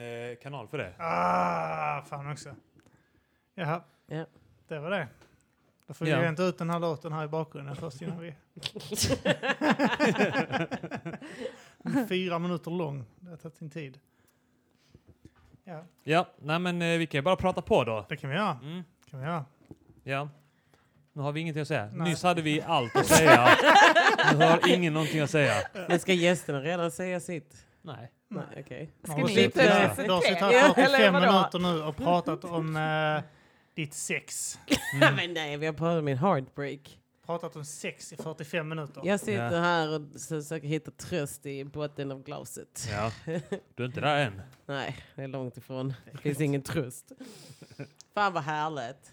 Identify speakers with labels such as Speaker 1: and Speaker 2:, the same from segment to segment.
Speaker 1: eh, kanal för det.
Speaker 2: Ah, fan också. Jaha.
Speaker 3: Ja.
Speaker 2: Det var det. Då får vi
Speaker 1: Ja.
Speaker 2: ränta ut den här låten här i bakgrunden först innan vi... Den är Fyra minuter lång. Det har tagit sin tid. Ja,
Speaker 1: Ja, nej men eh, vi kan ju bara prata på då.
Speaker 2: det kan vi göra.
Speaker 1: Mm,
Speaker 2: Kan vi göra.
Speaker 1: ja. Nu har vi ingenting att säga.
Speaker 2: Nej.
Speaker 1: Nyss hade vi allt att säga. nu har ingen någonting att säga.
Speaker 3: Men ska gästerna redan säga sitt?
Speaker 1: Nej.
Speaker 3: Nej,
Speaker 2: Nej.
Speaker 3: okej.
Speaker 2: Man
Speaker 4: Ska
Speaker 2: har
Speaker 4: ni
Speaker 2: suttit
Speaker 4: inte
Speaker 2: här-
Speaker 4: presentera?
Speaker 2: Du har suttit
Speaker 4: Ja,
Speaker 2: här
Speaker 4: eller
Speaker 2: 45
Speaker 4: vadå?
Speaker 2: minuter nu och pratat om eh, ditt sex.
Speaker 3: men nej, vi har pratat om min heartbreak.
Speaker 2: Pratat om sex i 45 minuter.
Speaker 3: Jag sitter
Speaker 1: Ja.
Speaker 3: här och försöker hitta tröst i botten av glaset.
Speaker 1: Ja. Du är inte där än.
Speaker 3: Nej, det är långt ifrån. Det finns ingen tröst. Fan vad härligt.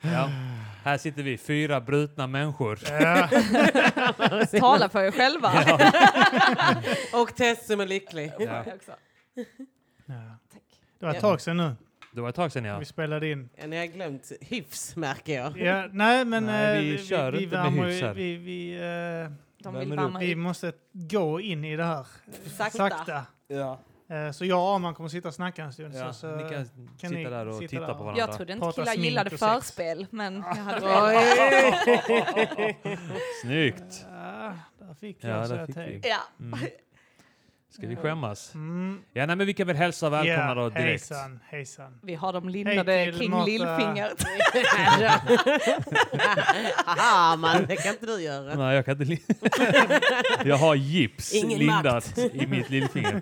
Speaker 1: Ja. Här sitter vi, fyra brutna människor.
Speaker 2: Ja.
Speaker 4: Tala för er själva.
Speaker 3: Och Tess som är lycklig.
Speaker 1: Ja.
Speaker 4: Också.
Speaker 2: Ja. Det var
Speaker 3: Ja.
Speaker 2: ett tag sedan nu
Speaker 1: Det var ett tag sedan ja.
Speaker 2: vi spelade in.
Speaker 3: Ja, ni har glömt hyfs märker jag.
Speaker 2: Ja, nej, men
Speaker 1: Nej,
Speaker 2: eh,
Speaker 1: vi kör inte med
Speaker 2: värmer-
Speaker 1: hyfs här.
Speaker 2: Vi, vi, eh,
Speaker 4: De
Speaker 1: Vem
Speaker 4: vill
Speaker 1: är
Speaker 4: värma
Speaker 2: vi
Speaker 4: upp.
Speaker 2: måste gå in i det här eh,
Speaker 3: Sakta.
Speaker 2: sakta.
Speaker 1: Ja.
Speaker 2: Eh, så jag och Arman kommer sitta och snacka en stund. Så,
Speaker 1: ja.
Speaker 2: så,
Speaker 1: Ni kan,
Speaker 2: kan
Speaker 1: sitta
Speaker 2: ni
Speaker 1: där och
Speaker 2: sitta
Speaker 1: titta
Speaker 2: där?
Speaker 1: på varandra.
Speaker 4: Jag trodde inte
Speaker 2: Prata
Speaker 4: killar
Speaker 2: smink
Speaker 4: gillade
Speaker 2: och sex.
Speaker 4: förspel, men jag hade
Speaker 3: Oj.
Speaker 4: fel.
Speaker 1: Snyggt!
Speaker 2: Ah, där fick
Speaker 1: Ja,
Speaker 2: jag
Speaker 1: där
Speaker 2: säga
Speaker 1: fick
Speaker 2: till.
Speaker 1: vi.
Speaker 4: Ja.
Speaker 1: Mm. Ska vi skämmas?
Speaker 2: Mm.
Speaker 1: Ja, nej, men vi kan väl hälsa välkomna
Speaker 2: Ja,
Speaker 1: då direkt.
Speaker 2: Hejsan, hejsan.
Speaker 4: Vi har de lindade
Speaker 2: Hej till
Speaker 4: kring
Speaker 2: Marta.
Speaker 4: lillfingret.
Speaker 3: Haha, man, det kan inte du göra.
Speaker 1: Nej, jag kan inte... li- jag har gips
Speaker 3: Ingen
Speaker 1: lindat i mitt lillfinger.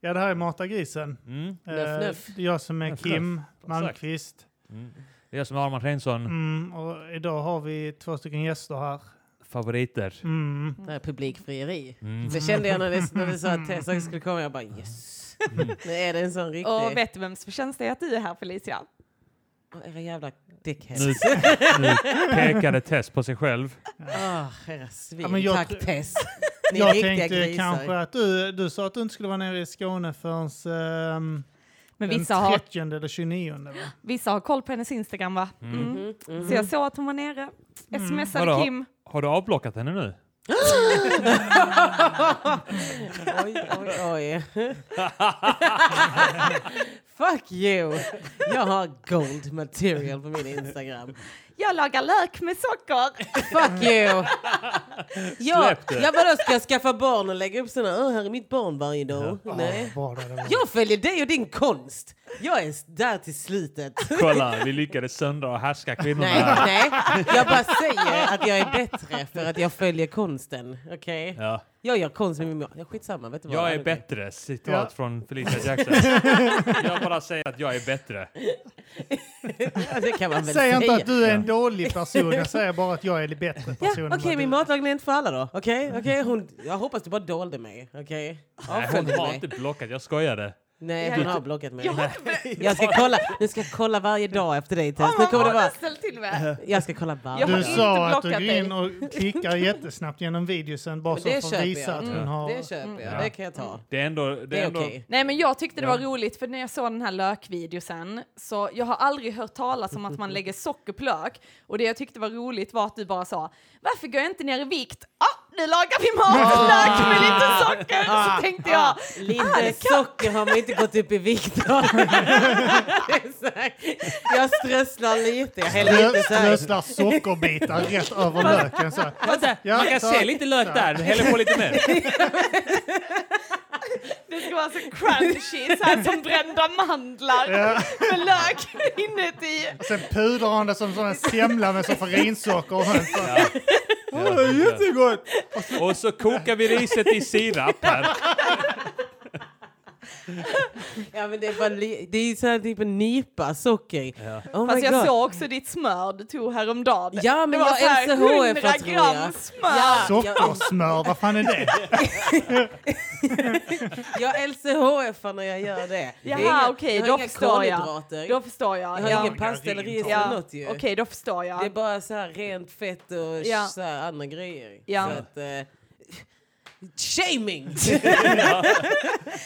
Speaker 2: Ja, det här är Marta Grisen.
Speaker 1: Mm.
Speaker 2: Eh,
Speaker 3: Nöff, nöff.
Speaker 2: det är jag som är
Speaker 1: Nöff,
Speaker 2: Kim
Speaker 1: Exakt.
Speaker 2: Malmqvist.
Speaker 1: Mm. Det är jag som är Arman Svensson.
Speaker 2: Mm, och idag har vi två stycken gäster här.
Speaker 1: Favoriter.
Speaker 2: Mm.
Speaker 3: Det här är publikfrieri.
Speaker 1: Mm.
Speaker 3: Så kände jag när vi, när vi sa att Tess också skulle komma, jag bara yes.
Speaker 1: Mm.
Speaker 3: Nu är det en sån riktig...
Speaker 4: Och vet du vems förtjänst det är att du är här Felicia?
Speaker 3: Era jävla dickheads.
Speaker 1: Nu, nu pekade Tess på sig själv.
Speaker 3: Ah, era svin.
Speaker 2: Ja, men jag
Speaker 3: Tack
Speaker 2: tr-
Speaker 3: Tess. Ni är
Speaker 2: Jag
Speaker 3: riktiga
Speaker 2: tänkte
Speaker 3: grisar.
Speaker 2: kanske att du, du sa att du inte skulle vara nere i Skåne förrän ehm,
Speaker 4: Men
Speaker 2: den
Speaker 4: vissa har,
Speaker 2: 30 eller 29. Va?
Speaker 4: vissa har koll på hennes Instagram va? Mm.
Speaker 3: Mm, mm.
Speaker 4: Så jag såg att hon var nere,
Speaker 2: Mm.
Speaker 4: smsade
Speaker 1: Vadå?
Speaker 4: Kim.
Speaker 1: Har du avblockat henne nu?
Speaker 3: Oj, oj, oj. Fuck you! Jag har gold material på min Instagram.
Speaker 4: Jag lagar lök med socker.
Speaker 3: Fuck you! Jag,
Speaker 1: Släpp det.
Speaker 3: jag bara ska jag skaffa barn och lägga upp såna, "Åh, här är mitt barn varje dag. Nej.
Speaker 2: Åh, vad det var.
Speaker 3: Jag följer dig och din konst. Jag är där till slutet.
Speaker 1: Kolla, vi lyckades söndra och härska kvinnorna
Speaker 3: Nej,
Speaker 1: här.
Speaker 3: nej. Jag bara säger att jag är bättre för att jag följer konsten. Okej?
Speaker 1: Ja.
Speaker 3: Jag gör konst med min man. Ja, Skitsamma, vet du vad?
Speaker 1: Jag
Speaker 3: Ja,
Speaker 1: är
Speaker 3: okej.
Speaker 1: bättre, citat
Speaker 2: Ja.
Speaker 1: från Felicia Jackson. jag bara säger att jag är bättre.
Speaker 3: Ja, det kan man
Speaker 2: Säg
Speaker 3: väl säga.
Speaker 2: inte att du är en dålig person, jag säger bara att jag är en bättre
Speaker 3: Ja,
Speaker 2: person. än vad
Speaker 3: okej,
Speaker 2: du
Speaker 3: min
Speaker 2: är.
Speaker 3: matlagning är inte för alla då. Okej, okej. hon. Jag hoppas du bara dolde mig. Okej?
Speaker 1: Nej,
Speaker 3: Avfölj
Speaker 1: hon har
Speaker 3: mig.
Speaker 1: inte blockat, jag skojade.
Speaker 3: Nej,
Speaker 4: Jag
Speaker 3: hon
Speaker 4: har
Speaker 3: har blockat mig. Jag ska kolla. Nu ska jag kolla varje dag efter dig Tess. Nu kommer
Speaker 4: Om
Speaker 3: det
Speaker 4: hon har
Speaker 3: vara...
Speaker 4: ställt till med.
Speaker 3: Jag ska kolla varje
Speaker 4: Jag har
Speaker 2: Du
Speaker 3: dag.
Speaker 4: inte
Speaker 2: sa att du
Speaker 4: blockat
Speaker 2: går
Speaker 4: dig.
Speaker 2: in och klickar jättesnabbt genom videosen bara så
Speaker 3: det
Speaker 2: för
Speaker 3: köper
Speaker 2: att visa
Speaker 3: jag.
Speaker 2: att
Speaker 3: Mm.
Speaker 2: hon har...
Speaker 3: Det köper jag.
Speaker 1: Ja.
Speaker 3: Det kan jag ta.
Speaker 1: Det är ändå...
Speaker 3: Det är
Speaker 1: ändå-
Speaker 3: okej.
Speaker 4: Nej men jag tyckte det
Speaker 1: Ja.
Speaker 4: var roligt för när jag såg den här lökvideosen så jag har aldrig hört talas om att man lägger socker på lök och det jag tyckte var roligt var att du bara sa varför går jag inte ner i vikt? Ah, nu lagar vi mat med lök med lite socker!
Speaker 3: Ah.
Speaker 4: Så tänkte jag
Speaker 3: Lite socker har man inte gått upp i vikt av. Exakt. jag strösslar lite. Jag häller
Speaker 2: Strö-
Speaker 3: inte så här.
Speaker 2: Strösslar sockerbitar rätt över löken. Så. här. Ja,
Speaker 1: Man kan
Speaker 2: så-
Speaker 1: se lite lök där, häller på lite mer.
Speaker 4: det ska vara så crunchy så här som brända mandlar med lök inuti.
Speaker 3: Oh
Speaker 2: Och sen pudrar hon det som sån här semla med saffarinsocker. och sånt. Så-
Speaker 1: Ja.
Speaker 2: Jättegott!
Speaker 1: Och så kokar vi riset i sirap här.
Speaker 3: Ja, men det är, bara li- det är så här typ en nypa socker. Oh my
Speaker 4: Fast jag
Speaker 3: God.
Speaker 4: såg också ditt smör du tog häromdagen.
Speaker 3: Ja, men
Speaker 4: det var
Speaker 3: jag
Speaker 4: så här
Speaker 3: LCHF,
Speaker 4: 100
Speaker 3: tror jag.
Speaker 4: gram smör.
Speaker 3: Ja.
Speaker 2: Sockersmör, vad fan är det?
Speaker 3: Jag LCHF när jag gör det. Det är
Speaker 4: Jaha,
Speaker 3: inga-
Speaker 4: okej,
Speaker 3: jag har
Speaker 4: då
Speaker 3: inga
Speaker 4: förstår jag.
Speaker 3: kolhydrater.
Speaker 4: Då förstår jag.
Speaker 3: Jag har
Speaker 4: Ja.
Speaker 3: ingen pasta eller ris
Speaker 4: Ja.
Speaker 3: eller något ju.
Speaker 4: Okej, då förstår jag.
Speaker 3: Det är bara så här rent fett och
Speaker 4: Ja.
Speaker 3: så här andra grejer.
Speaker 4: Ja.
Speaker 3: Så att, eh, shaming!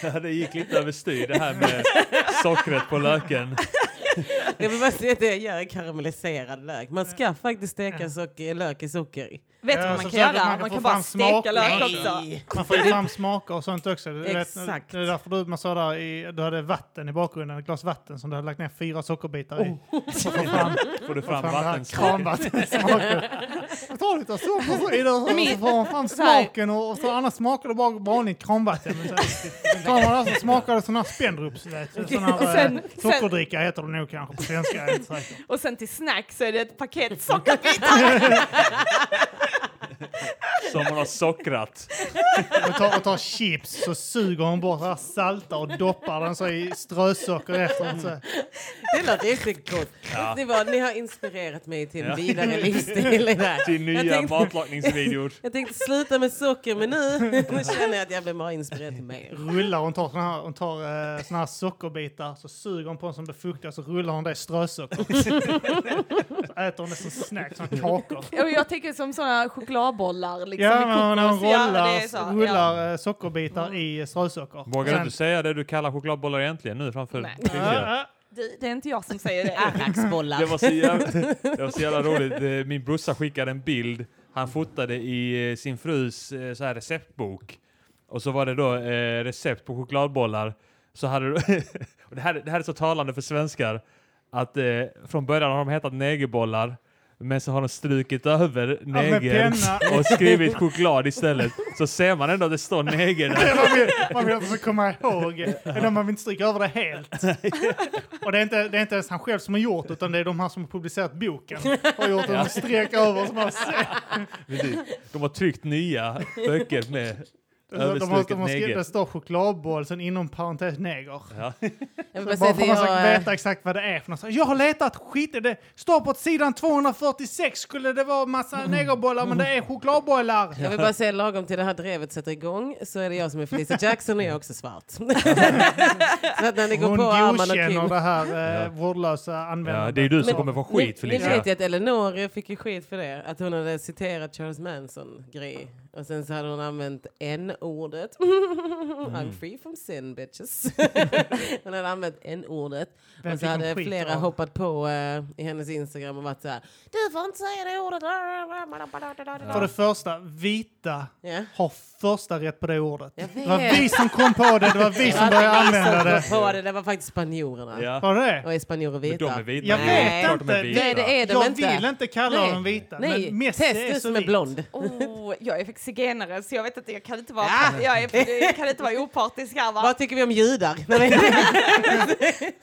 Speaker 1: Ja, det gick lite överstyr det här med sockret på löken.
Speaker 3: jag vill bara säga att det jag gör är karamelliserad eh, lök. Man ska faktiskt steka socker, lök i socker.
Speaker 4: Vet du
Speaker 2: Ja,
Speaker 4: vad
Speaker 2: så
Speaker 4: man kan
Speaker 2: säkert
Speaker 4: göra?
Speaker 2: man
Speaker 4: Man
Speaker 2: kan få
Speaker 4: kan,
Speaker 2: fram
Speaker 4: bara steka
Speaker 2: smak.
Speaker 4: lök
Speaker 2: Nej.
Speaker 4: också.
Speaker 2: Man får ju fram smaker och sånt också. Du vet,
Speaker 3: Exakt.
Speaker 2: Det är därför du, man sa där, i, du hade vatten i bakgrunden, ett glas vatten som du hade lagt ner fyra sockerbitar i. Så får fram,
Speaker 1: Får du
Speaker 2: fram,
Speaker 1: fram
Speaker 2: fram
Speaker 1: vattensmaken?
Speaker 2: kranvattensmaken. Man tar lite socker så i det och så får man fram
Speaker 4: Så här.
Speaker 2: smaken och, och så annars smakar det bara vanligt kranvatten. Men sen tar man alltså smakar det sån här Spendrups, vet du. Sån här,
Speaker 4: Och sen-
Speaker 2: eh, sockerdricka heter det nog kanske på svenska. Jag är inte säker.
Speaker 4: Och sen till snack så är det ett paket sockerbitar.
Speaker 1: Som hon har sockrat.
Speaker 2: och tar, och tar chips så suger hon bort det här salta och doppar den så i strösocker efteråt. Så.
Speaker 3: Det låter riktigt gott.
Speaker 1: Ja.
Speaker 3: Vet ni vad? Ni har inspirerat mig till en
Speaker 1: Ja. Typ.
Speaker 3: vidare livsstil. i det här.
Speaker 1: Till
Speaker 3: Jag
Speaker 1: nya
Speaker 3: tänkte-
Speaker 1: matlagningsvideor.
Speaker 3: Jag tänkte sluta med socker men nu, nu känner jag att jag blir bara inspirerad till mer.
Speaker 2: Rullar hon tar, såna här, hon tar eh, såna här sockerbitar så suger hon på dem som blir fuktiga så rullar hon det i strösocker. så äter hon det som snack, som kakor.
Speaker 4: Och jag tänker som sådana chokladbollar. Liksom,
Speaker 2: Ja,
Speaker 4: med
Speaker 2: men hon
Speaker 4: kokos. Ja, det
Speaker 2: rullar,
Speaker 4: är så, ja.
Speaker 2: rullar eh, sockerbitar i strösocker.
Speaker 1: Vågar du
Speaker 2: Sen-
Speaker 1: inte säga det du kallar chokladbollar egentligen nu framför
Speaker 4: Nej.
Speaker 1: Silja?
Speaker 2: Ja, ja.
Speaker 4: Det, det är inte jag som säger det.
Speaker 3: Arraksbollar.
Speaker 1: Det var, så jävla, det var så jävla roligt. Eh, Min brorsa skickade en bild. Han fotade i eh, sin frus eh, så här receptbok. Och så var det då eh, recept på chokladbollar. Så hade, du- och det, här, det här är så talande för svenskar. Att eh, från början har de hetat negerbollar. Men så har de strukit över
Speaker 2: med
Speaker 1: neger
Speaker 2: penna.
Speaker 1: och skrivit choklad istället. Så ser man ändå att det står neger där.
Speaker 2: Man vill, man vill att de ska komma ihåg. Eller man vill inte stryka över det helt. Och det är, inte, det är inte ens han själv som har gjort utan det är de här som har publicerat boken. Har gjort en streck över som har sett.
Speaker 1: Precis. De har tryckt nya böcker med
Speaker 2: De har, de har,
Speaker 1: överstruket
Speaker 2: de har skrivit,
Speaker 1: neger.
Speaker 2: det står chokladboll, sen inom parentes neger.
Speaker 1: Ja.
Speaker 3: Jag vill
Speaker 2: Bara
Speaker 3: bara
Speaker 2: för
Speaker 3: säga
Speaker 2: att man
Speaker 3: att
Speaker 2: ska
Speaker 3: jag, eh,
Speaker 2: veta exakt vad det är för något. Jag har letat skit, det står på sidan 246 skulle det vara
Speaker 3: Mm.
Speaker 2: massa negerbollar men det är chokladbollar.
Speaker 3: jag vill bara säga lagom till det här drevet sätter igång så är det jag som är Felicia Jackson och jag är också svart. så att när ni går
Speaker 2: Hon
Speaker 3: på Arman och
Speaker 2: godkänner
Speaker 3: Kim.
Speaker 2: det här
Speaker 1: Ja.
Speaker 2: eh, vårdlösa användandet.
Speaker 1: Ja, det är du som
Speaker 3: Men-
Speaker 1: kommer få skit
Speaker 3: ni, ni
Speaker 1: Felicia.
Speaker 3: vet ju att Eleanor fick ju skit för det. Att hon hade citerat Charles Manson-grej. Och sen så hade hon använt n-ordet.
Speaker 2: Mm.
Speaker 3: I'm free from sin bitches. hon hade använt n-ordet.
Speaker 2: Vem
Speaker 3: Och så
Speaker 2: fick hon
Speaker 3: hade
Speaker 2: skit
Speaker 3: flera
Speaker 2: av?
Speaker 3: hoppat på eh, i hennes Instagram och varit så här. Du får inte säga det ordet.
Speaker 2: För det första, vita
Speaker 3: Ja.
Speaker 2: har första rätt på det ordet.
Speaker 3: Jag
Speaker 2: Det var
Speaker 3: vet.
Speaker 2: vi som kom på det, det var vi som började använda det.
Speaker 3: kom på det. Det var faktiskt spanjorerna.
Speaker 1: Ja.
Speaker 2: Var det
Speaker 3: Och är spanjorer
Speaker 1: Men
Speaker 3: vita?
Speaker 1: de är vita.
Speaker 2: Jag
Speaker 1: Det är
Speaker 3: Nej.
Speaker 2: vet
Speaker 1: klart de
Speaker 2: inte.
Speaker 1: är vita.
Speaker 3: Nej, det är de
Speaker 2: Jag
Speaker 3: inte.
Speaker 2: vill inte kalla
Speaker 3: Nej.
Speaker 2: dem vita,
Speaker 3: Nej,
Speaker 2: men Messi
Speaker 3: Tess,
Speaker 2: är
Speaker 3: du
Speaker 2: så
Speaker 3: som är
Speaker 2: vit.
Speaker 3: blond.
Speaker 4: Åh, Oh, jag är faktiskt zigenare så jag vet att jag kan inte vara,
Speaker 3: Ja.
Speaker 4: jag är, jag kan inte vara opartisk här va?
Speaker 3: Vad tycker vi om judar? Nej, men-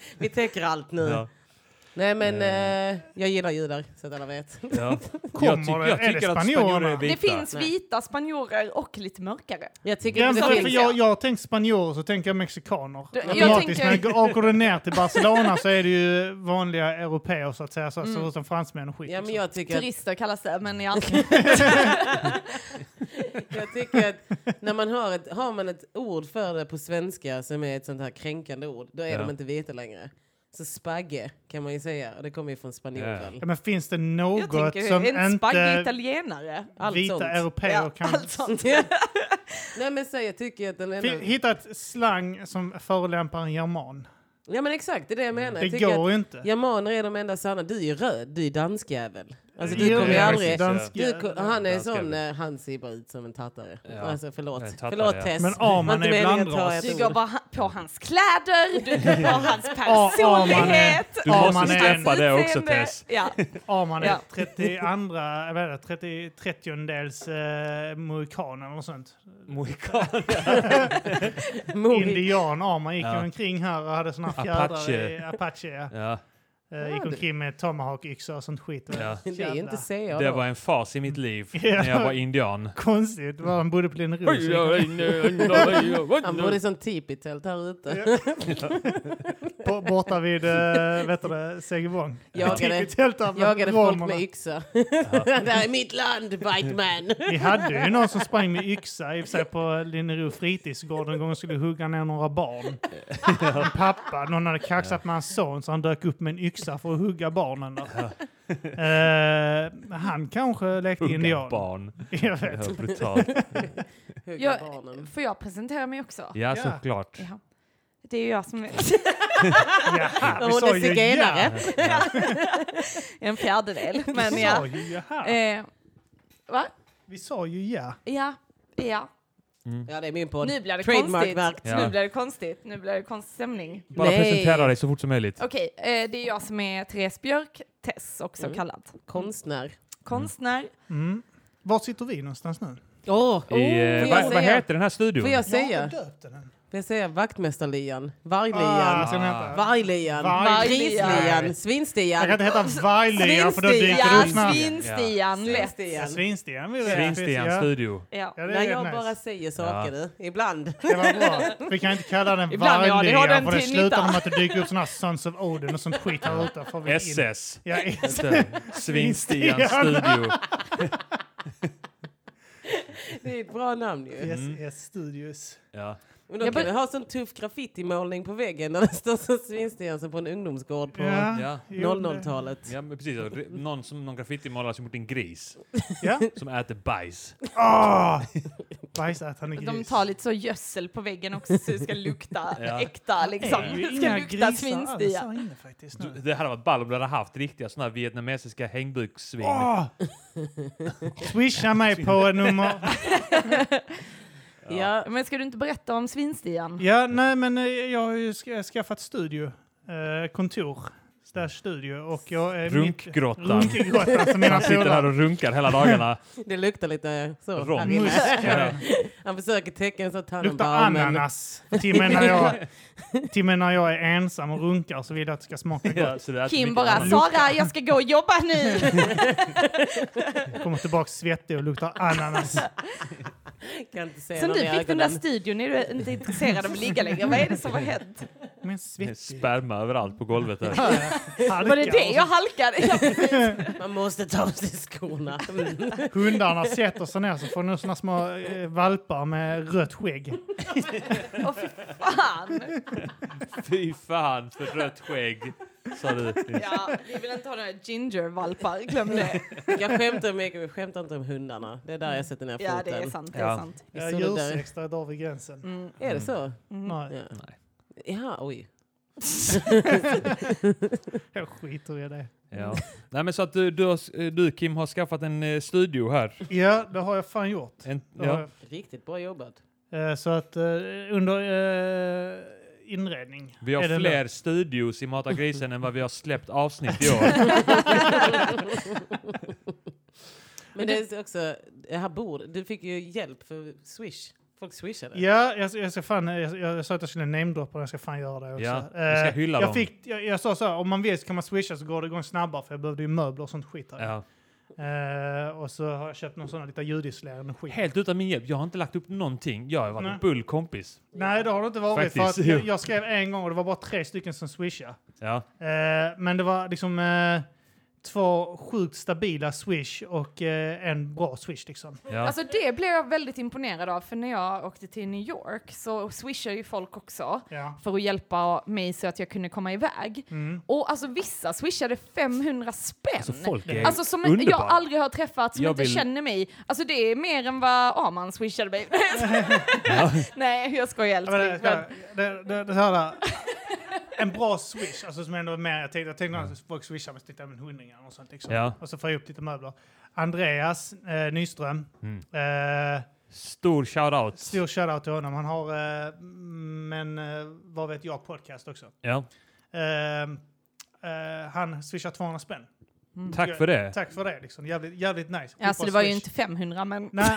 Speaker 3: vi täcker allt nu.
Speaker 1: Ja.
Speaker 3: Nej men eh, jag gillar judar så att alla vet.
Speaker 1: Ja.
Speaker 2: Kommer
Speaker 1: jag, tycker-
Speaker 2: det?
Speaker 1: jag
Speaker 2: Är det
Speaker 1: tycker att
Speaker 2: spanjorerna?
Speaker 1: spanjorer är vita.
Speaker 4: Det finns
Speaker 3: Nej.
Speaker 4: vita spanjorer och lite mörkare.
Speaker 3: Jag tycker
Speaker 2: Ja,
Speaker 3: inte
Speaker 2: för
Speaker 3: det
Speaker 2: för
Speaker 3: finns.
Speaker 2: jag, jag har tänkt spanjorer så tänker jag mexikaner.
Speaker 4: Du- jag
Speaker 2: Automatiskt.
Speaker 4: tänker-
Speaker 2: Men åker du ner till Barcelona så är det ju vanliga europeer så att säga, så, så som fransmän och skit.
Speaker 3: Mm. Ja, men
Speaker 2: liksom.
Speaker 3: jag, tycker att,
Speaker 4: Turister kallas det, men ja.
Speaker 3: jag tycker att när man har, ett, har man ett ord för det på svenska som är ett sånt här kränkande ord, då är
Speaker 1: Ja.
Speaker 3: de inte vita längre. Så spagge kan man ju säga, och det kommer ju från spanjoren.
Speaker 2: Ja, men finns det
Speaker 4: jag
Speaker 2: något
Speaker 4: tänker
Speaker 2: som
Speaker 4: en spagge
Speaker 2: inte
Speaker 4: italienare.
Speaker 3: Allt
Speaker 2: vita
Speaker 3: sånt.
Speaker 2: europeer
Speaker 4: Ja, alltså.
Speaker 2: kan...
Speaker 4: allt sånt.
Speaker 3: Nej men så jag tycker att den
Speaker 2: Fi-
Speaker 3: enda...
Speaker 2: Hitta ett slang som förolämpar en german.
Speaker 3: Ja men exakt, det är det jag menar.
Speaker 2: Det
Speaker 3: Jag tycker att
Speaker 2: går ju inte.
Speaker 3: Germaner är de enda sanna. Du är ju röd, du är danskjävel. Alltså du
Speaker 2: Ja,
Speaker 3: kommer ju
Speaker 2: precis.
Speaker 3: aldrig...
Speaker 2: Dansk-
Speaker 3: Du, ko- han är
Speaker 1: Danskjävel.
Speaker 3: sån, eh, han ser bara ut som en tattare.
Speaker 1: Ja.
Speaker 3: Alltså förlåt,
Speaker 1: En tattare,
Speaker 3: förlåt
Speaker 1: ja.
Speaker 3: Tess.
Speaker 2: Men
Speaker 3: Var
Speaker 2: Arman
Speaker 3: inte
Speaker 2: är
Speaker 3: meningen att ta
Speaker 2: blandras.
Speaker 3: ett
Speaker 4: Du
Speaker 3: ord.
Speaker 4: går bara ha- på hans kläder, du går på hans personlighet.
Speaker 1: Du
Speaker 2: Ja, man
Speaker 1: måste
Speaker 2: är-
Speaker 1: släppa det också
Speaker 4: utseende.
Speaker 1: Tess.
Speaker 4: Ja.
Speaker 2: Arman är
Speaker 4: Ja.
Speaker 2: 32, jag vet inte, 30, 30-dels eh, mohikan eller något sånt.
Speaker 1: Mohikan.
Speaker 3: Mori-
Speaker 2: Indian Arman gick ju
Speaker 1: Ja.
Speaker 2: omkring här och hade såna
Speaker 1: Apache.
Speaker 2: fjädrar i Apache. Ja.
Speaker 1: Ja,
Speaker 2: Eh, gick
Speaker 3: det-
Speaker 2: omkring med tomahawk-yxa och sånt skit.
Speaker 1: ja.
Speaker 3: Det är inte CA
Speaker 1: Det
Speaker 3: då.
Speaker 1: var en fas i mitt liv
Speaker 2: Ja.
Speaker 1: när jag var indian.
Speaker 2: Konstigt, var han bodde på Linneros.
Speaker 1: Oj, oj, oj, oj, oj,
Speaker 3: Han bodde i sån tipi-tält här ute.
Speaker 2: Bo- Borta vid, äh, vet du det, Segevång.
Speaker 3: Jagade-
Speaker 2: Typ i tält där med
Speaker 3: Jagade folk
Speaker 2: romerna.
Speaker 3: med yxa. det här är mitt land, white man.
Speaker 2: Vi hade ju någon som sprang med yxa i och för sig på Linnero fritidsgård en gång och skulle hugga ner några barn. En pappa, någon hade kaxat med hans son så han dök upp med en yxa för att hugga barnen där. Eh, han kanske lekte
Speaker 1: Hugga
Speaker 2: indian.
Speaker 1: barn.
Speaker 2: Jag vet.
Speaker 1: Ja, brutalt.
Speaker 3: Hugga
Speaker 4: Jag-
Speaker 3: barnen.
Speaker 4: Får jag presentera mig också?
Speaker 2: Ja.
Speaker 1: Ja, såklart.
Speaker 4: Ja. Det är ju jag som är
Speaker 2: Jaha, vi
Speaker 3: Hon
Speaker 2: sa
Speaker 3: är
Speaker 2: ju
Speaker 3: zigenare.
Speaker 2: ja.
Speaker 4: en fjärdedel. Men
Speaker 2: Vi
Speaker 4: ja.
Speaker 2: sa ju jaha.
Speaker 4: Eh, va?
Speaker 2: Vi sa ju ja.
Speaker 4: Ja, ja.
Speaker 3: Ja, det är min podd.
Speaker 4: Nu blir det
Speaker 3: Trademark
Speaker 4: konstigt.
Speaker 3: verked.
Speaker 1: Ja.
Speaker 4: Nu blir det konstigt. Nu blir det konstig stämning.
Speaker 1: Bara
Speaker 3: Nej.
Speaker 1: presentera dig så fort som möjligt.
Speaker 2: Oh,
Speaker 4: Okej, eh, det är jag som är Therese Björk, Tess också
Speaker 3: Mm.
Speaker 4: kallad.
Speaker 3: Konstnär.
Speaker 4: Konstnär.
Speaker 2: Mm. Var sitter vi någonstans nu?
Speaker 3: Åh,
Speaker 1: I, eh,
Speaker 3: Oh, får
Speaker 1: vad,
Speaker 3: jag
Speaker 1: vad
Speaker 3: säga-
Speaker 1: heter den här studion?
Speaker 3: Får jag
Speaker 2: Jag
Speaker 3: säga?
Speaker 2: har döpt den.
Speaker 3: Får jag säga vaktmästarlian? Varglian?
Speaker 2: Ah, ska den heta?
Speaker 3: Varglian?
Speaker 2: Varg-
Speaker 3: Grislian? Svinstian?
Speaker 2: Jag kan inte heta Varglian för då dyker det upp
Speaker 4: Svinstian,
Speaker 2: snarare.
Speaker 4: svinstian, lätt.
Speaker 3: Svinstian?
Speaker 2: Svinstian vill jag.
Speaker 1: Svinstian
Speaker 2: Ja.
Speaker 1: studio.
Speaker 4: Ja.
Speaker 2: Ja, det är
Speaker 3: Nej,
Speaker 2: rätt
Speaker 3: jag
Speaker 2: nice.
Speaker 3: bara säger saker
Speaker 1: Ja.
Speaker 3: du. Ibland.
Speaker 2: Det var bra. Vi kan inte kalla den
Speaker 4: Ibland, ja, det har
Speaker 2: varglian
Speaker 4: den
Speaker 2: för det
Speaker 4: till
Speaker 2: slutar
Speaker 4: nytta.
Speaker 2: med att det dyker upp sådana här Sons of Odin och sånt skit här ute. Får vi in-
Speaker 1: SS.
Speaker 2: Ja, S.
Speaker 1: Svinstian studio.
Speaker 3: Det är ett bra namn ju.
Speaker 2: SS Studios.
Speaker 1: Ja.
Speaker 3: Men då
Speaker 4: Jag
Speaker 3: kan
Speaker 4: bör-
Speaker 3: du ha sån tuff graffitimålning på väggen när det står så Svinstian som på en ungdomsgård på
Speaker 1: Ja.
Speaker 2: jo, det-
Speaker 3: 00-talet.
Speaker 1: ja, men precis. Och det- Någon, som, någon graffitimålare som gjort en gris
Speaker 2: Ja. Ah!
Speaker 1: som äter bajs.
Speaker 2: Åh! Bajsätande gris.
Speaker 4: De tar lite så gödsel på väggen också så det ska lukta
Speaker 1: Ja.
Speaker 4: äkta liksom.
Speaker 2: Det är ju
Speaker 4: Det ska
Speaker 2: inga
Speaker 4: lukta
Speaker 2: grisar alls
Speaker 4: svinstian.
Speaker 2: här inne faktiskt
Speaker 1: Du-
Speaker 2: nu.
Speaker 1: Det hade varit ball om du hade haft riktiga sådana här vietnamesiska hängbukssvin.
Speaker 2: Åh! Swisha mig på nummer...
Speaker 3: Ja.
Speaker 4: Men ska du inte berätta om svinstian?
Speaker 2: Ja, nej men eh, jag har ju ska- skaffat studio. Eh, kontor. Stash studio. Och jag är
Speaker 1: Runkgrottan.
Speaker 2: Mitt, runkgrottan som mina
Speaker 1: Han sitter här
Speaker 2: polare.
Speaker 1: och runkar hela dagarna.
Speaker 3: det luktar lite så.
Speaker 1: Rom.
Speaker 3: här inne.
Speaker 2: Musk. ja.
Speaker 3: Han försöker täcka en sån
Speaker 2: Luktar
Speaker 3: tannenbaum. men-
Speaker 2: ananas. För Timmen när, jag, timmen när jag är ensam och runkar så vill jag att det ska smaka gott.
Speaker 1: Ja, så det äter
Speaker 4: Kim
Speaker 1: mycket
Speaker 4: bara,
Speaker 1: ananas.
Speaker 4: Sara jag ska gå och jobba nu.
Speaker 2: Jag kommer tillbaka svettig och luktar ananas.
Speaker 3: Kan inte se
Speaker 4: Sen
Speaker 3: någon
Speaker 4: du
Speaker 3: i
Speaker 4: fick den där
Speaker 3: ögonen.
Speaker 4: studion är du inte intresserad av att ligga längre. Vad är det som har hänt?
Speaker 2: Men
Speaker 1: Det är
Speaker 2: svettig.
Speaker 1: Sperma överallt på golvet. Där.
Speaker 2: Halkar
Speaker 4: Var det
Speaker 2: och
Speaker 4: det
Speaker 2: så-
Speaker 4: jag halkade?
Speaker 3: Man måste ta av sig skorna.
Speaker 2: Hundarna sätter sig ner så får de såna små eh, valpar med rött skägg.
Speaker 4: Fan!
Speaker 1: Fy fan för rött skägg, sa du.
Speaker 4: Ja, vi vill inte ha några gingervalpar, glöm det.
Speaker 3: Jag skämtar mycket, vi skämtar inte om hundarna. Det är där jag sätter ner foten.
Speaker 4: Ja, det är sant. Det är
Speaker 1: Ja.
Speaker 4: sant.
Speaker 3: Jag
Speaker 2: Ja,
Speaker 3: såg det där.
Speaker 2: Djursex, där drar vi gränsen.
Speaker 4: Mm.
Speaker 3: Är det så?
Speaker 2: Nej,
Speaker 3: Ja. ja, oj.
Speaker 2: jag skiter i det.
Speaker 1: Ja. Nej, men så att du, du, har- du Kim har skaffat en eh, studio här.
Speaker 2: Ja, det har jag fan gjort.
Speaker 1: En,
Speaker 2: Det har
Speaker 1: ja.
Speaker 3: Riktigt bra jobbat.
Speaker 2: jag. Eh, Så att eh, under eh, inredning.
Speaker 1: Vi
Speaker 2: är
Speaker 1: har
Speaker 2: det
Speaker 1: fler studios i Mata grisen än vad vi har släppt avsnitt i år.
Speaker 3: Men det är också, det här bord, du fick ju hjälp för Swish. Folk swishade.
Speaker 2: Ja, jag, jag, ska fan, eh, jag, jag sa att jag skulle namedroppa och jag ska fan göra det också.
Speaker 1: Ja,
Speaker 2: Eh,
Speaker 1: du ska hylla
Speaker 2: jag,
Speaker 1: dem.
Speaker 2: fick, jag, jag sa så här, om man vill så kan man swisha så går det igång snabbare för jag behövde ju möbler och sånt skit här.
Speaker 1: Ja.
Speaker 2: Eh, och så har jag köpt någon sån här lite ljudisolerande skit.
Speaker 1: Helt utan min hjälp. Jag har inte lagt upp någonting. Jag har varit
Speaker 2: Nej.
Speaker 1: en bull kompis.
Speaker 2: Nej, det har det inte varit. För att
Speaker 1: Faktiskt,
Speaker 2: jag,
Speaker 1: jo.
Speaker 2: jag skrev en gång och det var bara tre stycken som swishade.
Speaker 1: Ja.
Speaker 2: Eh, men det var liksom eh, två sjukt stabila swish och eh, en bra swish liksom.
Speaker 1: Ja.
Speaker 4: Alltså det blev jag väldigt imponerad av, för när jag åkte till New York så swishade ju folk också
Speaker 2: Ja.
Speaker 4: för att hjälpa mig så att jag kunde komma iväg.
Speaker 2: Mm.
Speaker 4: Och alltså vissa swishade 500 spänn.
Speaker 1: Alltså folk är
Speaker 4: Alltså som jag
Speaker 1: underbara.
Speaker 4: aldrig har träffat, som
Speaker 1: Jag
Speaker 4: inte
Speaker 1: vill-
Speaker 4: känner mig. Alltså det är mer än vad Arman swishade mig. Nej, jag skojar
Speaker 2: Ja, men
Speaker 4: älskling.
Speaker 2: det, det, det, det, det här, där. en bra swish, alltså som ändå är mer, jag tänkte, jag tänkte att folk swishar men så tänkte jag men hundringar och sånt liksom.
Speaker 1: Ja.
Speaker 2: Och så får jag upp lite möbler. Andreas eh, Nyström,
Speaker 1: Mm.
Speaker 2: eh,
Speaker 1: Stor shoutout.
Speaker 2: stor shoutout till honom. Han har, eh, men eh, vad vet jag, podcast också.
Speaker 1: Ja.
Speaker 2: Eh, eh, han swishar 200 spänn.
Speaker 1: Tack för det.
Speaker 2: Tack för det liksom, jävligt, jävligt nice.
Speaker 4: Men, alltså
Speaker 2: Skitbra
Speaker 4: det var ju
Speaker 2: swish.
Speaker 4: inte 500 men...
Speaker 2: Nej,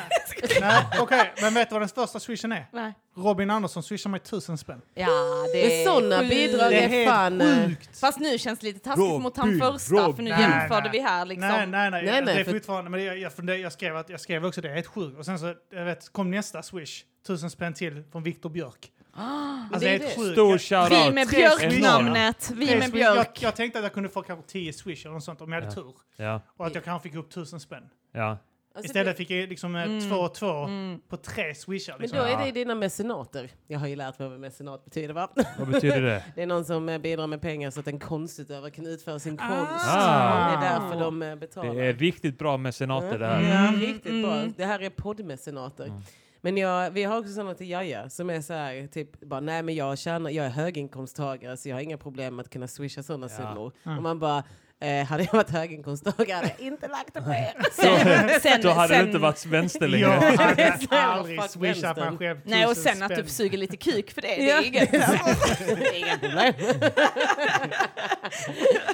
Speaker 2: nej okej, men vet du vad den största swishen är?
Speaker 4: Nej.
Speaker 2: Robin Andersson swishar mig 1000 spänn.
Speaker 4: Ja, det
Speaker 3: Det är såna
Speaker 4: sjukt.
Speaker 3: bidrag
Speaker 2: Det är
Speaker 3: är
Speaker 2: helt
Speaker 3: fan... eh,
Speaker 2: Sjukt!
Speaker 4: Fast nu känns det lite taskigt
Speaker 1: Robin,
Speaker 4: mot han första för nu
Speaker 1: Robin.
Speaker 4: jämförde
Speaker 2: Nej,
Speaker 4: vi här liksom.
Speaker 2: Nej, nej, nej.
Speaker 3: Nej, nej,
Speaker 2: det är
Speaker 3: för-
Speaker 2: fortfarande, men jag, jag, funderar- jag, skrev att, jag skrev också det, ett sjukt. Och sen så jag vet, kom nästa swish, tusen spänn till från Viktor Björk. alltså,
Speaker 3: det är
Speaker 2: helt
Speaker 3: det.
Speaker 2: sjukt.
Speaker 1: Stor
Speaker 2: Jag-
Speaker 4: Vi
Speaker 1: shoutout.
Speaker 4: med
Speaker 2: Tre
Speaker 4: Björk-namnet,
Speaker 2: tre
Speaker 4: vi med
Speaker 2: swish-
Speaker 4: Björk.
Speaker 2: Jag, jag tänkte att jag kunde få kanske 10 swish eller något sånt om jag hade
Speaker 1: Ja.
Speaker 2: tur.
Speaker 1: Ja.
Speaker 2: Och att jag kanske fick upp tusen spänn.
Speaker 1: Ja.
Speaker 3: alltså
Speaker 2: Istället
Speaker 3: det-
Speaker 2: fick jag liksom eh, två och två på tre swishar.
Speaker 3: Men
Speaker 2: Liksom.
Speaker 3: då är det dina mecenater. Jag har ju lärt mig vad mecenat betyder va?
Speaker 1: Vad betyder det?
Speaker 3: Det är någon som eh, bidrar med pengar så att en konstutövare kan utföra sin konst. Det
Speaker 1: Ah.
Speaker 3: är därför de eh, betalar.
Speaker 1: Det är riktigt bra mecenater det här.
Speaker 3: Ja, Mm. riktigt bra.
Speaker 4: mm.
Speaker 3: Det här är poddmecenater. Men jag, vi har också sådana till Jaja som är så här, typ bara nej men jag tjänar, jag är höginkomsttagare så jag har inga problem med att kunna swisha sådana
Speaker 1: Ja.
Speaker 3: summor.
Speaker 2: Mm.
Speaker 3: Och man bara, eh, hade jag varit höginkomsttagare hade jag inte lagt det på er.
Speaker 4: Sen, sen,
Speaker 1: Då hade
Speaker 4: sen,
Speaker 1: du inte varit vänster
Speaker 2: Jag
Speaker 1: längre.
Speaker 2: hade
Speaker 3: Snälla,
Speaker 2: aldrig
Speaker 3: fuck
Speaker 2: swishat mig
Speaker 3: vänstern.
Speaker 2: själv
Speaker 4: Nej, och
Speaker 2: tusen
Speaker 4: sen att du
Speaker 2: spänn.
Speaker 4: suger lite kuk för det, det
Speaker 3: Ja.
Speaker 4: är inget.
Speaker 3: Inga problem.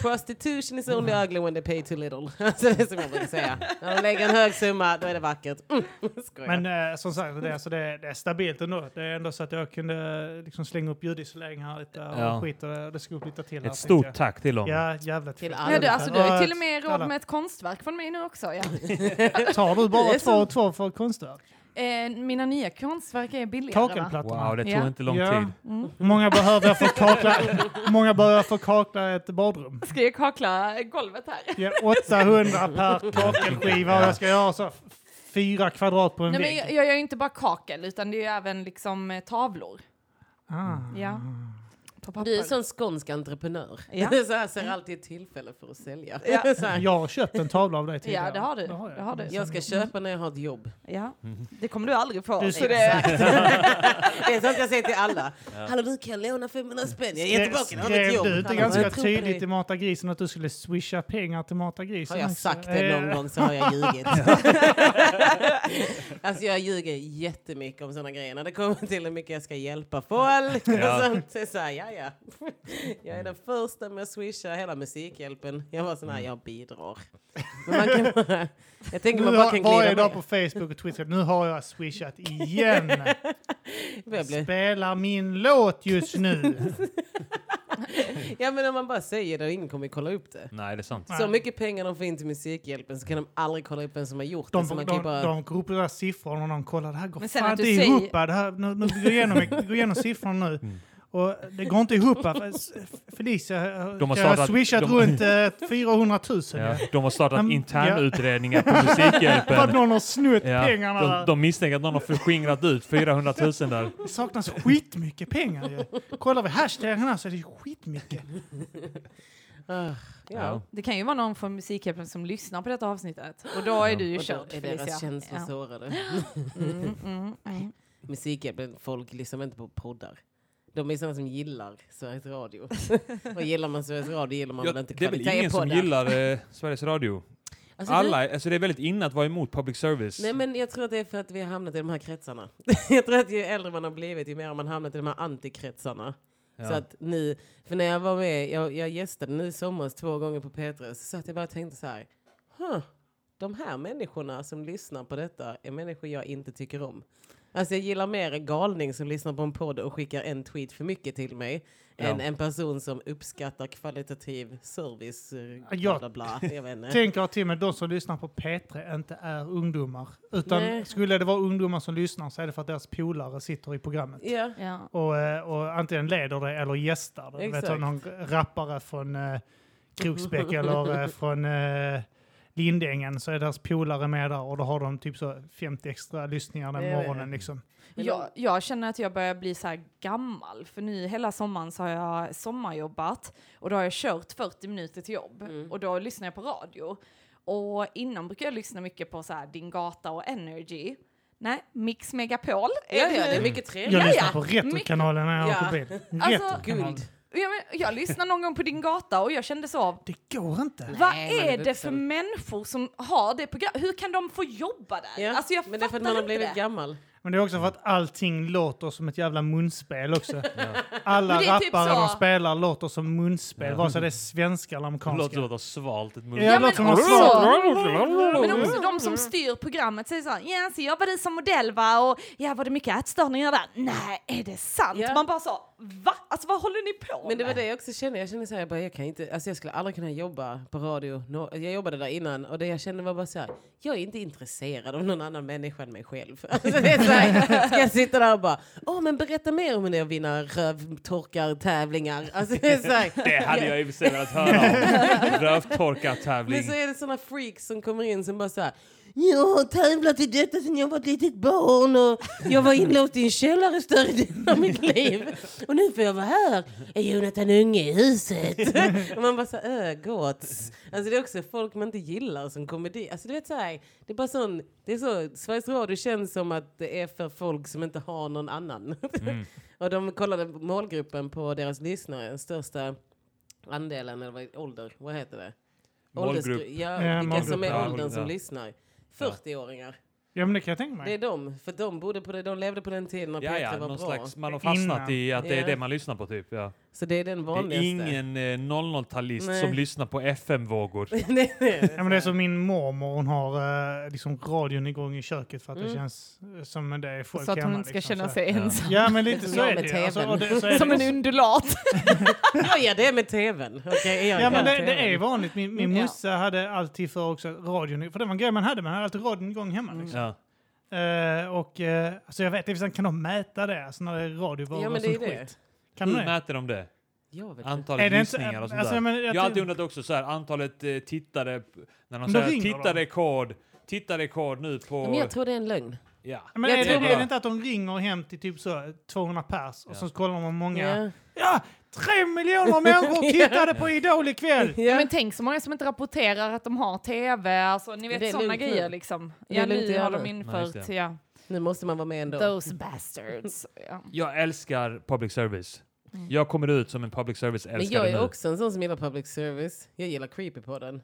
Speaker 3: Prostitution is only ugly when they pay too little. Alltså det är som jag brukar säga. När de lägger en hög summa, då är det vackert. Mm, skojar.
Speaker 2: Men eh, som sagt, det, alltså det, det är stabilt ändå. Det är ändå så att jag kunde eh, liksom slänga upp ljudisolering här lite och
Speaker 1: Ja.
Speaker 2: skit och det, det skulle upp lite till. här,
Speaker 1: Ett stort
Speaker 2: tänkte
Speaker 1: tack till
Speaker 2: jag.
Speaker 1: dem.
Speaker 2: Ja, jävligt
Speaker 3: Till
Speaker 2: fint.
Speaker 3: alla.
Speaker 4: Ja, du, alltså, du har ju till och med
Speaker 2: Alla.
Speaker 4: råd med ett konstverk från mig nu också. Ja.
Speaker 2: Tar du
Speaker 4: Det
Speaker 2: bara två
Speaker 4: är som-
Speaker 2: och två för konstverk?
Speaker 4: Eh, mina nya konstverk är billigare. va?
Speaker 2: Kakelplattorna?
Speaker 1: Wow, det tog
Speaker 4: Ja.
Speaker 1: inte lång
Speaker 2: Ja.
Speaker 1: tid.
Speaker 4: Mm.
Speaker 2: Hur många behöver jag för att kakla, hur många behöver jag för att kakla ett badrum?
Speaker 4: Ska jag kakla golvet här?
Speaker 2: Ja, 800 per kakelskiva och jag ska göra så f- fyra kvadrat på en
Speaker 4: Nej, men
Speaker 2: vägg.
Speaker 4: jag, jag gör ju inte bara kakel, utan det är ju även liksom eh, tavlor.
Speaker 2: Ah.
Speaker 4: Ja. På papper.
Speaker 3: Du är en sån skånsk entreprenör.
Speaker 4: Ja.
Speaker 3: Så här ser alltid ett tillfälle för att sälja.
Speaker 4: Ja.
Speaker 3: Så här,
Speaker 2: Jag har köpt en tavla av dig tidigare.
Speaker 4: Ja, det har du. Det har du.
Speaker 3: jag ska köpa när jag har ett jobb.
Speaker 4: Ja. Det kommer du aldrig få.
Speaker 2: Du
Speaker 4: så
Speaker 2: ser-
Speaker 4: det,
Speaker 3: Det är sånt jag säger till alla. Hallå du kan låna 500 spänn, jag ger tillbaka när jag har ett
Speaker 2: Skrev
Speaker 3: jobb.
Speaker 2: du inte
Speaker 3: Alla bara,
Speaker 2: ganska
Speaker 3: "Jag tror på dig."
Speaker 2: tydligt i Mata Grisen att du skulle swisha pengar till Mata Grisen?
Speaker 3: Har jag
Speaker 2: också?
Speaker 3: sagt det någon
Speaker 2: Eh,
Speaker 3: gång så har jag ljugit. alltså jag ljuger jättemycket om sådana grejer. När det kommer till hur mycket jag ska hjälpa folk och
Speaker 1: Ja.
Speaker 3: sånt. Så är det så här, ja, ja. Jag är den första med att swisha hela Musikhjälpen. Jag var sån här,
Speaker 2: Mm.
Speaker 3: jag bidrar. Men man kan bara, jag tänker man
Speaker 2: Nu
Speaker 3: bara
Speaker 2: har,
Speaker 3: kan
Speaker 2: varje
Speaker 3: glida
Speaker 2: dag på
Speaker 3: med.
Speaker 2: Facebook och Twitter, nu har jag swishat igen.
Speaker 3: Jag blir-
Speaker 2: Spelar min låt just nu.
Speaker 3: Ja men om man bara säger det och ingen kommer kolla upp det.
Speaker 1: Nej, det är sant.
Speaker 3: Så mycket pengar de får in till Musikhjälpen så kan de aldrig kolla upp vem som har gjort det.
Speaker 2: De,
Speaker 3: Så
Speaker 2: de,
Speaker 3: man kan ju
Speaker 2: de,
Speaker 3: bara...
Speaker 2: de går upp i deras siffror och de kollar, det här går
Speaker 4: Men sen
Speaker 2: fan
Speaker 4: att
Speaker 2: inte
Speaker 4: du
Speaker 2: ihop.
Speaker 4: säger-
Speaker 2: Det här, nu, nu, vi går igenom, vi går igenom siffrorna nu.
Speaker 1: Mm.
Speaker 2: Och det går inte ihop. För- Felicia eh,
Speaker 1: De har
Speaker 2: kan jag ha
Speaker 1: startat-
Speaker 2: swishat
Speaker 1: de-
Speaker 2: runt eh, 400 000.
Speaker 1: Ja. De har startat
Speaker 2: Mm, ja.
Speaker 1: internutredningar på
Speaker 2: För att
Speaker 1: Musikhjälpen.
Speaker 2: någon har snott
Speaker 1: Ja.
Speaker 2: pengarna.
Speaker 1: De, de misstänker att någon har förskingrat ut 400 000 där.
Speaker 2: Det saknas skitmycket pengar ju. Kollar vi hashtaggarna så är det skitmycket.
Speaker 3: Ah, ja.
Speaker 4: det kan ju vara någon från Musikhjälpen som lyssnar på detta avsnittet. Och då är du ju
Speaker 3: Och då
Speaker 4: körd,
Speaker 3: är deras känslor
Speaker 4: Ja.
Speaker 3: sårade.
Speaker 4: Mm, mm, mm.
Speaker 3: Musikhjälpen, folk lyssnar inte på poddar. De är sådana som gillar Sveriges Radio. och gillar man Sveriges Radio gillar man
Speaker 1: Ja,
Speaker 3: väl inte
Speaker 1: det är väl
Speaker 3: kvalitet
Speaker 1: ingen
Speaker 3: på
Speaker 1: som
Speaker 3: det.
Speaker 1: gillar eh, Sveriges Radio.
Speaker 3: Alltså, vi-
Speaker 1: Alla, alltså det är väldigt inne att vara emot public service.
Speaker 3: Nej men jag tror att det är för att vi har hamnat i de här kretsarna. jag tror att ju äldre man har blivit ju mer har man hamnat i de här antikretsarna.
Speaker 1: Ja.
Speaker 3: Så att nu, för när jag var med, jag, jag gästade nu i somras två gånger på Petrus, så att jag bara tänkte så här, huh, de här människorna som lyssnar på detta är människor jag inte tycker om. Alltså jag gillar mer en galning som lyssnar på en podd och skickar en tweet för mycket till mig,
Speaker 1: Ja.
Speaker 3: än en person som uppskattar kvalitativ service, eh, bla
Speaker 2: Jag-
Speaker 3: bla bla. Jag vet inte.
Speaker 2: Tänker jag till mig, de som lyssnar på P3 inte är ungdomar. Utan
Speaker 3: Nej.
Speaker 2: skulle det vara ungdomar som lyssnar så är det för att deras polare sitter i programmet.
Speaker 3: Ja.
Speaker 4: Ja.
Speaker 2: Och, eh, och antingen leder det eller gästar det. Du Vet,
Speaker 3: Exakt.
Speaker 2: någon rappare från eh, Kroksbäck eller eh, från eh, Lindängen så är deras polare med där och då har de typ så 50 extra lyssningar den
Speaker 3: Ja, ja, ja.
Speaker 2: morgonen. Liksom.
Speaker 3: Men
Speaker 4: Jag, jag känner att jag börjar bli så här gammal, för nu hela sommaren så har jag sommarjobbat och då har jag kört 40 minuter till jobb
Speaker 3: Mm.
Speaker 4: och då lyssnar jag på radio. Och innan brukade jag lyssna mycket på så här Din Gata och Energy. Nej, Mix Megapol.
Speaker 3: Ja, ja, det är
Speaker 4: nu.
Speaker 3: mycket
Speaker 2: Jag
Speaker 3: trevligt.
Speaker 2: lyssnar på
Speaker 4: mycket-
Speaker 2: Retrokanalen när jag
Speaker 3: Ja.
Speaker 2: åker bil.
Speaker 4: Alltså,
Speaker 2: Retrokanalen.
Speaker 3: Guld.
Speaker 4: Ja, men jag lyssnade någon gång på Din Gata och jag kände så,
Speaker 2: Det går inte.
Speaker 4: vad
Speaker 3: Nej, man är
Speaker 4: är det för
Speaker 3: vuxen.
Speaker 4: människor som har det programmet? Hur kan de få jobba där?
Speaker 3: Ja,
Speaker 4: Alltså jag
Speaker 3: men det är för att man har
Speaker 4: fattar
Speaker 3: blivit
Speaker 4: inte det.
Speaker 3: gammal.
Speaker 2: Men det är också för att allting låter som ett jävla munspel också. Alla
Speaker 4: Men det är
Speaker 2: rappare
Speaker 4: typ
Speaker 2: de
Speaker 4: så-
Speaker 2: spelar låter som munspel, vare sig det är svenska eller
Speaker 1: Det låter
Speaker 2: amerikanska.
Speaker 1: som att det har svalt ett mun.
Speaker 2: Ja, det låter som att
Speaker 3: Alltså-
Speaker 2: man
Speaker 4: också-
Speaker 2: svarar.
Speaker 4: Men också de som styr programmet säger såhär, ja så jag var du som modell va? Och ja var det mycket ätstörningar där? Nej, är det sant?
Speaker 3: Ja.
Speaker 4: Man bara så, va? Alltså vad håller ni på
Speaker 3: Men det var
Speaker 4: med?
Speaker 3: det jag också kände. Jag kände så här, jag, bara, jag, kan inte, alltså jag skulle aldrig kunna jobba på radio. Nå- Jag jobbade där innan och det jag kände var bara så här, jag är inte intresserad av någon annan människa än mig själv. Alltså det är så här, ska jag sitta där och bara, åh men berätta mer om hur ni vinner rövtorkartävlingar. Alltså det är så här,
Speaker 1: Det hade jag i och för sig velat höra om. Rövtorkartävling.
Speaker 3: Men så är det såna freaks som kommer in som bara så här. jag har tävlat i detta sedan jag var ett litet barn och jag var inlåst i en källare större delen av mitt liv. Och nu får jag vara här. Är Jonathan Unge i huset? och man bara så här, "Öh, gots. Alltså det är också folk man inte gillar som kommer dit. Alltså du vet så här, det är bara sån, det är så, Sveriges Radio känns som att det är för folk som inte har någon annan.
Speaker 1: Mm.
Speaker 3: och de kollade målgruppen på deras lyssnare, den största andelen, eller vad- ålder, vad heter det?
Speaker 1: Målgrupp.
Speaker 3: Åldersgru- Ja,
Speaker 2: Ja,
Speaker 3: vilka som
Speaker 2: målgrupp,
Speaker 1: ja.
Speaker 3: är åldern som
Speaker 1: Ja.
Speaker 3: lyssnar. 40-åringar.
Speaker 2: Ja, men det kan jag tänka
Speaker 3: Det
Speaker 2: mig.
Speaker 3: är de. För de, bodde på det, de levde på den tiden när
Speaker 1: Ja,
Speaker 3: P3
Speaker 1: ja,
Speaker 3: var bra.
Speaker 1: någon slags, man har fastnat
Speaker 2: Innan.
Speaker 1: i att det är
Speaker 3: Ja.
Speaker 1: det man lyssnar på typ. Ja.
Speaker 3: Så det är den
Speaker 1: Det är
Speaker 3: vanligaste.
Speaker 1: ingen eh, 00-talist
Speaker 3: Nej.
Speaker 1: som lyssnar på FM-vågor.
Speaker 3: Nej, nej.
Speaker 2: Ja, men det är som min mormor, hon har eh, liksom radion igång i köket för att det
Speaker 3: Mm.
Speaker 2: känns eh, som det är folk
Speaker 4: Så att hon
Speaker 2: hemma,
Speaker 4: inte ska
Speaker 2: liksom,
Speaker 4: känna
Speaker 2: så.
Speaker 4: sig
Speaker 1: Ja.
Speaker 4: ensam.
Speaker 2: Ja, men lite
Speaker 3: Som
Speaker 2: så
Speaker 3: jag
Speaker 2: är
Speaker 3: med
Speaker 2: det ju. Alltså,
Speaker 3: TV:n.
Speaker 2: och det, så är
Speaker 4: Som
Speaker 2: det
Speaker 4: en
Speaker 2: ju-
Speaker 4: undulat.
Speaker 3: Jag gör det med tvn. Okej, jag
Speaker 2: Ja
Speaker 3: gör
Speaker 2: men det, det
Speaker 3: TV:n.
Speaker 2: är vanligt. Min, min
Speaker 4: Ja.
Speaker 2: morsa hade alltid för också radion, för det var en grej man hade, man hade alltid radion igång hemma.
Speaker 4: Mm.
Speaker 2: Liksom.
Speaker 1: Ja.
Speaker 2: Eh, och eh, alltså jag vet inte, kan de mäta det? Alltså när det är radio, vad
Speaker 3: Ja,
Speaker 2: vad
Speaker 3: men det är
Speaker 2: som
Speaker 3: det.
Speaker 2: skit? Kan
Speaker 1: Hur
Speaker 2: de det?
Speaker 1: mäter de det?
Speaker 3: Jag vet inte.
Speaker 1: Antalet
Speaker 2: Är det inte-
Speaker 1: lyssningar och sånt
Speaker 2: alltså,
Speaker 1: där.
Speaker 2: jag menar, jag
Speaker 1: jag, har alltid
Speaker 2: tänk-
Speaker 1: undrat också så här, antalet eh, tittare. p- När de
Speaker 2: Då
Speaker 1: säger
Speaker 2: ringer
Speaker 1: tittarrekord, tittarrekord nu på...
Speaker 3: Men jag tror det är en lögn.
Speaker 1: ja.
Speaker 2: Ja, Men
Speaker 3: Jag
Speaker 2: är, det,
Speaker 3: tror
Speaker 2: är
Speaker 3: bara-
Speaker 2: det inte att de ringer hem till typ så 200 pers och
Speaker 1: Ja.
Speaker 2: så kollar de hur många...
Speaker 3: Ja.
Speaker 2: Ja, tre miljoner människor tittade på Idol ikväll!
Speaker 4: Ja, men tänk så många som inte rapporterar att de har tv, alltså, ni
Speaker 3: Det är
Speaker 4: vet sådana
Speaker 3: lugnt nu.
Speaker 4: grejer liksom.
Speaker 3: Det är
Speaker 4: Ja,
Speaker 3: lugnt att
Speaker 4: nu
Speaker 3: göra
Speaker 4: har de
Speaker 3: nu.
Speaker 1: Nej, just
Speaker 4: infört,
Speaker 1: det.
Speaker 4: ja.
Speaker 3: Nu måste man vara med ändå.
Speaker 4: Those bastards. Ja.
Speaker 1: Jag älskar public service. Jag kommer ut som en public
Speaker 3: Mm. Men
Speaker 1: service-älskare
Speaker 3: jag är
Speaker 1: nu.
Speaker 3: också en sån som gillar public service. Jag gillar creepypodden.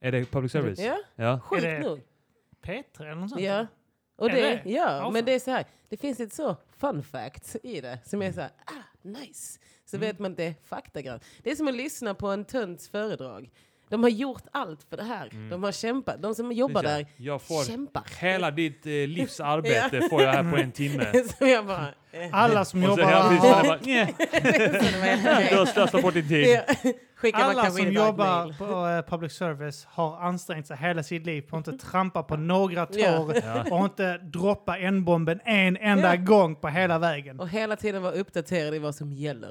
Speaker 1: Är det public service?
Speaker 3: Ja,
Speaker 1: Ja.
Speaker 3: sjukt
Speaker 2: Är det-
Speaker 3: nog.
Speaker 2: P3 eller något sånt?
Speaker 3: Ja. Och
Speaker 2: Är
Speaker 3: det,
Speaker 2: det?
Speaker 3: ja,
Speaker 2: Ja, fan.
Speaker 3: men det är så här. Det finns ett så fun fact i det som är så här, ah, nice. Så vet man att det är faktagrann. Det är som att lyssna på en tönts föredrag. De har gjort allt för det här. De har kämpat. De som jobbar där
Speaker 1: Jag får
Speaker 3: kämpar.
Speaker 1: hela ditt eh, livs arbete får jag här på en timme.
Speaker 3: så jag bara... Eh,
Speaker 2: Alla som
Speaker 1: Och så
Speaker 2: jobbar
Speaker 1: hela tiden
Speaker 2: där har...
Speaker 1: bara, "Nja,
Speaker 3: så det var helt
Speaker 1: du
Speaker 3: okej.
Speaker 1: har slösat bort din tid.
Speaker 3: Ja, Skickar man
Speaker 2: Alla
Speaker 3: kanske
Speaker 2: som
Speaker 3: in ett
Speaker 2: jobbar
Speaker 3: mail.
Speaker 2: på eh, public service har ansträngt sig hela sitt liv på att inte trampa på några tår
Speaker 3: Ja.
Speaker 2: och inte droppa N-bomben en enda
Speaker 3: Ja.
Speaker 2: gång på hela vägen.
Speaker 3: Och hela tiden vara uppdaterad i vad som gäller.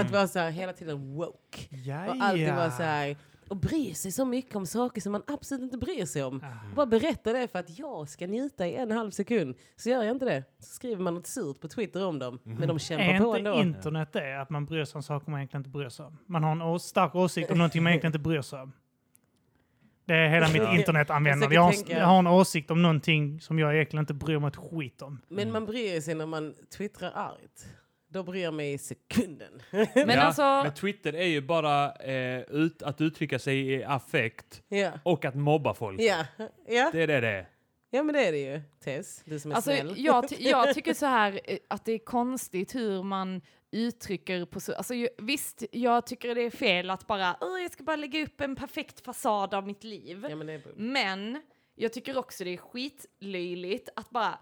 Speaker 3: Att vara så här, hela tiden woke. Och alltid
Speaker 2: Jaja.
Speaker 3: vara så här, och bry sig så mycket om saker som man absolut inte bryr sig om. Bara berätta det för att jag ska njuta i en halv sekund. Så gör jag inte det. Så skriver man något surt på Twitter om dem. Men de kämpar på
Speaker 2: Är Mm. inte
Speaker 3: ändå.
Speaker 2: internet det att man bryr sig om saker man egentligen inte bryr sig om? Man har en ås- stark åsikt om någonting man egentligen inte bryr sig om. Det är hela mitt
Speaker 1: Ja.
Speaker 2: internetanvändande. Jag,
Speaker 3: Jag
Speaker 2: har
Speaker 3: försöker
Speaker 2: en-
Speaker 3: tänka-
Speaker 2: jag har en åsikt om någonting som jag egentligen inte bryr mig ett skit om.
Speaker 3: Men man bryr sig när man twittrar argt. Då bryr jag mig i sekunden.
Speaker 4: Men
Speaker 1: ja,
Speaker 4: alltså,
Speaker 1: men Twitter är ju bara eh, ut, att uttrycka sig i affekt
Speaker 3: ja.
Speaker 1: och att mobba folk.
Speaker 3: Ja. Ja.
Speaker 1: Det är det det är.
Speaker 3: ja, men det är det ju. Tess, du som är
Speaker 4: alltså
Speaker 3: snäll.
Speaker 4: jag, ty- jag tycker så här eh, att det är konstigt hur man uttrycker på så, alltså ju- visst, jag tycker det är fel att bara, "Åh, jag ska bara lägga upp en perfekt fasad av mitt liv.
Speaker 3: Ja, men det är bull.
Speaker 4: Men jag tycker också det är skitlöjligt att bara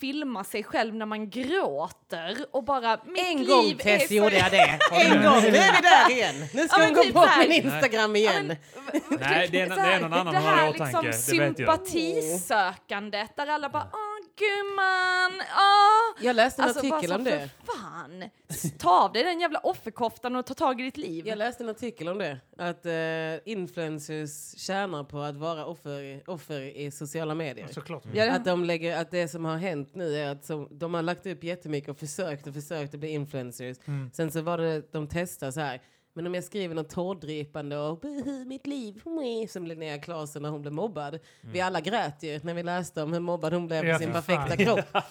Speaker 4: filma sig själv när man gråter och bara mitt
Speaker 3: En
Speaker 4: liv
Speaker 3: gång
Speaker 4: är
Speaker 3: Tess
Speaker 4: så-
Speaker 3: gjorde jag det. En gång. Nu är vi där igen. Nu
Speaker 4: Ja,
Speaker 3: ska
Speaker 4: men
Speaker 3: hon gå
Speaker 4: typ
Speaker 3: på
Speaker 4: så här.
Speaker 3: min Instagram igen.
Speaker 1: Nej, det är,
Speaker 4: Så
Speaker 1: det är
Speaker 4: här,
Speaker 1: någon annan
Speaker 4: det
Speaker 1: hon har i
Speaker 4: här
Speaker 1: åtanke.
Speaker 4: liksom
Speaker 1: det vet jag.
Speaker 4: sympatisökandet där alla bara åh gumman, åh.
Speaker 3: Jag läste en
Speaker 4: bara
Speaker 3: artikel
Speaker 4: så,
Speaker 3: om det.
Speaker 4: För fan, ta av dig den jävla offerkoftan och ta tag i ditt liv.
Speaker 3: Jag läste en artikel om det. Att eh, influencers tjänar på att vara offer, offer i sociala medier.
Speaker 2: Såklart.
Speaker 4: Ja, det-
Speaker 3: Att, de lägger, att det som har hänt nu är att som, de har lagt upp jättemycket och försökt och försökt att bli influencers.
Speaker 2: Mm.
Speaker 3: Sen så var det de testar så här. Men om jag skriver något tårdrypande och buhu mitt liv, mui", som Linnea Claesson när hon blev mobbad. Vi alla grät ju när vi läste om hur mobbad hon blev
Speaker 2: Mm. Ja,
Speaker 3: på sin
Speaker 2: för
Speaker 3: perfekta kropp.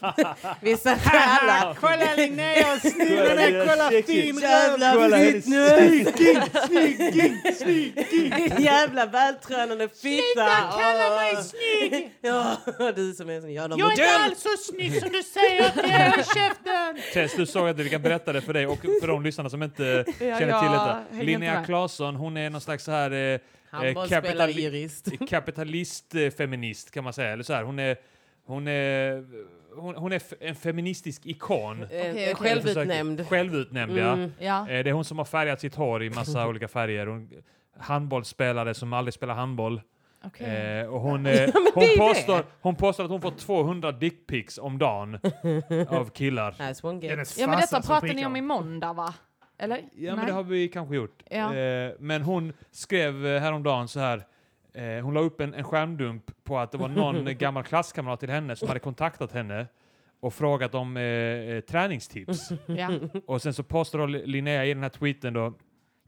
Speaker 3: vi satt där alla.
Speaker 2: Kolla Linnea och snubben, kolla fin
Speaker 3: Jävla fitness!
Speaker 2: Snygging, snygging, snygging!
Speaker 3: Jävla vältränade fitta!
Speaker 2: Sluta kalla mig
Speaker 3: Åh.
Speaker 2: snygg!
Speaker 3: Ja, du som är en sån jävla
Speaker 2: Jag är inte
Speaker 3: modell!
Speaker 2: alls så snygg som du säger att jag är, håll käften!
Speaker 1: Tess, du sa att vi kan berätta det för dig och för de lyssnarna som inte känner till
Speaker 4: jag
Speaker 1: detta.
Speaker 4: hänger inte
Speaker 1: Linnea
Speaker 4: med.
Speaker 1: Claesson, hon är någon slags så här eh,
Speaker 3: Handbollsspelare,
Speaker 1: kapitali-
Speaker 3: jurist.
Speaker 1: kapitalist-feminist kan man säga. Eller så här, hon är, hon är, hon, hon är f- en feministisk ikon.
Speaker 3: Eh,
Speaker 4: okej.
Speaker 3: Självutnämnd.
Speaker 1: Försöker- Självutnämnd, ja.
Speaker 4: Ja.
Speaker 1: Eh, Det är hon som har färgat sitt hår i massa olika färger. Hon, handbollsspelare som aldrig spelar handboll.
Speaker 4: Okej.
Speaker 1: Eh, och hon, eh, hon,
Speaker 3: är ju
Speaker 1: påstår,
Speaker 3: det.
Speaker 1: hon påstår att hon får 200 dickpics om dagen av killar.
Speaker 3: As one game.
Speaker 2: Hennes
Speaker 4: Ja men detta
Speaker 2: farsa som
Speaker 4: pratade ni
Speaker 2: prickar
Speaker 4: om i
Speaker 2: honom.
Speaker 4: måndag va? Eller?
Speaker 1: Ja, men det har vi kanske gjort.
Speaker 4: Ja.
Speaker 1: Eh, men hon skrev eh, häromdagen så här. Eh, hon la upp en, en skärmdump på att det var någon gammal klasskamrat till henne som hade kontaktat henne och frågat om eh, eh, träningstips.
Speaker 4: Ja.
Speaker 1: Och sen så postade då Linnea i den här tweeten då.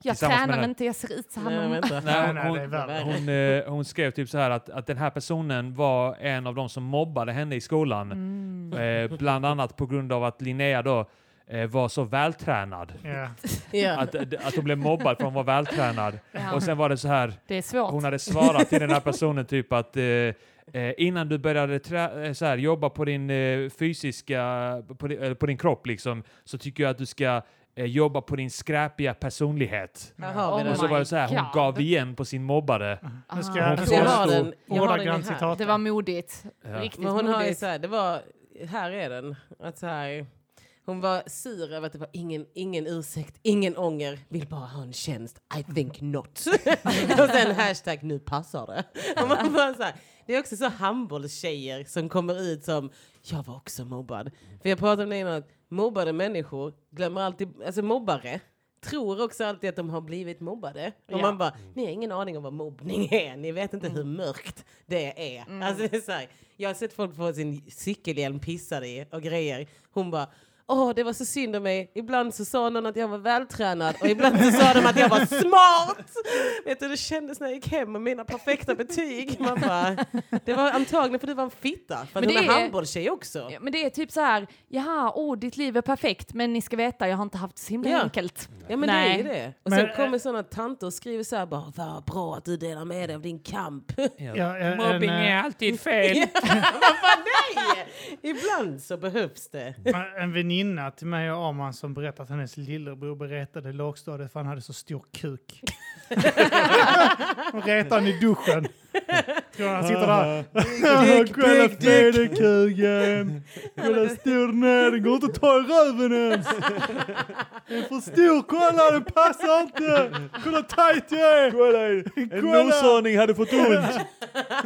Speaker 4: Jag
Speaker 1: Tillsammans med
Speaker 4: tränar
Speaker 1: den-
Speaker 4: inte, jag ser ut så här.
Speaker 3: Nej,
Speaker 4: mamma.
Speaker 3: vänta.
Speaker 1: Nej, hon,
Speaker 2: nej, det är
Speaker 1: hon,
Speaker 2: värre.
Speaker 1: hon, eh, hon skrev typ så här att, att den här personen var en av de som mobbade henne i skolan.
Speaker 4: Mm.
Speaker 1: Eh, bland annat på grund av att Linnea då eh, var så vältränad.
Speaker 2: Ja.
Speaker 3: Ja.
Speaker 1: Att, eh, att hon blev mobbad för hon var vältränad.
Speaker 4: Ja.
Speaker 1: Och sen var det så här,
Speaker 4: Det är svårt.
Speaker 1: hon hade svarat till den här personen typ att eh, eh, innan du började trä- eh, så här, jobba på din eh, fysiska, på din, eh, på din kropp liksom, så tycker jag att du ska eh, jobba på din skräpiga personlighet.
Speaker 3: Här har vi
Speaker 4: Oh
Speaker 3: den.
Speaker 1: Och så
Speaker 4: my
Speaker 1: var det så här, hon
Speaker 4: God.
Speaker 1: gav igen på sin mobbare.
Speaker 2: Nu ska
Speaker 4: Ah.
Speaker 2: jag, nu ska
Speaker 1: Jag har
Speaker 2: jag
Speaker 3: den. Jag har den
Speaker 2: ordagrant
Speaker 3: här.
Speaker 2: citat.
Speaker 4: Det var modigt.
Speaker 1: Ja.
Speaker 4: Riktigt
Speaker 3: Men hon har ju
Speaker 4: modigt.
Speaker 3: så här, det var, här är den. Att så här, hon var sur över att det var ingen, ingen ursäkt, ingen ånger, vill bara ha en tjänst, I think not. och sen hashtag nu passar det. Och man bara så här, det är också så handbollstjejer som kommer ut som, jag var också mobbad. För jag pratade om det innan, att mobbade människor glömmer alltid, alltså mobbare, tror också alltid att de har blivit mobbade. Och
Speaker 4: Ja.
Speaker 3: man bara, ni har ingen aning om vad mobbning är, ni vet inte hur mörkt det är. Alltså, det är så här, jag har sett folk få sin cykelhjälm pissad i och grejer. Hon bara, åh det var så synd om mig, ibland så sa någon att jag var vältränad och ibland så sa de att jag var smart. Vet du hur det kändes när jag gick hem med mina perfekta betyg? Man bara, det var antagligen för du var en fitta, för att
Speaker 4: Men
Speaker 3: hon är,
Speaker 4: det är-
Speaker 3: handbollstjej också.
Speaker 4: Ja, men det är typ så här, jaha, åh ditt liv är perfekt, men ni ska veta, jag har inte haft så himla
Speaker 3: Ja.
Speaker 4: enkelt.
Speaker 3: Ja men
Speaker 4: Nej.
Speaker 3: det är ju det. Och
Speaker 2: Men,
Speaker 3: sen
Speaker 2: eh,
Speaker 3: kommer sådana tanter och skriver så här bara vad bra att du delar med dig av din kamp.
Speaker 2: Ja, en,
Speaker 1: Mobbing
Speaker 2: eh,
Speaker 1: är alltid fel.
Speaker 3: Vad nej! Ibland så behövs det.
Speaker 2: En väninna till mig och Arman som berättade att hennes lillebror berättade i lågstadiet för han hade så stor kuk. Hon retar han i duschen. Tror han sitter där. Kolla federkuken! Kolla hur stor den är, den går inte att ta i röven ens! Den är för stor, kolla den passar inte! Kolla tight jag är!
Speaker 1: En
Speaker 2: Kolla.
Speaker 1: noshörning hade fått ont.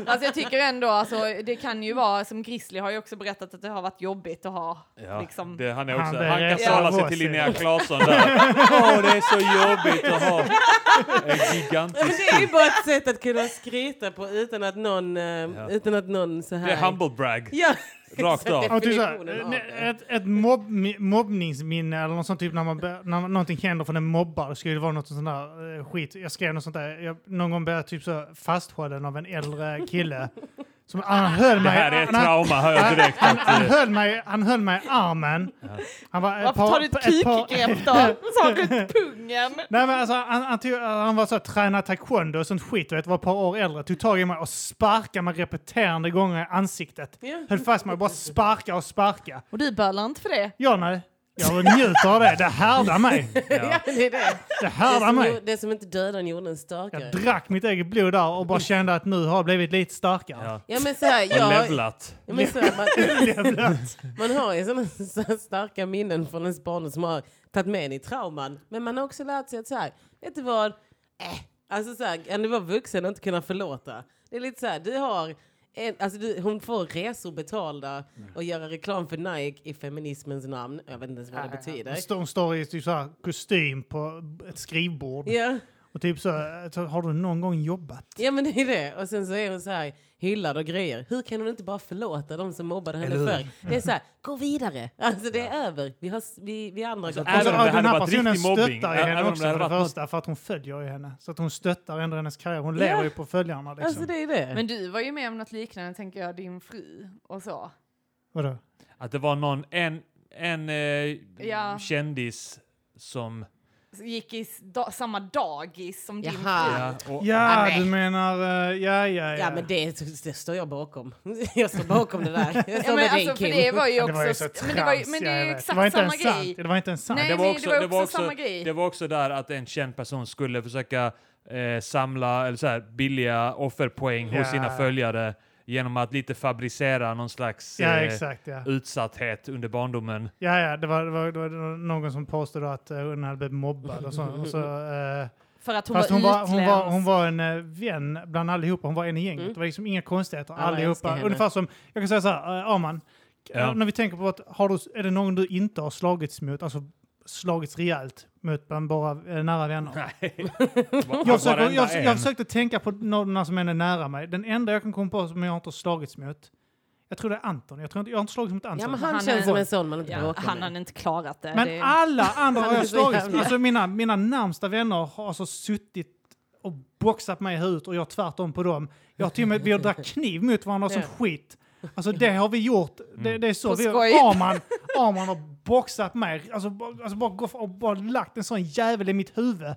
Speaker 4: Alltså jag tycker ändå, alltså, det kan ju vara, som Grizzly har ju också berättat att det har varit jobbigt att ha
Speaker 1: Ja,
Speaker 4: liksom.
Speaker 1: det, han, är också,
Speaker 2: Han
Speaker 1: han, kan
Speaker 2: berättar
Speaker 1: sala sig
Speaker 2: vad
Speaker 1: till
Speaker 2: sig.
Speaker 1: Linnea Claesson där. Åh, det är så jobbigt att ha en
Speaker 3: Men
Speaker 1: gigantisk...
Speaker 3: det är ju bara ett sätt att kunna skryta på utan att någon, eh, utan att någon så här...
Speaker 1: Det är humble brag,
Speaker 3: Ja.
Speaker 1: rakt av.
Speaker 2: Ja, typ såhär,
Speaker 3: Definitionen av det.
Speaker 2: ett ett mobb, mobbningsminne eller något sånt, typ när, man, bör- när någonting händer från en mobbare skulle det vara något sånt där eh, skit. Jag skrev något sånt där, jag, någon gång blev jag typ så fasthållen av en äldre kille. Som, han höll
Speaker 1: Det
Speaker 2: mig,
Speaker 1: här är ett
Speaker 2: han, han,
Speaker 1: trauma, hör jag direkt.
Speaker 2: han,
Speaker 1: Att, eh,
Speaker 2: höll mig, han höll mig i armen. Han var ett
Speaker 4: Varför
Speaker 2: par-
Speaker 4: tar du ett
Speaker 2: par-
Speaker 4: kukgrepp då? Så runt pungen.
Speaker 2: Nej men alltså han, han, tog, han var så här, tränade taekwondo och sånt skit, vet, var ett par år äldre, tog tag i mig och sparkade mig repeterande gånger i ansiktet.
Speaker 3: Ja.
Speaker 2: Höll fast mig och bara sparka och sparka.
Speaker 4: Och du bölar inte för det?
Speaker 2: Ja, nej. Jag njuter av det. Det härdar mig.
Speaker 3: Ja, det är det.
Speaker 2: Det
Speaker 3: Det
Speaker 2: härdar
Speaker 3: som,
Speaker 2: mig.
Speaker 3: gjorde- det som inte dödade gjorde en starkare.
Speaker 2: Jag drack mitt eget blod där och bara kände att nu har jag blivit lite starkare.
Speaker 1: Ja.
Speaker 3: Ja men så här,
Speaker 1: och
Speaker 3: jag,
Speaker 1: levlat.
Speaker 3: ja, men så här, man,
Speaker 2: Jävlar.
Speaker 3: Man har ju sådana så starka minnen från ens barndom som har tagit med en i trauman. Men man har också lärt sig att så här, vet du vad? Äh. Alltså så här, kan du vara vuxen och inte kunna förlåta? Det är lite så här, du har... En, alltså du, hon får resor betalda och göra reklam för Nike i feminismens namn. Jag vet inte ens vad det betyder.
Speaker 2: Hon står i typ så här kostym på ett skrivbord.
Speaker 3: Ja.
Speaker 2: Och typ så, här, så har du någon gång jobbat?
Speaker 3: ja, men det är det. Och sen så är hon så här hyllad och grejer. Hur kan hon inte bara förlåta de som mobbade henne förr? Det är så här, gå vidare. Alltså det är över. Vi, har, vi, vi andra går
Speaker 1: Även
Speaker 2: Och så, ja,
Speaker 1: om Alltså, det
Speaker 2: den
Speaker 1: hade
Speaker 2: här
Speaker 1: varit
Speaker 2: personen
Speaker 1: riktig mobbing.
Speaker 2: stöttar ju
Speaker 1: Ja, även
Speaker 2: henne
Speaker 1: om
Speaker 2: också
Speaker 1: det hade
Speaker 2: för det
Speaker 1: varit något-
Speaker 2: första, för att hon följer ju henne. Så att hon stöttar ändå hennes karriär. Hon lever ju på följarna liksom.
Speaker 3: Alltså det är det.
Speaker 4: Men du var ju med om något liknande, tänker jag, din fru och så.
Speaker 2: Vadå?
Speaker 1: Att det var någon, en, en eh,
Speaker 4: Ja.
Speaker 1: kändis som...
Speaker 4: Gick i s- da- samma dagis som din
Speaker 3: Jaha.
Speaker 4: fru.
Speaker 1: Ja, och,
Speaker 2: Ja,
Speaker 3: nej.
Speaker 2: du menar... eh, Ja, ja,
Speaker 3: Ja,
Speaker 2: ja.
Speaker 3: men det, det står jag bakom. Jag står bakom det där. Jag står
Speaker 4: Ja,
Speaker 3: med
Speaker 4: men
Speaker 3: dig,
Speaker 4: alltså, för
Speaker 3: Kim.
Speaker 4: det var ju
Speaker 2: Ja, det
Speaker 4: också...
Speaker 2: var ju så
Speaker 4: men det var ju,
Speaker 2: trams,
Speaker 4: men det
Speaker 2: ja,
Speaker 4: är
Speaker 2: jag
Speaker 4: ju
Speaker 2: vet.
Speaker 4: exakt
Speaker 2: Det var inte
Speaker 4: samma
Speaker 2: ens sant.
Speaker 4: grej.
Speaker 2: Det var inte ens sant.
Speaker 4: Nej,
Speaker 1: det, var
Speaker 4: nej,
Speaker 1: också,
Speaker 4: det var
Speaker 1: det, var
Speaker 4: också
Speaker 1: också,
Speaker 4: samma grej.
Speaker 1: det var också där att en känd person skulle försöka eh, samla eller så här, billiga offerpoäng
Speaker 2: Ja.
Speaker 1: hos sina följare genom att lite fabricera någon slags
Speaker 2: Ja,
Speaker 1: eh,
Speaker 2: exakt. Ja.
Speaker 1: utsatthet under barndomen.
Speaker 2: Ja, ja det, var, det, var, det var någon som påstod att eh, hon hade blivit mobbad och så. Och så eh,
Speaker 4: För att hon
Speaker 2: fast
Speaker 4: var
Speaker 2: hon var, hon, var,
Speaker 4: utländsk.
Speaker 2: hon var en eh, vän bland allihopa, hon var en i gänget.
Speaker 3: Mm.
Speaker 2: Det var liksom inga konstigheter,
Speaker 3: Alla älskar
Speaker 2: allihopa.
Speaker 3: henne.
Speaker 2: Ungefär som, jag kan säga så här, eh, Arman,
Speaker 1: Ja.
Speaker 2: eh, när vi tänker på att har du, är det någon du inte har slagits mot, alltså slagits rejält mot bland bara eh, nära vänner.
Speaker 1: Nej.
Speaker 2: Jag, försöker,
Speaker 1: Varenda
Speaker 2: jag,
Speaker 1: en.
Speaker 2: jag försökte tänka på någon som än är nära mig. Den enda jag kan komma på som jag inte har slagits mot, jag tror det är Anton. Jag, tror inte, jag har inte slagits mot
Speaker 3: Ja,
Speaker 2: Anton.
Speaker 3: men
Speaker 4: Han
Speaker 3: han
Speaker 4: är-
Speaker 3: känns som en sån man inte
Speaker 4: Ja,
Speaker 3: bråkar
Speaker 4: han
Speaker 3: med.
Speaker 4: hade inte klarat det.
Speaker 2: Men ah,
Speaker 4: det...
Speaker 2: alla andra har
Speaker 3: Han är
Speaker 2: jag
Speaker 3: så
Speaker 2: slagits
Speaker 3: jävla-
Speaker 2: Alltså mina, mina närmsta vänner har alltså suttit och boxat mig i huvudet och jag tvärtom på dem. Jag har till och med, vi har dragit kniv mot varandra som
Speaker 3: Ja.
Speaker 2: skit. Alltså det har vi gjort. Det, det är så.
Speaker 4: På
Speaker 2: Vi,
Speaker 4: skoj.
Speaker 2: Arman, Arman har boxat mig. Alltså, bara- alltså bara, gå- och bara lagt en sån jävel i mitt huvud.
Speaker 4: Men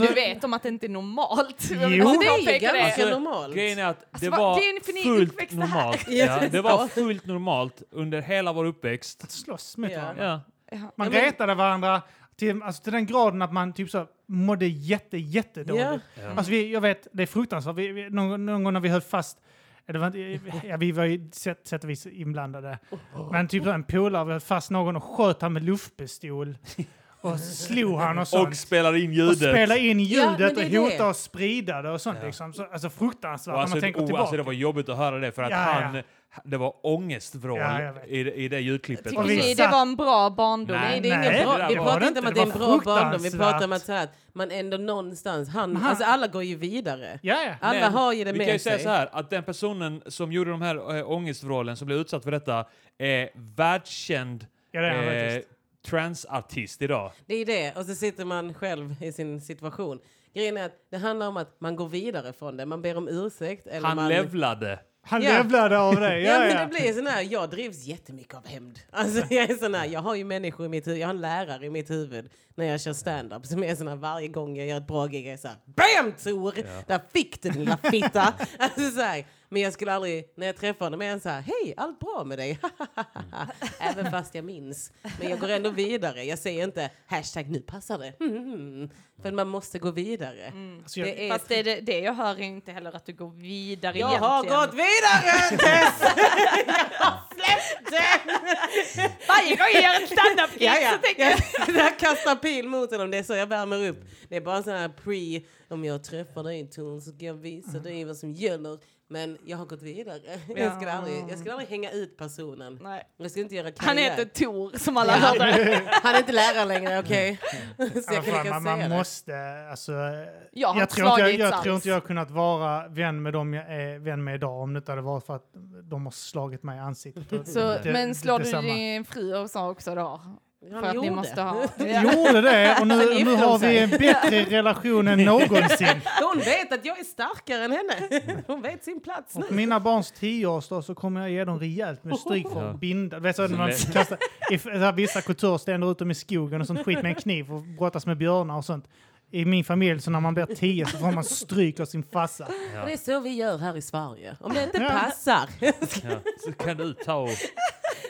Speaker 2: Alltså,
Speaker 4: du vet om att det inte är normalt.
Speaker 2: Jo.
Speaker 4: Jag vill bara
Speaker 2: Jo,
Speaker 3: Det är
Speaker 4: påpeka
Speaker 3: ganska
Speaker 1: Alltså,
Speaker 3: normalt.
Speaker 1: Grejen är att
Speaker 3: Alltså,
Speaker 1: det
Speaker 4: vad-
Speaker 1: var
Speaker 4: det är för ni är
Speaker 1: fullt
Speaker 4: uppväxta här.
Speaker 1: normalt.
Speaker 3: Ja,
Speaker 1: Ja, det var fullt normalt under hela vår uppväxt.
Speaker 2: att slåss mot
Speaker 3: Ja.
Speaker 2: varandra.
Speaker 1: Ja.
Speaker 4: Ja.
Speaker 2: Man
Speaker 3: Ja, men-
Speaker 2: retade varandra till, alltså, till den graden att man typ så mådde jätte, jättedåligt.
Speaker 3: Ja.
Speaker 1: Mm.
Speaker 2: Alltså vi, jag vet, det är fruktansvärt. Vi, vi, någon, någon gång när vi höll fast, eh, det var, inte- ja, vi var ju sätt, sätt och vis inblandade, men typ en polare vi höll fast någon och sköt han med luftpistol och slog han och sånt.
Speaker 1: Och spelade in
Speaker 2: Alltså, Och
Speaker 1: ljudet.
Speaker 2: spela in ljudet
Speaker 3: Ja, men det är
Speaker 2: och
Speaker 3: det.
Speaker 2: hota och sprida det och sånt liksom. Så, alltså fruktansvärt
Speaker 1: Och alltså,
Speaker 2: när man tänker
Speaker 1: oh,
Speaker 2: tillbaka.
Speaker 1: alltså det var jobbigt att höra det för att
Speaker 2: Ja,
Speaker 1: han,
Speaker 2: ja.
Speaker 1: det var ångestvrål
Speaker 2: Ja, jag vet.
Speaker 1: i, det- i det ljudklippet.
Speaker 4: Tycker
Speaker 2: Och vi
Speaker 4: ni det
Speaker 2: satt-
Speaker 4: var en bra barndom?
Speaker 1: Nej.
Speaker 3: Nej, det är ingen
Speaker 1: Nej,
Speaker 3: bra.
Speaker 1: det där
Speaker 3: vi
Speaker 1: var
Speaker 2: det
Speaker 3: pratar inte om
Speaker 2: inte.
Speaker 3: att det
Speaker 2: Det
Speaker 3: är en
Speaker 2: var
Speaker 3: bra barndom. Vi pratar om att
Speaker 2: fruktansvärt.
Speaker 3: så här, man ändå någonstans... Han,
Speaker 2: han-
Speaker 3: alltså alla går ju vidare.
Speaker 2: Ja, ja.
Speaker 3: Alla har ju det
Speaker 1: vi
Speaker 3: med
Speaker 1: kan ju säga
Speaker 3: sig.
Speaker 1: så här, att den personen som gjorde de här äh, ångestvrålen, som blev utsatt för detta, är världskänd
Speaker 2: Ja, det är han
Speaker 1: eh,
Speaker 2: faktiskt.
Speaker 1: transartist idag.
Speaker 3: Det är det. Och så sitter man själv i sin situation. Grejen är att det handlar om att man går vidare från det. Man ber om ursäkt. Eller
Speaker 1: Han
Speaker 3: man...
Speaker 1: levlade.
Speaker 2: Han
Speaker 3: Ja.
Speaker 2: levlade av det.
Speaker 3: Ja,
Speaker 2: Ja,
Speaker 3: men
Speaker 2: ja.
Speaker 3: det blir sån här, jag drivs jättemycket av hämnd. Alltså jag är sån här, jag har ju människor i mitt huvud, jag har en lärare i mitt huvud när jag kör stand-up som är sån här varje gång jag gör ett bra gig, jag är såhär BAM Tor! Där fick du din lilla fitta! alltså så här, men jag skulle aldrig, när jag träffar honom är han såhär, hej allt bra med dig? Även fast jag minns. Men jag går ändå vidare, jag säger inte hashtag nu passar det. Mm. För man måste gå vidare.
Speaker 2: Alltså, jag,
Speaker 3: Det är
Speaker 4: Fast det, det, det jag hör är inte heller att du går vidare
Speaker 3: Jag
Speaker 4: egentligen.
Speaker 3: har gått vidare Tess! jag har släppt det!
Speaker 4: Varje gång jag gör en standup
Speaker 3: Ja, ja.
Speaker 4: så tänker jag...
Speaker 3: jag kastar pil mot honom, det är så jag värmer upp. Det är bara en sån här pre, om jag träffar dig Tor så ska jag visa dig vad som gäller. Men jag har gått vidare. Jag, skulle aldrig, jag skulle aldrig hänga ut personen.
Speaker 4: Nej.
Speaker 3: Jag skulle inte göra
Speaker 4: Han
Speaker 3: karriär.
Speaker 4: heter Tor som alla
Speaker 3: Ja.
Speaker 4: hörde.
Speaker 3: Han är inte lärare längre, okej? Så
Speaker 2: Mm. Ja,
Speaker 3: jag kan
Speaker 2: fan, Alltså,
Speaker 3: inte
Speaker 2: man,
Speaker 3: säga
Speaker 2: man
Speaker 3: det.
Speaker 2: måste, alltså,
Speaker 4: Jag har
Speaker 2: jag,
Speaker 4: inte
Speaker 2: tror inte jag,
Speaker 4: slagits
Speaker 2: jag tror
Speaker 4: alls.
Speaker 2: inte jag har kunnat vara vän med dem jag är vän med idag om det inte hade varit för att de har slagit mig i ansiktet. Och
Speaker 4: Så,
Speaker 2: det-
Speaker 4: men slår du
Speaker 2: detsamma.
Speaker 4: din fru och så också då?
Speaker 3: Han
Speaker 4: För att ni
Speaker 3: gjorde.
Speaker 4: måste ha...
Speaker 2: Jag gjorde det och
Speaker 3: Sen
Speaker 2: nu,
Speaker 3: gifte
Speaker 2: nu
Speaker 3: de
Speaker 2: har vi
Speaker 3: sig.
Speaker 2: en bättre relation än någonsin.
Speaker 3: Hon vet att jag är starkare än henne. Hon vet sin plats nu.
Speaker 2: Och på mina barns tioårsdag så kommer jag ge dem rejält med stryk för
Speaker 1: Ja.
Speaker 2: att binda. Du Vet så, när man
Speaker 1: Som
Speaker 2: kastar, i, så här, vissa kulturer ständer ut dem i skogen och sånt skit med en kniv och brottas med björnar och sånt. I min familj så när man blir tio så får man stryk av sin farsa.
Speaker 3: Och det är så vi gör här i Sverige. Om det inte
Speaker 2: Ja.
Speaker 3: passar
Speaker 1: Ja. Så kan du ta och...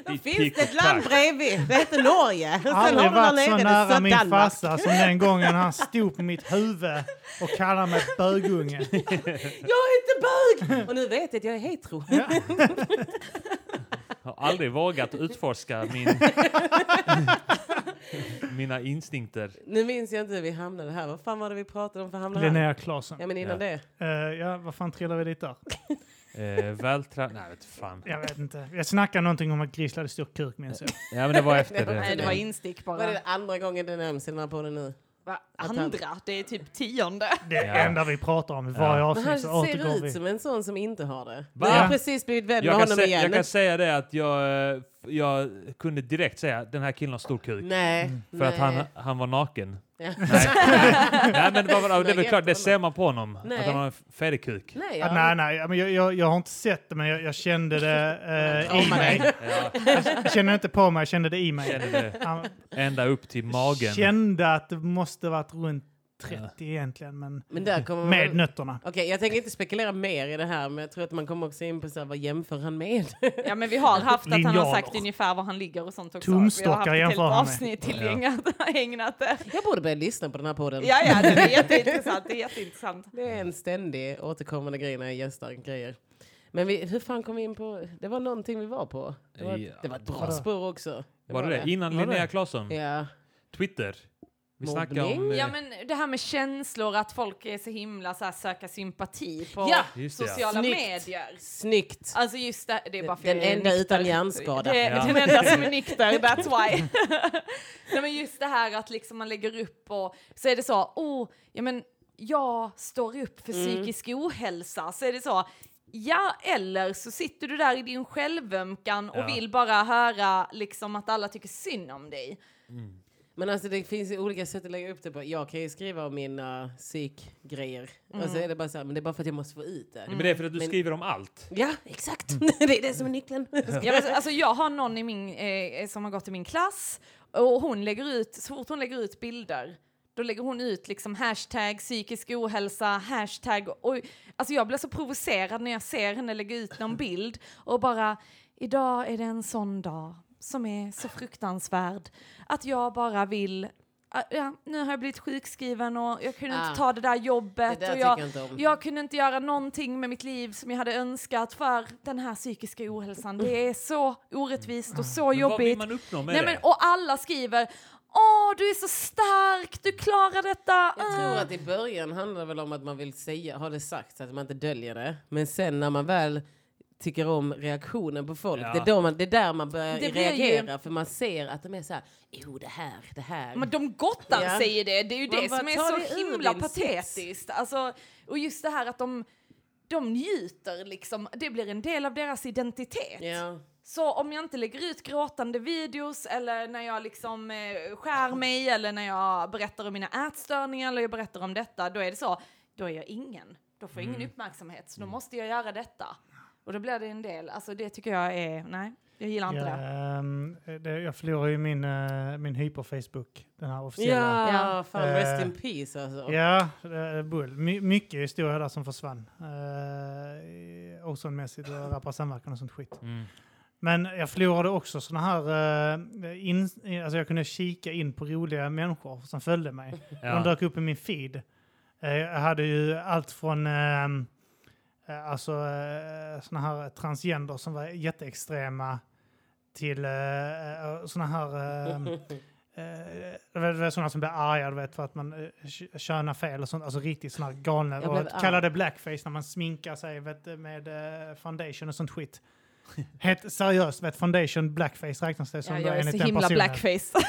Speaker 1: Ditt
Speaker 3: finns
Speaker 1: pick
Speaker 3: det
Speaker 1: och
Speaker 3: ett land
Speaker 1: tack.
Speaker 3: bredvid. Det heter Norge. Sen har
Speaker 2: aldrig
Speaker 3: du där
Speaker 2: varit
Speaker 3: nere
Speaker 2: så
Speaker 3: det
Speaker 2: nära
Speaker 3: söta
Speaker 2: min
Speaker 3: Danmark.
Speaker 2: farsa som den gången han stod på mitt huvud och kallade mig bögunge.
Speaker 3: Jag är inte bög! Och nu vet jag att jag är hetero.
Speaker 1: Jag har aldrig vågat utforska min, mina instinkter.
Speaker 3: Nu minns jag inte hur vi hamnade här. Vad fan var det vi pratade om för att hamna här?
Speaker 2: Linnea Claesson.
Speaker 3: Ja men innan
Speaker 1: Ja.
Speaker 3: det.
Speaker 2: Eh, ja, vad fan trillade vi dit där?
Speaker 1: Eh, Välträ... Nej, vet fan.
Speaker 2: Jag vet inte. Jag snackade någonting om att grislar hade stor kuk minns jag.
Speaker 1: Ja, men det var efter det.
Speaker 4: Nej, det var instick
Speaker 3: Var det
Speaker 4: bara.
Speaker 3: den andra gången det nämns i den här podden nu?
Speaker 4: Va? Andra? Det är typ tionde.
Speaker 2: Det
Speaker 1: Ja.
Speaker 2: enda vi pratar om i varje
Speaker 1: Ja.
Speaker 3: Men
Speaker 2: avsnitt
Speaker 3: han
Speaker 2: så återgår
Speaker 3: ser
Speaker 2: vi.
Speaker 3: ut som en sån som inte har det.
Speaker 1: Va?
Speaker 3: Jag har precis blivit vän med
Speaker 1: Jag kan,
Speaker 3: honom
Speaker 1: sä-
Speaker 3: igen.
Speaker 1: jag kan säga det att jag, eh, jag kunde direkt säga att den här killen har stor kuk.
Speaker 3: Nej.
Speaker 1: Mm, För
Speaker 3: nej.
Speaker 1: att han, han var naken.
Speaker 3: Ja.
Speaker 1: Nej, nej. nej men det, var, det är väl
Speaker 3: Nej,
Speaker 1: klart, det
Speaker 3: jävlar.
Speaker 1: ser man på honom. Att
Speaker 3: Nej.
Speaker 1: han har en färdig kuk.
Speaker 3: Nej,
Speaker 2: Ja,
Speaker 3: jag...
Speaker 2: Ah, nej, nej, ja, men jag, jag, jag har inte sett det men jag, jag kände det eh, i
Speaker 3: Kramar dig.
Speaker 2: mig.
Speaker 1: Ja,
Speaker 2: Jag kände inte på mig, jag kände det i mig.
Speaker 1: kände det
Speaker 2: Han
Speaker 1: ända upp till magen.
Speaker 2: kände att det måste varit runt 30 egentligen, men
Speaker 3: Men där kommer man...
Speaker 2: med nötterna.
Speaker 3: Okej, jag tänker inte spekulera mer i det här, men jag tror att man kommer också in på så här, vad jämför han med?
Speaker 4: Ja men vi har haft att han har
Speaker 2: Linjaler.
Speaker 4: sagt ungefär var han ligger och sånt också. vi har
Speaker 2: Tumstockar
Speaker 4: haft ett helt
Speaker 2: jämför han med.
Speaker 4: avsnitt tillägnat ägnat det.
Speaker 3: jag borde börja lyssna på den här podden.
Speaker 4: Ja ja, det är jätteintressant. Det är jätteintressant.
Speaker 3: Det är en ständig återkommande grej när jag gästar grejer. Men vi, hur fan kom vi in på... Det var någonting vi var på. Det var,
Speaker 1: Ja.
Speaker 3: det var ett bra spår också.
Speaker 1: Var det det? Innan
Speaker 2: Var det?
Speaker 1: Linnea Claesson?
Speaker 3: Ja.
Speaker 1: Twitter? Vi snackar om... eh,
Speaker 4: Ja men det här med känslor, att folk är så himla så här, söka sympati på
Speaker 3: Ja!
Speaker 1: Just det, ja.
Speaker 4: sociala
Speaker 3: Snyggt.
Speaker 4: medier.
Speaker 3: Snyggt.
Speaker 4: Alltså just det, det är bara för
Speaker 3: Den
Speaker 4: jag är
Speaker 3: enda
Speaker 4: nykter.
Speaker 3: utan hjärnskada.
Speaker 4: Det,
Speaker 1: Ja.
Speaker 4: Den enda som är nykter, that's why. Nej, men just det här att liksom man lägger upp och så är det så, oh, ja men jag står upp för psykisk ohälsa, så är det så, ja eller så sitter du där i din självömkan och
Speaker 1: Ja.
Speaker 4: vill bara höra liksom att alla tycker synd om dig.
Speaker 3: Men alltså det finns ju olika sätt att lägga upp det på. Jag kan ju skriva om mina psykgrejer. Och så är det bara så här, men det är bara för att jag måste få ut det.
Speaker 1: Men det är för att
Speaker 2: Mm.
Speaker 1: du
Speaker 3: Men-
Speaker 1: skriver om allt.
Speaker 3: Ja, exakt. det är det som är nyckeln.
Speaker 4: Ja, men, alltså, jag har någon i min, eh, som har gått i min klass och hon lägger ut, så fort hon lägger ut bilder då lägger hon ut liksom hashtag psykisk ohälsa, hashtag oj. Alltså jag blir så provocerad när jag ser henne lägga ut någon bild och bara idag är det en sån dag som är så fruktansvärd att jag bara vill ah, Ja, nu har jag blivit sjukskriven och jag kunde
Speaker 3: Ah.
Speaker 4: inte ta det där
Speaker 3: Det
Speaker 4: jobbet.
Speaker 3: där
Speaker 4: och
Speaker 3: tycker jag inte om.
Speaker 4: jag kunde inte göra någonting med mitt liv som jag hade önskat för den här psykiska ohälsan. Det är så orättvist och så
Speaker 1: Vad vill
Speaker 4: jobbigt.
Speaker 1: man uppnå med
Speaker 4: Nej, men, och alla skriver Åh, du är så stark, du klarar detta.
Speaker 3: Jag tror
Speaker 4: Ah."
Speaker 3: att i början handlar det väl om att man vill säga, ha det sagt så att man inte döljer det. Men sen när man väl tycker om reaktionen på folk,
Speaker 1: Ja.
Speaker 3: det, är då man, det är där man börjar
Speaker 4: Det blir
Speaker 3: reagera. För man ser att de är så här, jo det här, det här.
Speaker 4: Ah. Men de gottar
Speaker 3: Ja.
Speaker 4: sig i det. Det är ju
Speaker 3: Man
Speaker 4: det
Speaker 3: bara,
Speaker 4: som är
Speaker 3: ta
Speaker 4: så
Speaker 3: det ur
Speaker 4: himla
Speaker 3: din sits.
Speaker 4: patetiskt. Alltså, och just det här att de, de njuter liksom. Det blir en del av deras identitet.
Speaker 3: ja.
Speaker 4: Så om jag inte lägger ut gråtande videos eller när jag liksom eh, skär mig eller när jag berättar om mina ätstörningar eller jag berättar om detta, då är det så, då är jag ingen. Då får jag
Speaker 2: Mm.
Speaker 4: ingen uppmärksamhet, så då måste jag göra detta. Och då blir det en del, alltså det tycker jag är, nej, jag gillar inte det.
Speaker 2: ehm, det, jag förlorar ju min, eh, min hyper-Facebook, den här officiella.
Speaker 3: Ja,
Speaker 4: Ja.
Speaker 3: fan rest
Speaker 2: Eh,
Speaker 3: in peace alltså.
Speaker 2: Ja, det är bull. My, mycket historia där som försvann. Eh, Ozonmässigt och rapparsamverkan och sånt skit.
Speaker 1: Mm.
Speaker 2: Men jag förlorade också såna här... Eh, in, alltså jag kunde kika in på roliga människor som följde mig. De
Speaker 1: Ja.
Speaker 2: dök upp i min feed. Eh, jag hade ju allt från eh, eh, alltså, eh, såna här transgender som var jätteextrema till eh, eh, såna här... Eh, eh, det var- det var såna som blev arga du vet, för att man eh, kö- könar fel och sånt. Alltså riktigt såna här galna.
Speaker 3: Jag blev
Speaker 2: Och kallade blackface när man sminkar sig vet, med eh, foundation och sånt skit. Helt seriöst, vet, foundation blackface räknas det som
Speaker 4: Ja,
Speaker 2: då,
Speaker 4: jag är
Speaker 2: enligt
Speaker 4: så
Speaker 2: den
Speaker 4: himla
Speaker 2: personen.
Speaker 4: blackface.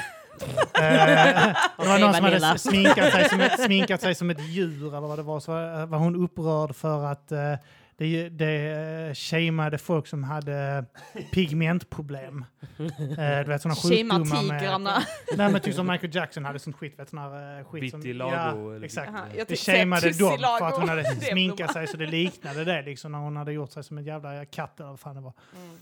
Speaker 2: Eh, det var någon som
Speaker 3: Vanilla.
Speaker 2: hade sminkat sig, som ett, sminkat sig som ett djur eller vad det var. Så var, var hon upprörd för att eh, det, det eh, shameade folk som hade eh, pigmentproblem. Eh, du vet sådana
Speaker 4: Shamear
Speaker 2: sjukdomar med...
Speaker 4: tigrarna.
Speaker 2: Nej men typ som Michael Jackson hade sånt skit. Vet, sån här, eh, skit som,
Speaker 1: Vitiligo
Speaker 2: Ja,
Speaker 1: eller
Speaker 2: exakt.
Speaker 4: Jaha,
Speaker 1: Det
Speaker 4: jag
Speaker 2: Det
Speaker 4: tyckte jag
Speaker 2: shameade dem
Speaker 4: tussilago.
Speaker 2: för att hon hade
Speaker 4: Det är
Speaker 2: sminkat
Speaker 4: blomma.
Speaker 2: sig så det liknade det liksom när hon hade gjort sig som en jävla katt eller vad fan det var.
Speaker 4: Mm.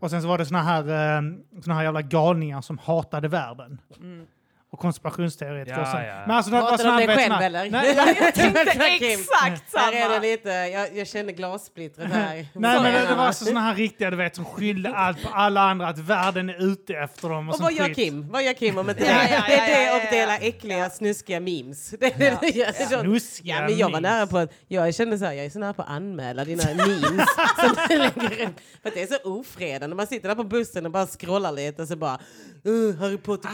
Speaker 2: Och sen så var det såna här, eh, såna här jävla galningar som hatade världen.
Speaker 4: Mm.
Speaker 2: Och konspirationsteoretiker
Speaker 1: Ja,
Speaker 2: och sånt.
Speaker 1: ja, ja.
Speaker 2: Men alltså, det var
Speaker 3: Pratar
Speaker 2: såna
Speaker 3: du om
Speaker 2: här,
Speaker 3: dig
Speaker 2: vet,
Speaker 3: själv
Speaker 2: såna,
Speaker 3: eller?
Speaker 2: Nej,
Speaker 4: Jag tänkte
Speaker 3: Tack, Kim.
Speaker 4: exakt
Speaker 3: Här är det
Speaker 4: samma.
Speaker 3: lite, jag, jag kände glassplittret här.
Speaker 2: Nej men det, det var
Speaker 3: Sorry.
Speaker 2: alltså såna här riktiga du vet som skyllde allt på alla andra, att världen är ute efter dem och,
Speaker 3: Och
Speaker 2: sånt
Speaker 3: vad gör
Speaker 2: skit.
Speaker 3: Kim? Vad gör Kim om inte
Speaker 4: Ja,
Speaker 3: det?
Speaker 4: ja,
Speaker 3: Det
Speaker 4: ja,
Speaker 3: är
Speaker 4: ja,
Speaker 3: det
Speaker 4: ja,
Speaker 3: och dela
Speaker 4: ja.
Speaker 3: äckliga, snuskiga memes. Det är det du gör. Det är sånt.
Speaker 2: Snuskiga
Speaker 3: Ja, men jag var
Speaker 2: memes.
Speaker 3: nära på att, jag kände så här, jag är så nära på att anmäla dina memes. som du lägger upp. För att det är så ofredande. Man sitter där på bussen och bara scrollar lite och så bara uh, Harry Potter,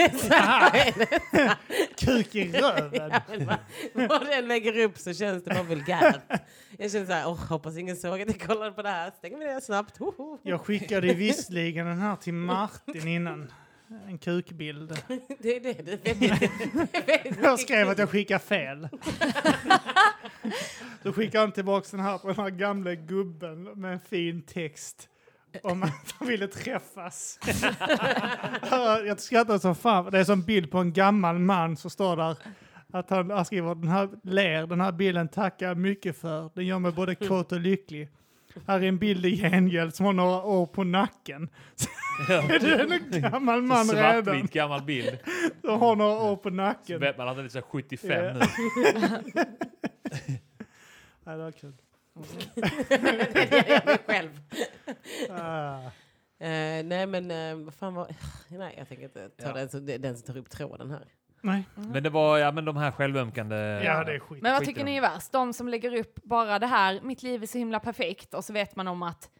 Speaker 2: Ah.
Speaker 3: kick i röven. Det är så här.
Speaker 2: Kuk i röven!
Speaker 3: Men vad- Vad den lägger upp så känns det bara vulgärt. Jag känner så här, åh, hoppas ingen såg att jag kollade på det här. Stänger vi det snabbt. Hoho.
Speaker 2: Jag skickade ju visserligen den här till Martin innan. En kukbild.
Speaker 3: Det är det du vet. Det är väldigt
Speaker 2: Jag skrev att jag skickade fel. Då skickade han tillbaka den här på den här gamla gubben med en fin text om att de ville träffas. Jag skrattar som fan. Det är som en bild på en gammal man som står där. Att han han skriver den här ler, den här bilden tackar jag mycket för. Den gör mig både kåt och lycklig. Här är en bild i gengäld som har några år på nacken. Det är en gammal man redan.
Speaker 1: Svartvit gammal bild.
Speaker 2: Som har några år på
Speaker 1: Så
Speaker 2: nacken.
Speaker 1: vet man att den är så här 75
Speaker 2: Ja.
Speaker 1: nu.
Speaker 2: Ja, det var kul.
Speaker 3: Jag mig själv.
Speaker 2: Ah.
Speaker 3: Eh, nej men eh, vad fan var... Nej jag tänker inte ta
Speaker 1: Ja.
Speaker 3: den, som, det är den som tar upp tråden här.
Speaker 2: Nej.
Speaker 1: Men det var ja, men de här självömkande...
Speaker 2: Ja, det är skit.
Speaker 4: Men vad
Speaker 1: Skit i
Speaker 4: tycker ni
Speaker 1: dem.
Speaker 4: är värst? De som lägger upp bara det här, mitt liv är så himla perfekt och så vet man om att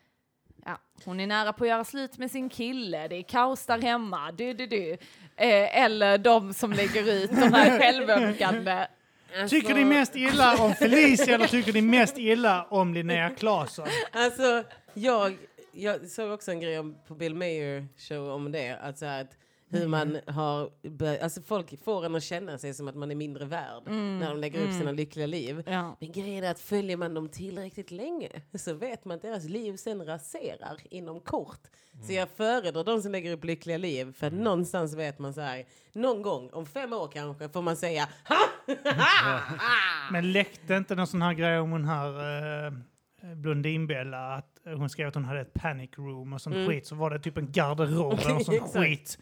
Speaker 4: Ja, hon är nära på att göra slut med sin kille, det är kaos där hemma, du du du. Eh, eller de som lägger ut de här självömkande.
Speaker 3: Alltså,
Speaker 2: Tycker ni mest illa om Felicia eller tycker ni mest illa om Linnea Claesson?
Speaker 3: Alltså, jag, jag såg också en grej om, på Bill Mayer show om det. Att så här, att hur man har... bör- Alltså folk får en att känna sig som att man är mindre värd när de lägger upp sina lyckliga liv.
Speaker 4: Ja.
Speaker 3: Men grejen är att följer man dem tillräckligt länge så vet man att deras liv sen raserar inom kort. Så jag föredrar de som lägger upp lyckliga liv för att någonstans vet man så här, någon gång, om fem år kanske, får man säga ha!
Speaker 4: Ah.
Speaker 2: Men läckte inte någon sån här grej om hon här eh, Blondinbella, att hon skrev att hon hade ett panic room och sånt
Speaker 4: Mm.
Speaker 2: skit, så var det typ en garderob eller något sånt
Speaker 3: Exakt.
Speaker 2: skit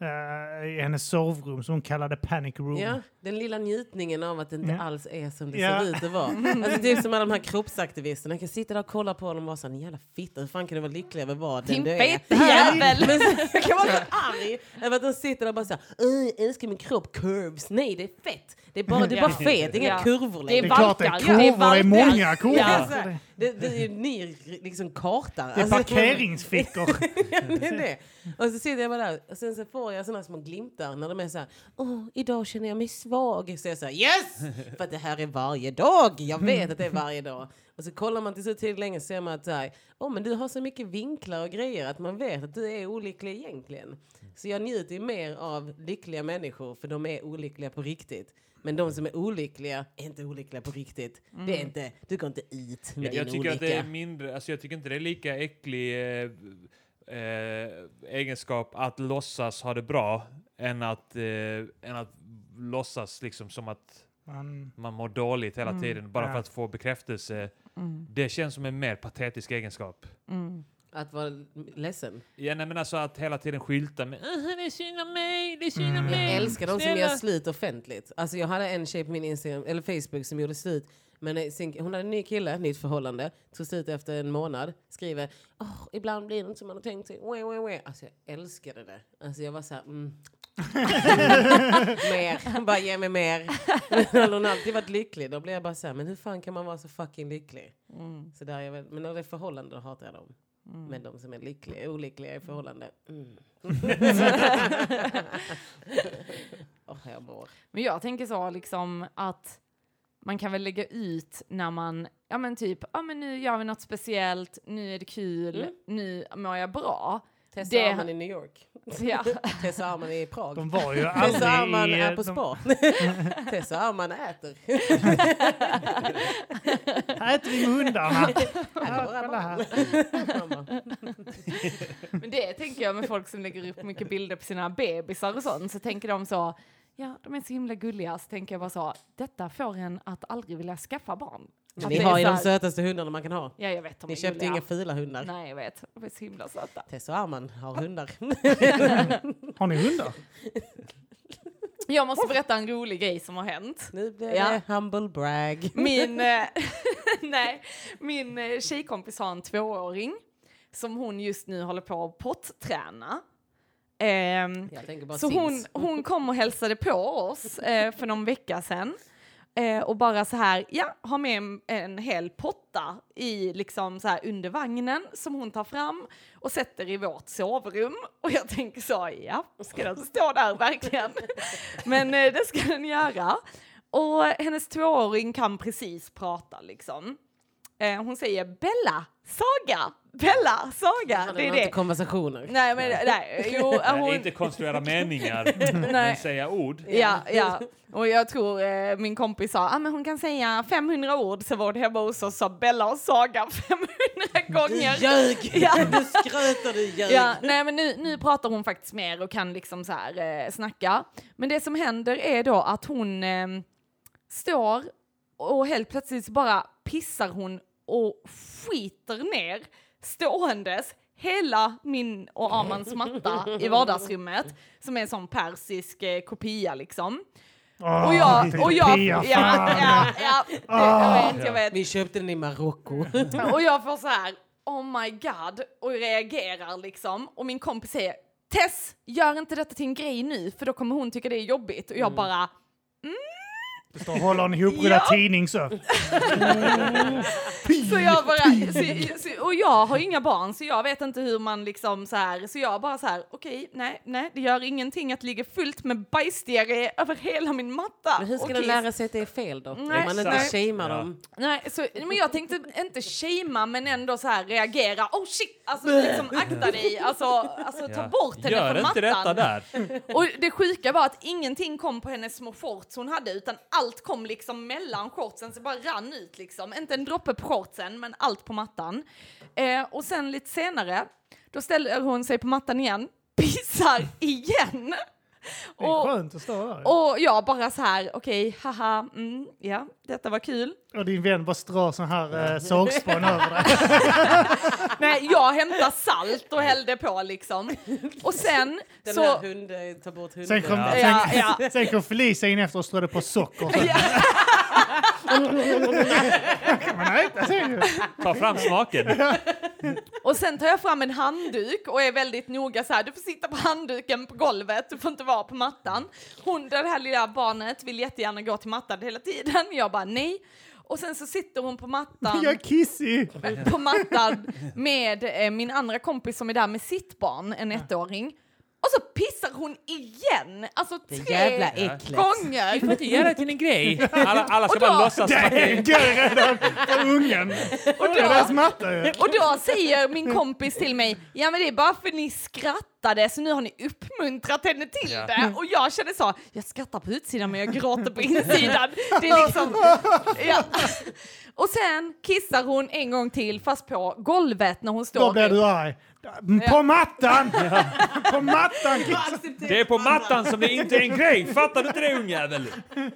Speaker 2: eh, i hennes sovrum som hon kallade panic room.
Speaker 3: Ja, den lilla njutningen av att det inte
Speaker 2: Ja.
Speaker 3: alls är som det
Speaker 2: Ja.
Speaker 3: ser ut att vara. Alltså, typ som alla de här kroppsaktivisterna. Jag kan sitta där och kolla på dem och vara såhär, "Ni jävla fitta, hur fan kan du vara lycklig över vad den du
Speaker 4: Timpa
Speaker 3: är?
Speaker 4: inte jävel!
Speaker 3: Men så, jag kan vara så arg över att de sitter där och bara såhär, "Åh, jag älskar min kropp, curves. Nej, det är fett. Det är bara, det är bara
Speaker 4: Ja.
Speaker 3: fet, det är inga
Speaker 4: Ja.
Speaker 3: kurvor
Speaker 4: Det är
Speaker 2: Det är
Speaker 3: längre.
Speaker 2: klart det är
Speaker 4: Valkar.
Speaker 2: kurvor,
Speaker 4: Ja, det är
Speaker 2: det är
Speaker 4: valkar.
Speaker 2: många kurvor.
Speaker 3: Det är
Speaker 4: Ja.
Speaker 3: så här, Alltså, Det, det är ju ni liksom kartar.
Speaker 2: Det är parkeringsfickor.
Speaker 3: Ja, det är det. Och så sitter jag bara där och sen så får jag såna små glimtar när de är så här, åh, idag känner jag mig svag. Så jag säger yes! För att det här är varje dag. Jag vet att det är varje dag. Och så kollar man till så till länge så ser man att så här, åh, men du har så mycket vinklar och grejer att man vet att du är olycklig egentligen. Så jag njuter ju mer av lyckliga människor för de är olyckliga på riktigt. Men de som är olyckliga är inte olyckliga på riktigt. Det är inte, du går inte hit
Speaker 1: Mm.
Speaker 3: med
Speaker 1: Jag,
Speaker 3: din
Speaker 1: jag tycker
Speaker 3: olycka.
Speaker 1: att det är mindre, alltså jag tycker inte det är lika äcklig eh, eh, egenskap att låtsas ha det bra än att, eh, än att låtsas liksom som att
Speaker 2: Man,
Speaker 1: man mår dåligt hela
Speaker 4: Mm.
Speaker 1: tiden bara för
Speaker 2: Ja.
Speaker 1: att få bekräftelse.
Speaker 4: Mm,
Speaker 1: Det känns som en mer patetisk egenskap.
Speaker 4: mm.
Speaker 3: Att vara ledsen.
Speaker 1: Ja, nej, men alltså att hela tiden skylta med "Ah, det är synd om mig, det är synd om
Speaker 2: Mm.
Speaker 1: mig.
Speaker 3: Jag älskar de som
Speaker 1: snälla."
Speaker 3: gör slut offentligt. Alltså jag hade en tjej på min Instagram, eller Facebook som gjorde slut. Men eh, sin, hon hade en ny kille, nytt förhållande. Tog slut efter en månad. Skriver oh, ibland blir det inte som man har tänkt sig. Wah, wah, wah. Alltså jag älskade det. Alltså jag var såhär, mm. mer. Hon bara ge mig mer. Men hade hon alltid varit lycklig då blev jag bara såhär, men hur fan kan man vara så fucking lycklig?
Speaker 4: Mm.
Speaker 3: Så där är jag väl, men när det är förhållande då hatar jag dem.
Speaker 2: Mm.
Speaker 3: Men de som är lyckliga, olyckliga i förhållande. Mm. Åh, jag mår.
Speaker 4: Men jag tänker så liksom att man kan väl lägga ut när man, ja men typ, ja men nu gör vi något speciellt, nu är det kul,
Speaker 3: Mm.
Speaker 4: nu mår jag bra.
Speaker 3: Tessa
Speaker 4: Det-
Speaker 3: Arman i New York.
Speaker 4: Ja.
Speaker 3: Tessa Arman i Prag.
Speaker 2: de var ju
Speaker 3: Tessa Arman
Speaker 2: aldrig... i-
Speaker 4: eh,
Speaker 3: är på
Speaker 2: de-
Speaker 3: spa. Tessa Arman äter.
Speaker 2: Här äter vi med hundarna.
Speaker 3: Här är
Speaker 2: Ja,
Speaker 3: våra
Speaker 2: kolla
Speaker 3: barn.
Speaker 2: här.
Speaker 3: Mamma.
Speaker 4: Men det tänker jag med folk som lägger upp mycket bilder på sina bebisar och sånt, så tänker de så, ja de är så himla gulliga, så tänker jag bara så, detta får en att aldrig vilja skaffa barn. Att
Speaker 3: Ni
Speaker 4: det är
Speaker 3: har ju
Speaker 4: så
Speaker 3: de
Speaker 4: här-
Speaker 3: sötaste hundarna man kan ha.
Speaker 4: Ja jag vet, de
Speaker 3: Ni
Speaker 4: är
Speaker 3: köpte ju
Speaker 4: gulliga.
Speaker 3: inga fula hundar.
Speaker 4: Nej jag vet, de är så himla söta.
Speaker 3: Tessa Arman har hundar.
Speaker 2: Har ni hundar?
Speaker 4: Jag måste berätta en rolig grej som har hänt.
Speaker 3: Nu blir
Speaker 4: Ja.
Speaker 3: det humble brag.
Speaker 4: Min, eh, nej, min eh, tjejkompis har en tvååring som hon just nu håller på att potträna. Ehm,
Speaker 3: Jag tänker bara
Speaker 4: så hon,
Speaker 3: Sims.
Speaker 4: hon kom och hälsade på oss eh, för någon vecka sedan. Eh, och bara så här, ja, har med en, en hel potta i, liksom så här, under vagnen som hon tar fram och sätter i vårt sovrum. Och jag tänker så, ja, ska den stå där verkligen? Men eh, det ska den göra. Och hennes tvååring kan precis prata liksom. Eh, hon säger Bella, Saga, Bella, Saga.
Speaker 3: Hade
Speaker 4: Det är
Speaker 3: hon
Speaker 4: det.
Speaker 3: inte konversationer.
Speaker 4: Nej, men nej, jo,
Speaker 1: Nej,
Speaker 4: hon,
Speaker 1: Inte konstruera meningar, men
Speaker 4: Nej.
Speaker 1: säga ord.
Speaker 4: Ja, ja. Och jag tror eh, min kompis sa, ah, men hon kan säga 500 ord, så var det hemma hos oss sa Bella och Saga 500
Speaker 3: Du
Speaker 4: gånger.
Speaker 3: ljög!
Speaker 4: Ja.
Speaker 3: Du skröt och du ljög.
Speaker 4: Ja, nej men nu, nu pratar hon faktiskt mer och kan liksom så här eh, snacka. Men det som händer är då att hon eh, står och helt plötsligt så bara pissar hon och skiter ner ståendes hela min och Armans matta i vardagsrummet som är en sån persisk eh, kopia liksom.
Speaker 2: Åh,
Speaker 4: Och jag,
Speaker 2: vilken
Speaker 4: och jag,
Speaker 2: kopia,
Speaker 4: ja,
Speaker 2: Ah, fan.
Speaker 4: ja, ja, jag vet, jag vet.
Speaker 3: Vi köpte den i Marocko.
Speaker 4: Och jag får så här, oh my god, och reagerar liksom. Och min kompis säger, Tess, gör inte detta till en grej nu, för då kommer hon tycka det är jobbigt. Och jag bara, mm,
Speaker 2: Det står håller en ihoprullad
Speaker 4: Ja.
Speaker 2: tidning så.
Speaker 4: Så jag bara, så, så, och jag har ju inga barn så jag vet inte hur man liksom så här, så jag bara så här, okej, nej, nej, det gör ingenting att det ligger fullt med bajsdiarré över hela min matta.
Speaker 3: Men hur ska
Speaker 4: och
Speaker 3: de
Speaker 4: kiss.
Speaker 3: lära sig att det är fel då? Om
Speaker 4: Nej,
Speaker 3: man inte
Speaker 4: exakt.
Speaker 3: shamear
Speaker 1: Ja.
Speaker 3: dem.
Speaker 4: Nej, så, men jag tänkte inte shamea men ändå så här reagera, oh shit, alltså liksom akta dig, alltså, alltså ta bort henne
Speaker 1: Gör
Speaker 4: från
Speaker 1: inte detta
Speaker 4: mattan.
Speaker 1: där.
Speaker 4: Och det sjuka var att ingenting kom på hennes små shorts hon hade utan allt kom liksom mellan shortsen så bara rann ut liksom. Inte en droppe på shortsen men allt på mattan. Eh, och sen lite senare, då ställer hon sig på mattan igen, pissar igen.
Speaker 2: Det är
Speaker 4: Och,
Speaker 2: skönt att stå där.
Speaker 4: och jag bara så här, okej, haha, mm, ja, detta var kul.
Speaker 2: Och din vän bara drar sån här eh, sågspån över dig.
Speaker 4: Nej, jag hämtade salt och hällde på liksom. Och sen
Speaker 3: Den
Speaker 4: så...
Speaker 3: här hunden, ta bort hunden.
Speaker 2: Sen kom,
Speaker 1: Ja.
Speaker 4: Ja,
Speaker 2: sen,
Speaker 4: ja.
Speaker 2: sen kom Felicia in efter och strödde på socker. Så
Speaker 4: Ja.
Speaker 2: kan man äta sen ju.
Speaker 1: Ta fram smaken.
Speaker 4: Och sen tar jag fram en handduk och är väldigt noga så här, du får sitta på handduken på golvet, du får inte vara på mattan. Hon, det här lilla barnet, vill jättegärna gå till mattan hela tiden. Jag bara nej. Och sen så sitter hon på mattan,
Speaker 2: Jag är kissig.
Speaker 4: på mattan med eh, min andra kompis som är där med sitt barn, en ettåring. Och så pissar hon igen! Alltså
Speaker 3: Det
Speaker 4: tre
Speaker 3: jävla äcklet.
Speaker 4: gånger!
Speaker 1: får inte göra det till en grej. Alla, alla ska
Speaker 4: Och då-
Speaker 1: bara låtsas
Speaker 2: Det
Speaker 1: som att det
Speaker 2: är
Speaker 1: är...
Speaker 2: en grej redan för ungen.
Speaker 4: Och
Speaker 2: Det är
Speaker 4: då,
Speaker 2: deras matta ju.
Speaker 4: Och då säger min kompis till mig, ja men det är bara för ni skrattade så nu har ni uppmuntrat henne till
Speaker 1: Ja.
Speaker 2: Mm.
Speaker 4: det. Och jag kände så, jag skrattar på utsidan men jag gråter på insidan. Det är liksom, ja. Och sen kissar hon en gång till fast på golvet när hon står
Speaker 2: Då blir du arg. På mattan! På mattan!
Speaker 1: Det är på mattan som det inte är en grej. Fattar du inte det ungjävel?
Speaker 4: Nej,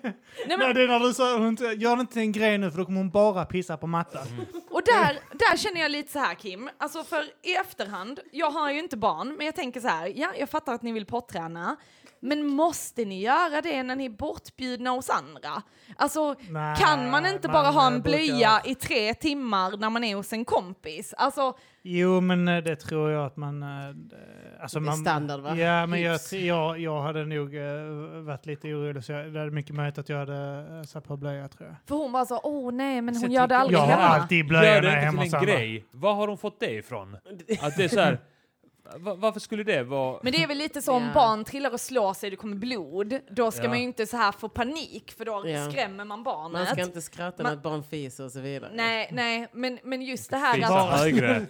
Speaker 4: men,
Speaker 2: Nej, det är när du sa hon inte- gör det inte till en grej nu för då kommer hon bara pissa på mattan.
Speaker 4: Och där, där känner jag lite så här Kim, alltså för i efterhand, jag har ju inte barn, men jag tänker så här, ja jag fattar att ni vill potträna, men måste ni göra det när ni är bortbjudna hos andra? Alltså
Speaker 2: Nej,
Speaker 4: kan man inte
Speaker 2: man eh,
Speaker 4: bara ha en
Speaker 2: brukar-
Speaker 4: blöja i tre timmar när man är hos en kompis? Alltså,
Speaker 2: Jo, men eh, det tror jag att man... eh, Alltså
Speaker 3: Det är
Speaker 2: man
Speaker 3: standard, va?
Speaker 2: Ja, men jag,
Speaker 3: Hyfs.
Speaker 2: jag, jag hade nog eh, varit lite orolig så jag, det hade mycket möjligt att jag hade eh, satt på blöja tror jag.
Speaker 4: för hon bara så, åh nej men
Speaker 1: Så
Speaker 4: hon
Speaker 1: jag
Speaker 4: gör det
Speaker 1: tycker-
Speaker 4: aldrig
Speaker 2: typ Jag har
Speaker 4: hemma.
Speaker 2: alltid blöja
Speaker 1: Gör
Speaker 2: när jag är
Speaker 1: det
Speaker 2: hemma
Speaker 1: inte
Speaker 2: hos
Speaker 1: till en
Speaker 2: andra.
Speaker 1: grej. Var har de fått det ifrån? Att det är så här... va- Varför skulle det vara...
Speaker 4: Men det är väl lite så om
Speaker 3: Ja.
Speaker 4: barn trillar och slår sig och det kommer blod, då ska
Speaker 1: Ja.
Speaker 4: man ju inte så här få panik för då
Speaker 3: Ja.
Speaker 4: skrämmer man barnet.
Speaker 3: Man ska inte skratta när
Speaker 4: Man-
Speaker 3: ett barn fiser och så vidare.
Speaker 4: Nej, nej, men, men just det här
Speaker 1: Visa
Speaker 4: att...
Speaker 1: högre.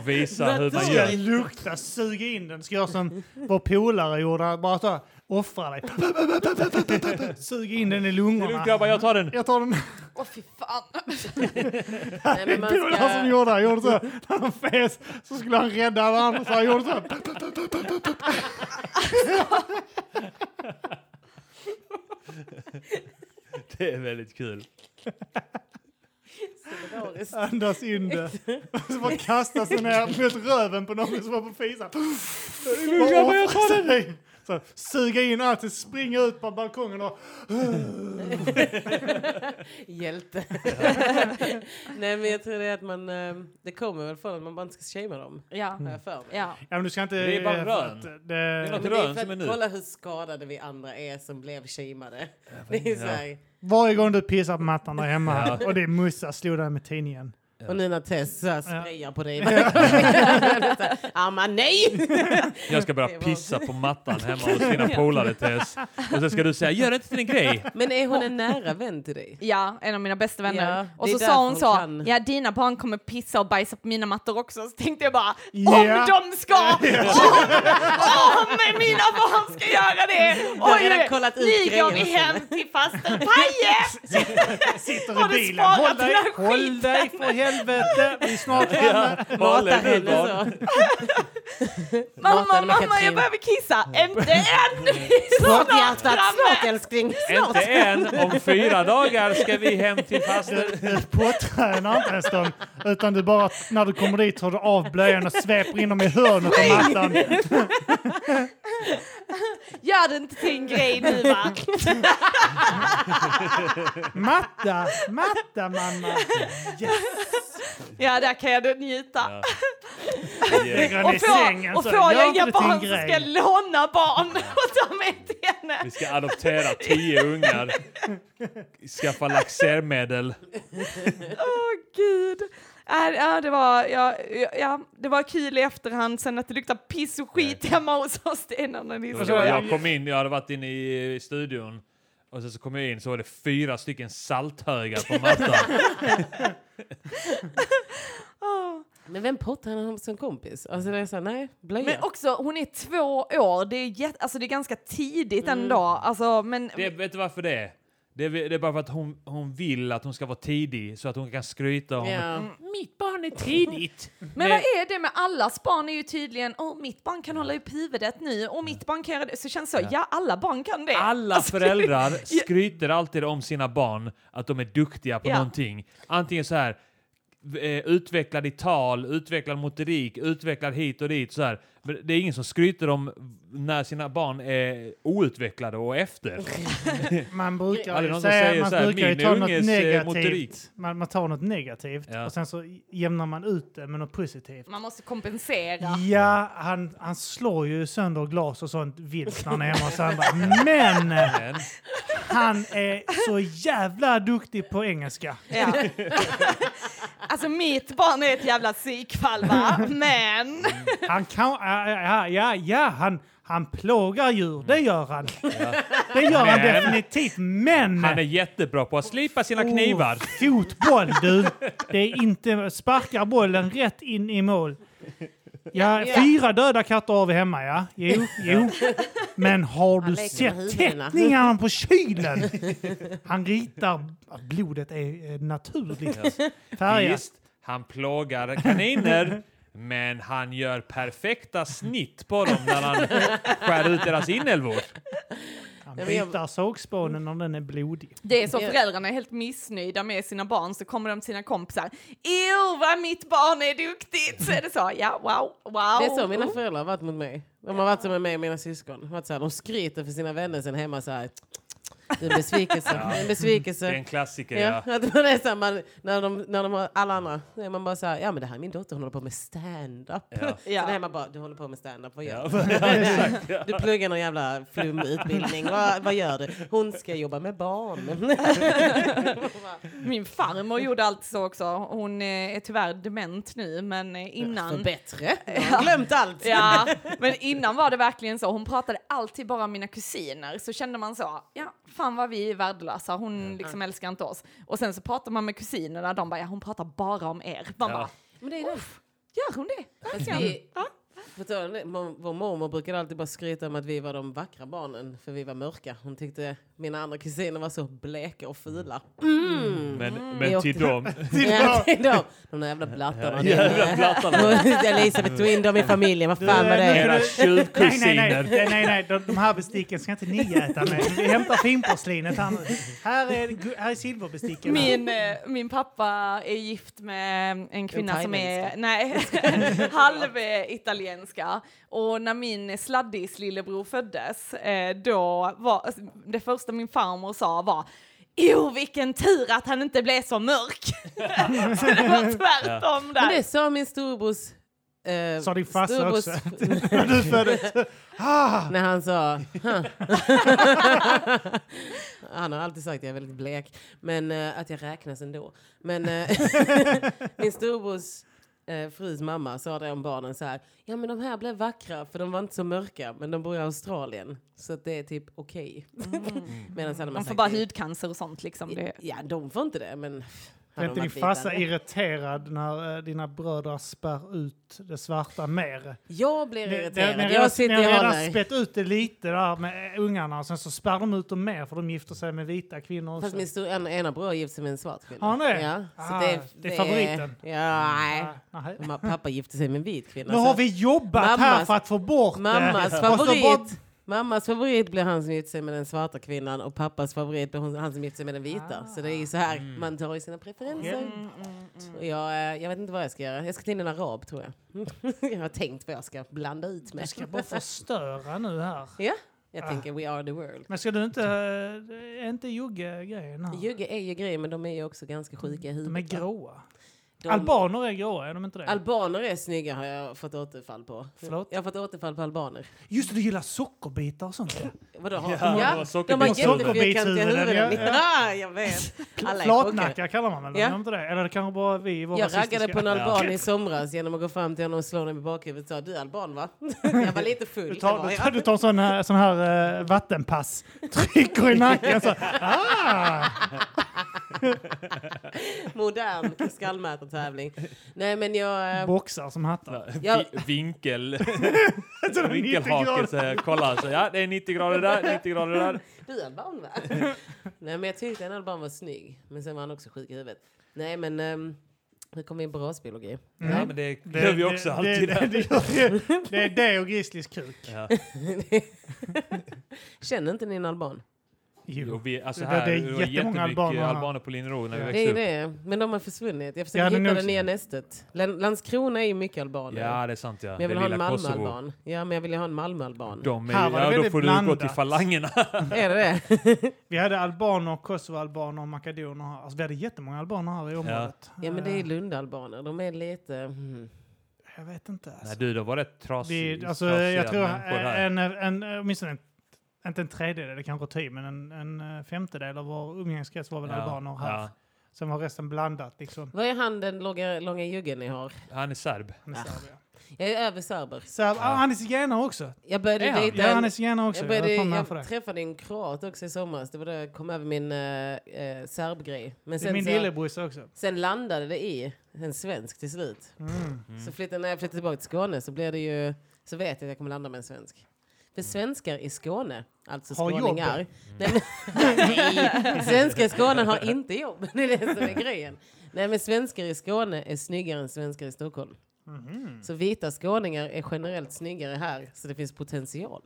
Speaker 1: Och visa hur
Speaker 2: Det
Speaker 1: man
Speaker 2: ska
Speaker 1: gör.
Speaker 2: lukta, suga in den. Ska göra som vår polare gjorde, bara så här, offra dig. Sug in den i
Speaker 1: Det är lugnt
Speaker 2: lungorna.
Speaker 1: grabbar, jag tar den.
Speaker 2: Jag tar den
Speaker 4: Åh fy fan.
Speaker 3: Nej, men man
Speaker 2: polare som
Speaker 3: ska...
Speaker 2: gjorde det. Han gjorde så här, när han fes så skulle han rädda alla andra så han gjorde så här.
Speaker 1: Det är väldigt kul.
Speaker 2: Andas in det. Och så bara kastas den ner mot röven på någon som var på fisan. Bara
Speaker 1: grabbar, jag tar
Speaker 2: offra sig. Så här, suga in allt, springa ut på balkongen och
Speaker 3: Hjälte. Nej, men jag tror det är att man... eh, Det kommer väl från att man bara inte ska shamea dem.
Speaker 4: Ja,
Speaker 3: Har jag för mig.
Speaker 4: ja.
Speaker 2: Ja, men du ska inte...
Speaker 1: Det är bara
Speaker 2: eh,
Speaker 1: rön.
Speaker 2: för att
Speaker 1: något-
Speaker 2: Det,
Speaker 3: Men det är
Speaker 1: rön
Speaker 3: för
Speaker 1: som är
Speaker 3: att
Speaker 1: nu.
Speaker 3: Kolla hur skadade vi andra är som blev shameade. Det är så här.
Speaker 2: varje gång du pissar på mattan där hemma
Speaker 1: Ja.
Speaker 2: och det är mussa, slå dig med tidningen.
Speaker 3: Och nu när Tess så här sprayar på dig. Amma nej!
Speaker 1: Jag ska börja
Speaker 3: Det var-
Speaker 1: pissa på mattan hemma hos mina polare Tess. Och sen ska du säga gör det inte till en grej.
Speaker 3: Men är hon en nära vän till dig?
Speaker 4: Ja, en av mina bästa vänner.
Speaker 3: Ja,
Speaker 4: och
Speaker 3: det
Speaker 4: så
Speaker 3: är därför
Speaker 4: sa hon
Speaker 3: hon
Speaker 4: så,
Speaker 3: kan.
Speaker 4: ja dina barn kommer pissa och bajsa på mina mattor också. Så tänkte jag bara,
Speaker 2: Ja.
Speaker 4: om de ska! Om, om mina barn ska göra det!
Speaker 3: har redan kollat ut
Speaker 4: ni
Speaker 3: grejer
Speaker 4: går vi
Speaker 3: och sådär.
Speaker 4: hem till faster Paje!
Speaker 2: Sitter
Speaker 4: Har
Speaker 2: i
Speaker 4: du
Speaker 2: bilen. Håll
Speaker 4: sparat
Speaker 2: dig,
Speaker 4: den här
Speaker 2: håll dig för helvete. Vi är snart framme.
Speaker 1: Malin, du barn.
Speaker 3: så.
Speaker 4: Mamma,
Speaker 3: Maten med
Speaker 4: mamma, jag
Speaker 3: Katrin.
Speaker 4: behöver kissa! Inte än!
Speaker 3: Snart hjärtat,
Speaker 4: framme.
Speaker 3: snart älskling.
Speaker 1: Inte än, om fyra dagar ska vi hem till faster.
Speaker 2: Du påtränar inte ens dem. Utan du bara, när du kommer dit tar du av blöjan och sveper in dem i hörnet av mattan.
Speaker 4: Gör det inte till en grej nu va?
Speaker 2: Matta, matta mamma.
Speaker 4: Ja, där kan jag då njuta.
Speaker 2: Lägger den
Speaker 4: Och
Speaker 2: i
Speaker 4: får,
Speaker 2: sängen
Speaker 4: och
Speaker 2: så
Speaker 4: får
Speaker 2: gör
Speaker 4: jag
Speaker 2: inte
Speaker 4: inga
Speaker 2: det till en
Speaker 4: barn så ska jag
Speaker 2: grej.
Speaker 4: låna barn och ta med till henne.
Speaker 1: Vi ska adoptera tio ungar. Skaffa laxermedel.
Speaker 4: Åh gud. Äh, ja, det var, ja, ja, det var kul i efterhand sen att det luktade piss och skit hemma hos oss. Det är en annan
Speaker 1: Då
Speaker 4: historia.
Speaker 2: var
Speaker 1: Jag kom in, jag hade varit inne i studion och sen så kom jag in så var det fyra stycken salthögar på mattan.
Speaker 4: Åh.
Speaker 3: Men vem pottar han om som kompis? Alltså det är så här, nej, blöja.
Speaker 4: Men också, hon är två år. Det är, jätte, alltså, det är ganska tidigt ändå. Alltså, men,
Speaker 1: Mm. Det, vet du varför det är? Det är, det är bara för att hon, hon vill att hon ska vara tidig så att hon kan skryta om
Speaker 3: ja.
Speaker 1: Mm. Mitt barn är tidigt.
Speaker 4: men vad är det med allas barn? är ju tydligen, åh, mitt barn kan hålla upp huvudet nu och mitt barn kan göra det. Så känns det så, ja, alla barn kan det.
Speaker 1: Alla
Speaker 4: Alltså,
Speaker 1: föräldrar skryter alltid om sina barn att de är duktiga på
Speaker 4: Ja.
Speaker 1: någonting. Antingen så här eh, utvecklad i tal, utvecklad motorik, utvecklad hit och dit. Så här. Men det är ingen som skryter om när sina barn är outvecklade och efter.
Speaker 2: Man brukar
Speaker 1: Aldrig
Speaker 2: ju
Speaker 1: någon som
Speaker 2: säga,
Speaker 1: säger
Speaker 2: man
Speaker 1: så här,
Speaker 2: brukar ju
Speaker 1: "Min
Speaker 2: ta något
Speaker 1: unges, eh, motorik."
Speaker 2: negativt. Man, man tar något negativt
Speaker 1: Ja.
Speaker 2: och sen så jämnar man ut det med något positivt.
Speaker 4: Man måste kompensera.
Speaker 2: Ja, han, han slår ju sönder glas och sånt vilt när han är hemma hos andra. Men eh,
Speaker 1: Men,
Speaker 2: han är så jävla duktig på engelska.
Speaker 4: Ja. alltså mitt barn är ett jävla psykfall va, men...
Speaker 2: Han kan... Ja, ja, ja, ja han, han plågar djur, det gör han. Det gör han
Speaker 1: Men-
Speaker 2: definitivt, men...
Speaker 1: han är jättebra på att slipa sina knivar.
Speaker 2: Oh, fotboll, du! Det är inte... Sparkar bollen rätt in i mål. Ja, fyra döda katter har vi hemma, ja. Jo, jo. Men har
Speaker 3: Han
Speaker 2: du
Speaker 3: leker med
Speaker 2: sett
Speaker 3: huvudena.
Speaker 2: teckningarna på kylen? Han ritar... Blodet är eh, naturligt färgat.
Speaker 1: Visst, han plågar kaniner. Men han gör perfekta snitt på dem när han skär ut deras inälvor.
Speaker 2: Han
Speaker 3: Nej, men jag-
Speaker 2: bitar sågspånen när den är blodig.
Speaker 4: Det är så
Speaker 3: Ja.
Speaker 4: föräldrarna är helt missnöjda med sina barn så kommer de till sina kompisar. Ew vad mitt barn är duktigt! Så är det så, ja wow, wow.
Speaker 3: Det är så mina föräldrar har varit mot mig. De har varit som med mig och mina syskon. De har Varit så här, de skryter för sina vänner sen hemma så här. Det är en besvikelse. Det är en
Speaker 1: Det är
Speaker 3: besvikelse.
Speaker 1: en klassiker, ja.
Speaker 3: Ja, att man är så här, man, när, de, när de har alla andra, då är man bara så här, ja men det här är min dotter, hon håller på med stand-up.
Speaker 1: Ja.
Speaker 3: Sen är man bara, du håller på med stand-up, vad gör
Speaker 1: Ja,
Speaker 3: du?
Speaker 1: exakt. Ja.
Speaker 3: Du pluggar någon jävla flumutbildning, vad, vad gör du? Hon ska jobba med barn.
Speaker 4: Min farmor gjorde allt så också. Hon eh, är tyvärr dement nu men eh,
Speaker 3: För
Speaker 4: innan...
Speaker 3: bättre. Jag har glömt allt.
Speaker 4: Ja, men innan var det verkligen så. Hon pratade alltid bara om mina kusiner. Så kände man så, ja, fan vad vi är värdelösa. Hon liksom älskar inte oss. Och sen så pratar man med kusinerna. De bara, ja, hon pratar bara om er. Man
Speaker 1: Ja.
Speaker 4: bara,
Speaker 3: Men det är det.
Speaker 4: gör hon det?
Speaker 3: Fast vi, på tal om det, mo- vår mormor brukade alltid bara skryta om att vi var de vackra barnen för vi var mörka. Hon tyckte mina andra kusiner var så bleka och fula.
Speaker 2: Mm.
Speaker 1: Men,
Speaker 3: Vi
Speaker 1: men
Speaker 3: åkte-
Speaker 1: till dem.
Speaker 3: Ja, till dem. De där jävla blattarna.
Speaker 1: Jävla plattarna.
Speaker 3: Elisabeth tog in dem i familjen, vad fan
Speaker 2: Du,
Speaker 3: var
Speaker 2: nu
Speaker 3: det?
Speaker 2: kan du- Nej, nej,
Speaker 1: Era
Speaker 2: nej,
Speaker 1: tjuvkusiner.
Speaker 2: nej, nej, nej. De, de här besticken ska inte ni äta med. Vi hämtar finporslinet här nu. Här är, gu- här är silverbesticken.
Speaker 4: Min, eh, min pappa är gift med en kvinna som är
Speaker 3: thailändska.
Speaker 4: nej, halvitalienska. Och när min sladdis lillebror föddes, eh, då var det första min farmor sa var Jo, vilken tur att han inte blev så mörk! så det var tvärtom
Speaker 3: Men
Speaker 4: där.
Speaker 3: det sa min storbrors... Eh,
Speaker 2: Sa din farsa
Speaker 3: storbrors-
Speaker 2: När du föddes. Ah,
Speaker 3: När han sa... "Huh." han har alltid sagt att jag är väldigt blek. Men eh, att jag räknas ändå. Men eh, min storbrors eh, frus mamma sa det om barnen så här. Ja men de här blev vackra för de var inte så mörka. Men de bor i Australien. Så att det är typ okej. Medan så hade man
Speaker 4: Mm. Man får
Speaker 3: sagt,
Speaker 4: bara hudcancer och sånt liksom. Det.
Speaker 3: Ja de får inte det men...
Speaker 2: Blev inte
Speaker 3: hade de
Speaker 2: din
Speaker 3: varit
Speaker 2: farsa
Speaker 3: vita?
Speaker 2: irriterad när eh, dina bröder spär ut det svarta mer?
Speaker 3: Jag blir
Speaker 2: Det- det-
Speaker 3: irriterad.
Speaker 2: ni har
Speaker 3: jag
Speaker 2: redan-
Speaker 3: sitter
Speaker 2: ni
Speaker 3: och
Speaker 2: har redan
Speaker 3: håller.
Speaker 2: spett ut det lite där med eh, ungarna och sen så spär de ut dem mer för de gifter sig med vita kvinnor
Speaker 3: Fast
Speaker 2: också.
Speaker 3: min stor, en, ena bror gifte sig med en svart kvinna.
Speaker 2: Har han det?
Speaker 3: Ja,
Speaker 2: Ah, det är favoriten.
Speaker 3: Ja, nej.
Speaker 2: Ah, nej.
Speaker 3: Ma- Pappa gifte sig med en vit kvinna.
Speaker 2: Nu
Speaker 3: så-
Speaker 2: har vi jobbat här
Speaker 3: Mammas-
Speaker 2: för att få bort
Speaker 3: Mammas
Speaker 2: det. Och så bara-
Speaker 3: favorit. Mammas favorit blev han som gifte sig med den svarta kvinnan och pappas favorit blev hon- han som gifte sig med den vita. Så det är ju så här, man tar ju sina preferenser.
Speaker 4: Mm,
Speaker 3: Och Jag, eh, jag vet inte vad jag ska göra. Jag ska till en arab tror jag. jag har tänkt vad jag ska blanda ut
Speaker 2: Du
Speaker 3: med.
Speaker 2: ska bara förstöra nu här.
Speaker 3: Ja, jag tänker we are the world.
Speaker 2: Men ska du inte... eh, Är inte jugge grejen här?
Speaker 3: Jugge är ju grejer men de är ju också ganska sjuka
Speaker 2: De är
Speaker 3: i huvudet.
Speaker 2: gråa.
Speaker 3: De-
Speaker 2: Albaner är gråa, är de inte det?
Speaker 3: Albaner är snygga har jag fått återfall på.
Speaker 2: Förlåt?
Speaker 3: Jag har fått återfall på albaner.
Speaker 2: Just det, du gillar sockerbitar och sånt. ja.
Speaker 3: Vadå har
Speaker 1: Ja, det var
Speaker 3: ja, De har
Speaker 1: sockerbitshuvuden.
Speaker 3: jättefyrkantiga huvuden.
Speaker 2: Sockerbitshuvuden,
Speaker 3: Ja, jag vet. Alla är tråkiga.
Speaker 2: Flatnacka kallar man väl
Speaker 3: Ja.
Speaker 2: ja. inte det? Eller det kanske bara vi i vår
Speaker 3: Jag raggade på en alban
Speaker 2: Ja.
Speaker 3: i somras genom att gå fram till honom och slå honom i bakhuvudet och sa du är alban va? Jag var lite full.
Speaker 2: Du
Speaker 3: det
Speaker 2: tar,
Speaker 3: var
Speaker 2: du
Speaker 3: jag.
Speaker 2: tar, du tar en sån här, sån här eh, vattenpass, trycker i nacken så. Ah!
Speaker 3: Modern skallmätartävling. Nej men jag... eh,
Speaker 2: Boxar som hattar.
Speaker 3: Ja.
Speaker 1: Vi- Vinkel.
Speaker 2: Så det är 90
Speaker 1: Vinkelhake.
Speaker 2: grader. Mm.
Speaker 1: Så här, kollar. Så, ja, det är 90 grader där, 90 grader där.
Speaker 3: Du är alban va? Nej men jag tyckte en alban var snygg. Men sen var han också sjuk i huvudet. Nej men... ehm, nu kom vi in på rasbiologi.
Speaker 1: Ja, men det gör vi också
Speaker 2: Mm. det,
Speaker 1: alltid.
Speaker 2: Det, det, gör- det är det och grislis kuk.
Speaker 1: Ja.
Speaker 3: Känner inte ni en alban?
Speaker 2: Jo.
Speaker 1: Och vi, alltså
Speaker 2: Det-
Speaker 1: här,
Speaker 2: det är
Speaker 1: det, var jättemycket
Speaker 2: jättemånga
Speaker 1: albaner,
Speaker 2: albaner här.
Speaker 1: på Linnero när vi
Speaker 2: Ja.
Speaker 1: växte
Speaker 3: Det är
Speaker 1: upp.
Speaker 3: det. Men de har försvunnit. Jag
Speaker 2: Ja,
Speaker 3: försöker
Speaker 2: det är
Speaker 3: hitta
Speaker 2: nog
Speaker 3: det
Speaker 2: så.
Speaker 3: nya nästet. Lan- Landskrona är ju mycket albaner.
Speaker 1: Ja, det är sant ja.
Speaker 3: men jag vill
Speaker 1: det
Speaker 3: ha en
Speaker 1: lilla Kosovo.
Speaker 3: Malmöalban. Ja, men jag vill ju ha en Malmöalban.
Speaker 1: De är,
Speaker 2: Här var det
Speaker 1: ja, då
Speaker 2: väldigt
Speaker 1: får du gå till
Speaker 2: blandat.
Speaker 1: falangerna.
Speaker 3: Är det det?
Speaker 2: Vi hade albaner, kosovoalbaner och makedoner här. Alltså, vi hade jättemånga albaner här i området.
Speaker 3: Ja, men det
Speaker 2: Ah.
Speaker 3: är Lundalbaner. De är lite... Mm.
Speaker 2: Eh, Jag vet inte. Alltså.
Speaker 1: Nej du, de var rätt trasig,
Speaker 2: Vi, alltså,
Speaker 1: trasiga
Speaker 2: jag tror
Speaker 1: människor här.
Speaker 2: en, en, en, åtminstone en, inte en tredjedel, det kanske är tio, men en, en eh, femtedel av vår umgängeskrets var väl albaner här.
Speaker 1: ja.
Speaker 2: Sen var resten blandat liksom.
Speaker 3: Vad är han den långa, långa juggen ni har?
Speaker 1: Han är serb.
Speaker 2: Han är
Speaker 3: Ah.
Speaker 2: serbier.
Speaker 3: Jag är över serber.
Speaker 2: Så, ah, Han är zigenare också.
Speaker 3: Jag började
Speaker 1: Är han?
Speaker 3: dejta
Speaker 2: Ja, han
Speaker 3: en...
Speaker 2: är zigenare också.
Speaker 3: Jag,
Speaker 2: Jag,
Speaker 3: började,
Speaker 2: har fan med
Speaker 3: jag
Speaker 2: för det.
Speaker 3: träffade en kroat också i somras. Det var då jag kom över min eh, eh, serbgrej. Men
Speaker 2: Det är
Speaker 3: sen,
Speaker 2: min
Speaker 3: så,
Speaker 2: lillebrorsa också.
Speaker 3: sen landade det i en svensk till slut.
Speaker 2: Mm.
Speaker 3: Så flyttade, när jag flyttade tillbaka till Skåne så, blir det ju, så vet jag att jag kommer landa med en svensk. För svenskar i Skåne, alltså
Speaker 2: Mm. Har Mm. jobb.
Speaker 3: skåningar... Nej, men- Nej, svenskar i Skåne har inte jobb, det är det som är grejen. Nej men svenskar i Skåne är snyggare än svenskar i Stockholm.
Speaker 2: Mhm.
Speaker 3: Så vita skåningar är generellt snyggare här, så det finns potential.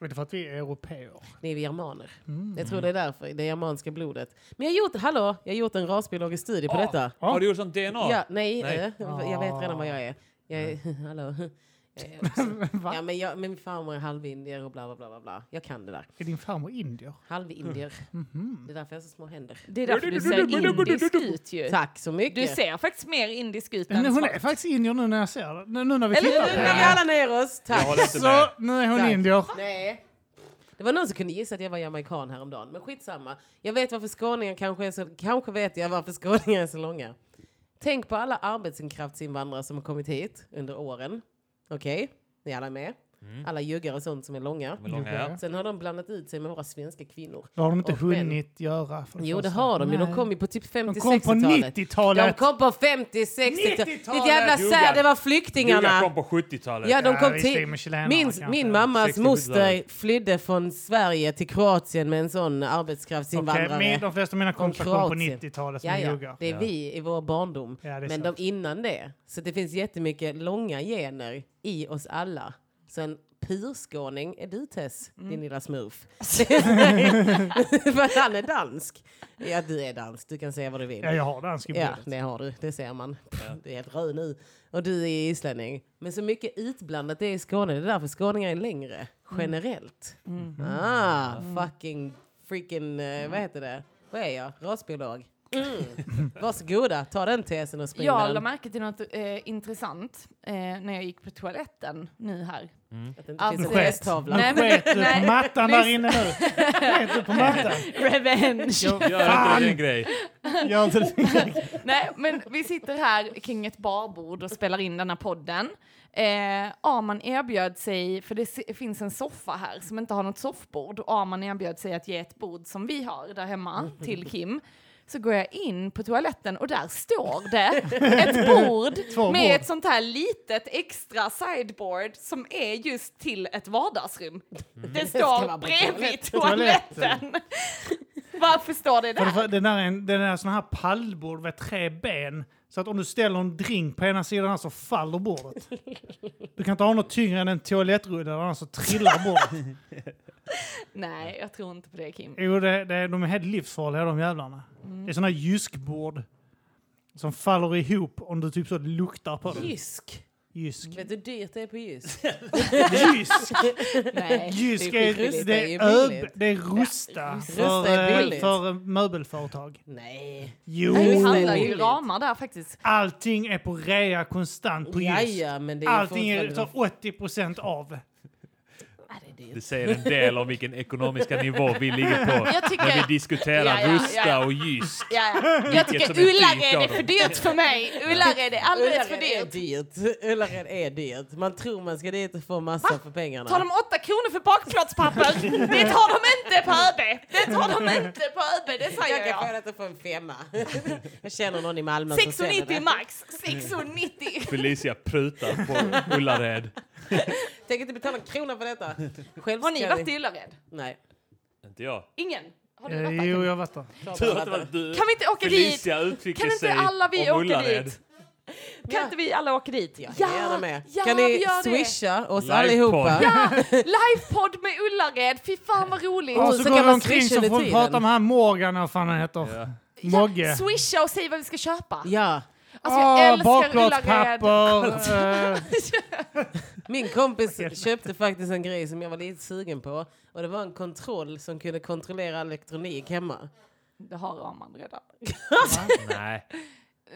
Speaker 2: Är det för att vi är europeer?
Speaker 3: Ni är germaner.
Speaker 2: Mm.
Speaker 3: Jag tror det är därför, det germanska blodet. Men jag har gjort, hallå, jag har gjort en rasbiologisk studie på
Speaker 1: Ah.
Speaker 3: detta.
Speaker 2: Ja.
Speaker 1: Har du gjort sånt DNA?
Speaker 3: Ja, nej,
Speaker 1: Nej.
Speaker 3: eh, jag vet redan vad jag är. Jag är hallå. Eh, ja, men jag, min farmor är halvindier och bla bla bla. bla, bla. Jag kan det där.
Speaker 2: Är din farmor indier?
Speaker 3: Halvindier. Det är därför jag har så små händer.
Speaker 4: Det är därför du ser indisk ut ju.
Speaker 3: Tack så mycket.
Speaker 4: Du ser faktiskt mer indisk ut
Speaker 2: Men
Speaker 4: än
Speaker 2: hon
Speaker 4: svart.
Speaker 2: är faktiskt indier nu när jag ser det. Nu, nu när vi
Speaker 4: Eller
Speaker 3: Nu
Speaker 2: tittar på
Speaker 3: lugnar vi
Speaker 2: det.
Speaker 3: alla ner oss.
Speaker 1: Jag
Speaker 3: Tack.
Speaker 1: håller
Speaker 2: Alltså-
Speaker 1: inte med.
Speaker 2: Så, nu är hon
Speaker 3: Tack.
Speaker 2: indier.
Speaker 3: Nej. Det var någon som kunde gissa att jag var jamaican häromdagen, men skitsamma. Jag vet varför skåningar kanske är så, kanske vet jag varför skåningar är så långa. Tänk på alla arbetskraftsinvandrare som har kommit hit under åren. Okej, ni alla är med. Alla juggar och sånt som är långa.
Speaker 1: De är långa, ja.
Speaker 3: Sen har de blandat ut sig med våra svenska kvinnor.
Speaker 2: Det har de inte
Speaker 3: Och män.
Speaker 2: hunnit göra. För
Speaker 3: Jo, det
Speaker 2: första.
Speaker 3: har de ju. De
Speaker 2: Nej.
Speaker 3: kom ju på typ
Speaker 2: De kom på
Speaker 3: 50-60-talet.
Speaker 2: 90-talet.
Speaker 3: kom på 50-60-talet. Ditt
Speaker 2: 90-talet.
Speaker 3: jävla
Speaker 1: Juggar.
Speaker 3: sär, det var
Speaker 1: Juggar
Speaker 3: flyktingarna.
Speaker 1: kom på 70-talet.
Speaker 3: Ja, de
Speaker 2: Ja,
Speaker 3: kom
Speaker 2: visst, det är med
Speaker 3: till.
Speaker 2: chilenarna
Speaker 3: Min,
Speaker 2: kanske.
Speaker 3: min mammas
Speaker 1: 60-talet.
Speaker 3: moster flydde från Sverige till Kroatien med en sån
Speaker 2: Okej,
Speaker 3: arbetskraftsinvandrare.
Speaker 2: min, de flesta av mina kompisar kom på
Speaker 3: Kroatien.
Speaker 2: 90-talet som
Speaker 3: Ja, ja.
Speaker 2: juggar.
Speaker 3: Det är
Speaker 1: Ja.
Speaker 3: vi i vår barndom.
Speaker 2: Ja, det är
Speaker 3: men
Speaker 2: sant.
Speaker 3: de innan det. Så det finns jättemycket långa gener i oss alla. Så en purskåning är du Tess, din lilla smurf. För han är dansk. Ja, du är dansk. Du kan säga vad du vill.
Speaker 2: Ja, jag har dansk i
Speaker 3: Ja,
Speaker 2: blodet.
Speaker 3: det har du. Det ser man. Du är helt röd nu. Och du är islänning. Men så mycket utblandat det är i Skåne. Det är därför skåningar är längre. Generellt. Ah,
Speaker 2: Mm.
Speaker 3: fucking freaking... eh, Vad heter det? Vad är jag? Rasbiolog? Mm. Varsågoda, ta den tesen och sprid
Speaker 4: Jag la
Speaker 3: den.
Speaker 4: märke till något eh, intressant eh, när jag gick på toaletten nu här.
Speaker 3: Att det inte finns en
Speaker 2: Sket.
Speaker 3: hästtavla.
Speaker 4: Nej,
Speaker 2: Nu
Speaker 4: men-
Speaker 2: sket du
Speaker 4: nej.
Speaker 2: på mattan där inne nu. Sket du på mattan?
Speaker 4: Revenge!
Speaker 1: Gör inte det en grej.
Speaker 2: Gör inte det.
Speaker 4: Nej, men vi sitter här kring ett barbord och spelar in den här podden. Eh, Arman erbjöd sig, för det se- finns en soffa här som inte har något soffbord, och Arman erbjöd sig att ge ett bord som vi har där hemma till Kim. Så går jag in på toaletten och där står det ett
Speaker 2: Två
Speaker 4: bord med
Speaker 2: bord.
Speaker 4: ett sånt här litet extra sideboard som är just till ett vardagsrum.
Speaker 2: Mm.
Speaker 4: Det
Speaker 3: ska
Speaker 4: står
Speaker 3: vara på
Speaker 4: bredvid
Speaker 2: Toaletten.
Speaker 4: toaletten. Varför står det
Speaker 2: För det, för,
Speaker 4: där?
Speaker 2: den där är en den där sån här pallbord med tre ben. Så att om du ställer en drink på ena sidan här så faller bordet. Du kan inte ha något tyngre än en toalettrulle annars så trillar bordet.
Speaker 4: Nej, jag tror inte på det Kim.
Speaker 2: Jo, det, det, de är helt livsfarliga de jävlarna. Det är såna här jyskbord som faller ihop om du typ så luktar på dem.
Speaker 3: Jysk.
Speaker 2: Jysk.
Speaker 3: Vet du hur dyrt det är på Jysk?
Speaker 2: Jysk!
Speaker 4: Nej,
Speaker 2: Jysk
Speaker 3: det är
Speaker 2: är,
Speaker 3: skitbilligt,
Speaker 2: det är,
Speaker 3: det är ju
Speaker 2: öb,
Speaker 3: billigt.
Speaker 2: det är rusta för,
Speaker 3: Rusta är
Speaker 2: eh,
Speaker 3: billigt.
Speaker 2: för möbelföretag.
Speaker 3: Nej.
Speaker 2: Jo!
Speaker 4: Nej, vi
Speaker 3: Oh.
Speaker 4: handlar ju
Speaker 3: Billigt.
Speaker 4: ramar där faktiskt.
Speaker 2: Allting är på rea konstant på Jysk.
Speaker 3: Jaja, men det är ju
Speaker 2: Allting är, tar
Speaker 3: fortfarande-
Speaker 2: 80 av.
Speaker 3: Ja, det är dyrt.
Speaker 1: Det säger en del om vilken ekonomiska nivå vi ligger på
Speaker 4: Jag
Speaker 1: när vi
Speaker 4: tycker...
Speaker 1: diskuterar
Speaker 4: Ja, ja,
Speaker 1: Rusta
Speaker 4: ja.
Speaker 1: och Jysk.
Speaker 4: Ja, jag
Speaker 1: som
Speaker 4: tycker
Speaker 1: är dyrt
Speaker 4: Ullared
Speaker 1: av
Speaker 4: är
Speaker 1: dem.
Speaker 4: för dyrt för mig. Ullared är alldeles för
Speaker 3: Ullared är
Speaker 4: dyrt.
Speaker 3: dyrt. Ullared är dyrt. Man tror man ska dit och få massa för pengarna.
Speaker 4: Tar de åtta kronor för bakplåtspapper? Det tar de inte på ÖB! Det tar de inte på ÖB, det
Speaker 3: jag
Speaker 4: säger
Speaker 3: kan få
Speaker 4: jag.
Speaker 3: det att få en femma. jag känner någon i Malmö som säljer
Speaker 4: 690
Speaker 3: det.
Speaker 4: max. 690.
Speaker 1: Felicia prutar på Ullared.
Speaker 3: Tänker inte betala en krona för detta. Själv
Speaker 4: Har ni
Speaker 3: ska
Speaker 4: varit
Speaker 3: vi-
Speaker 4: i Ullared?
Speaker 3: Nej.
Speaker 1: Inte jag.
Speaker 4: Ingen? Har du
Speaker 2: Eh,
Speaker 4: varit
Speaker 2: Jo,
Speaker 4: där?
Speaker 2: jag har varit där.
Speaker 3: klart
Speaker 1: Tur
Speaker 3: man
Speaker 1: att det var
Speaker 3: hade.
Speaker 1: du.
Speaker 4: Kan vi inte åka dit?
Speaker 1: Felicia uttrycker
Speaker 4: Kan inte
Speaker 1: sig
Speaker 4: alla vi
Speaker 1: om
Speaker 4: åka
Speaker 1: Ullared.
Speaker 4: dit? Kan inte vi alla åka dit?
Speaker 3: Jag är gärna med. kan
Speaker 4: vi
Speaker 3: ni
Speaker 4: gör det.
Speaker 3: swisha oss
Speaker 1: Livepodd.
Speaker 3: allihopa?
Speaker 4: Ja, livepodd med Ullared. Fy fan vad roligt.
Speaker 2: Och
Speaker 3: Och
Speaker 2: så
Speaker 3: så
Speaker 2: går
Speaker 3: kan
Speaker 2: vi
Speaker 3: man
Speaker 2: omkring
Speaker 3: swisha
Speaker 2: så
Speaker 3: under
Speaker 2: får vi
Speaker 3: tiden.
Speaker 2: prata med han Morgan, eller vad fan han heter.
Speaker 1: Ja.
Speaker 2: Mogge.
Speaker 4: Typ Swisha och säg vad vi ska köpa.
Speaker 3: Ja.
Speaker 4: Alltså jag älskar Ullared.
Speaker 2: bakplåtspapper. eh,
Speaker 3: Min kompis köpte faktiskt en grej som jag var lite sugen på. Och det var en kontroll som kunde kontrollera elektronik hemma.
Speaker 4: Det har Raman redan.
Speaker 1: Nej.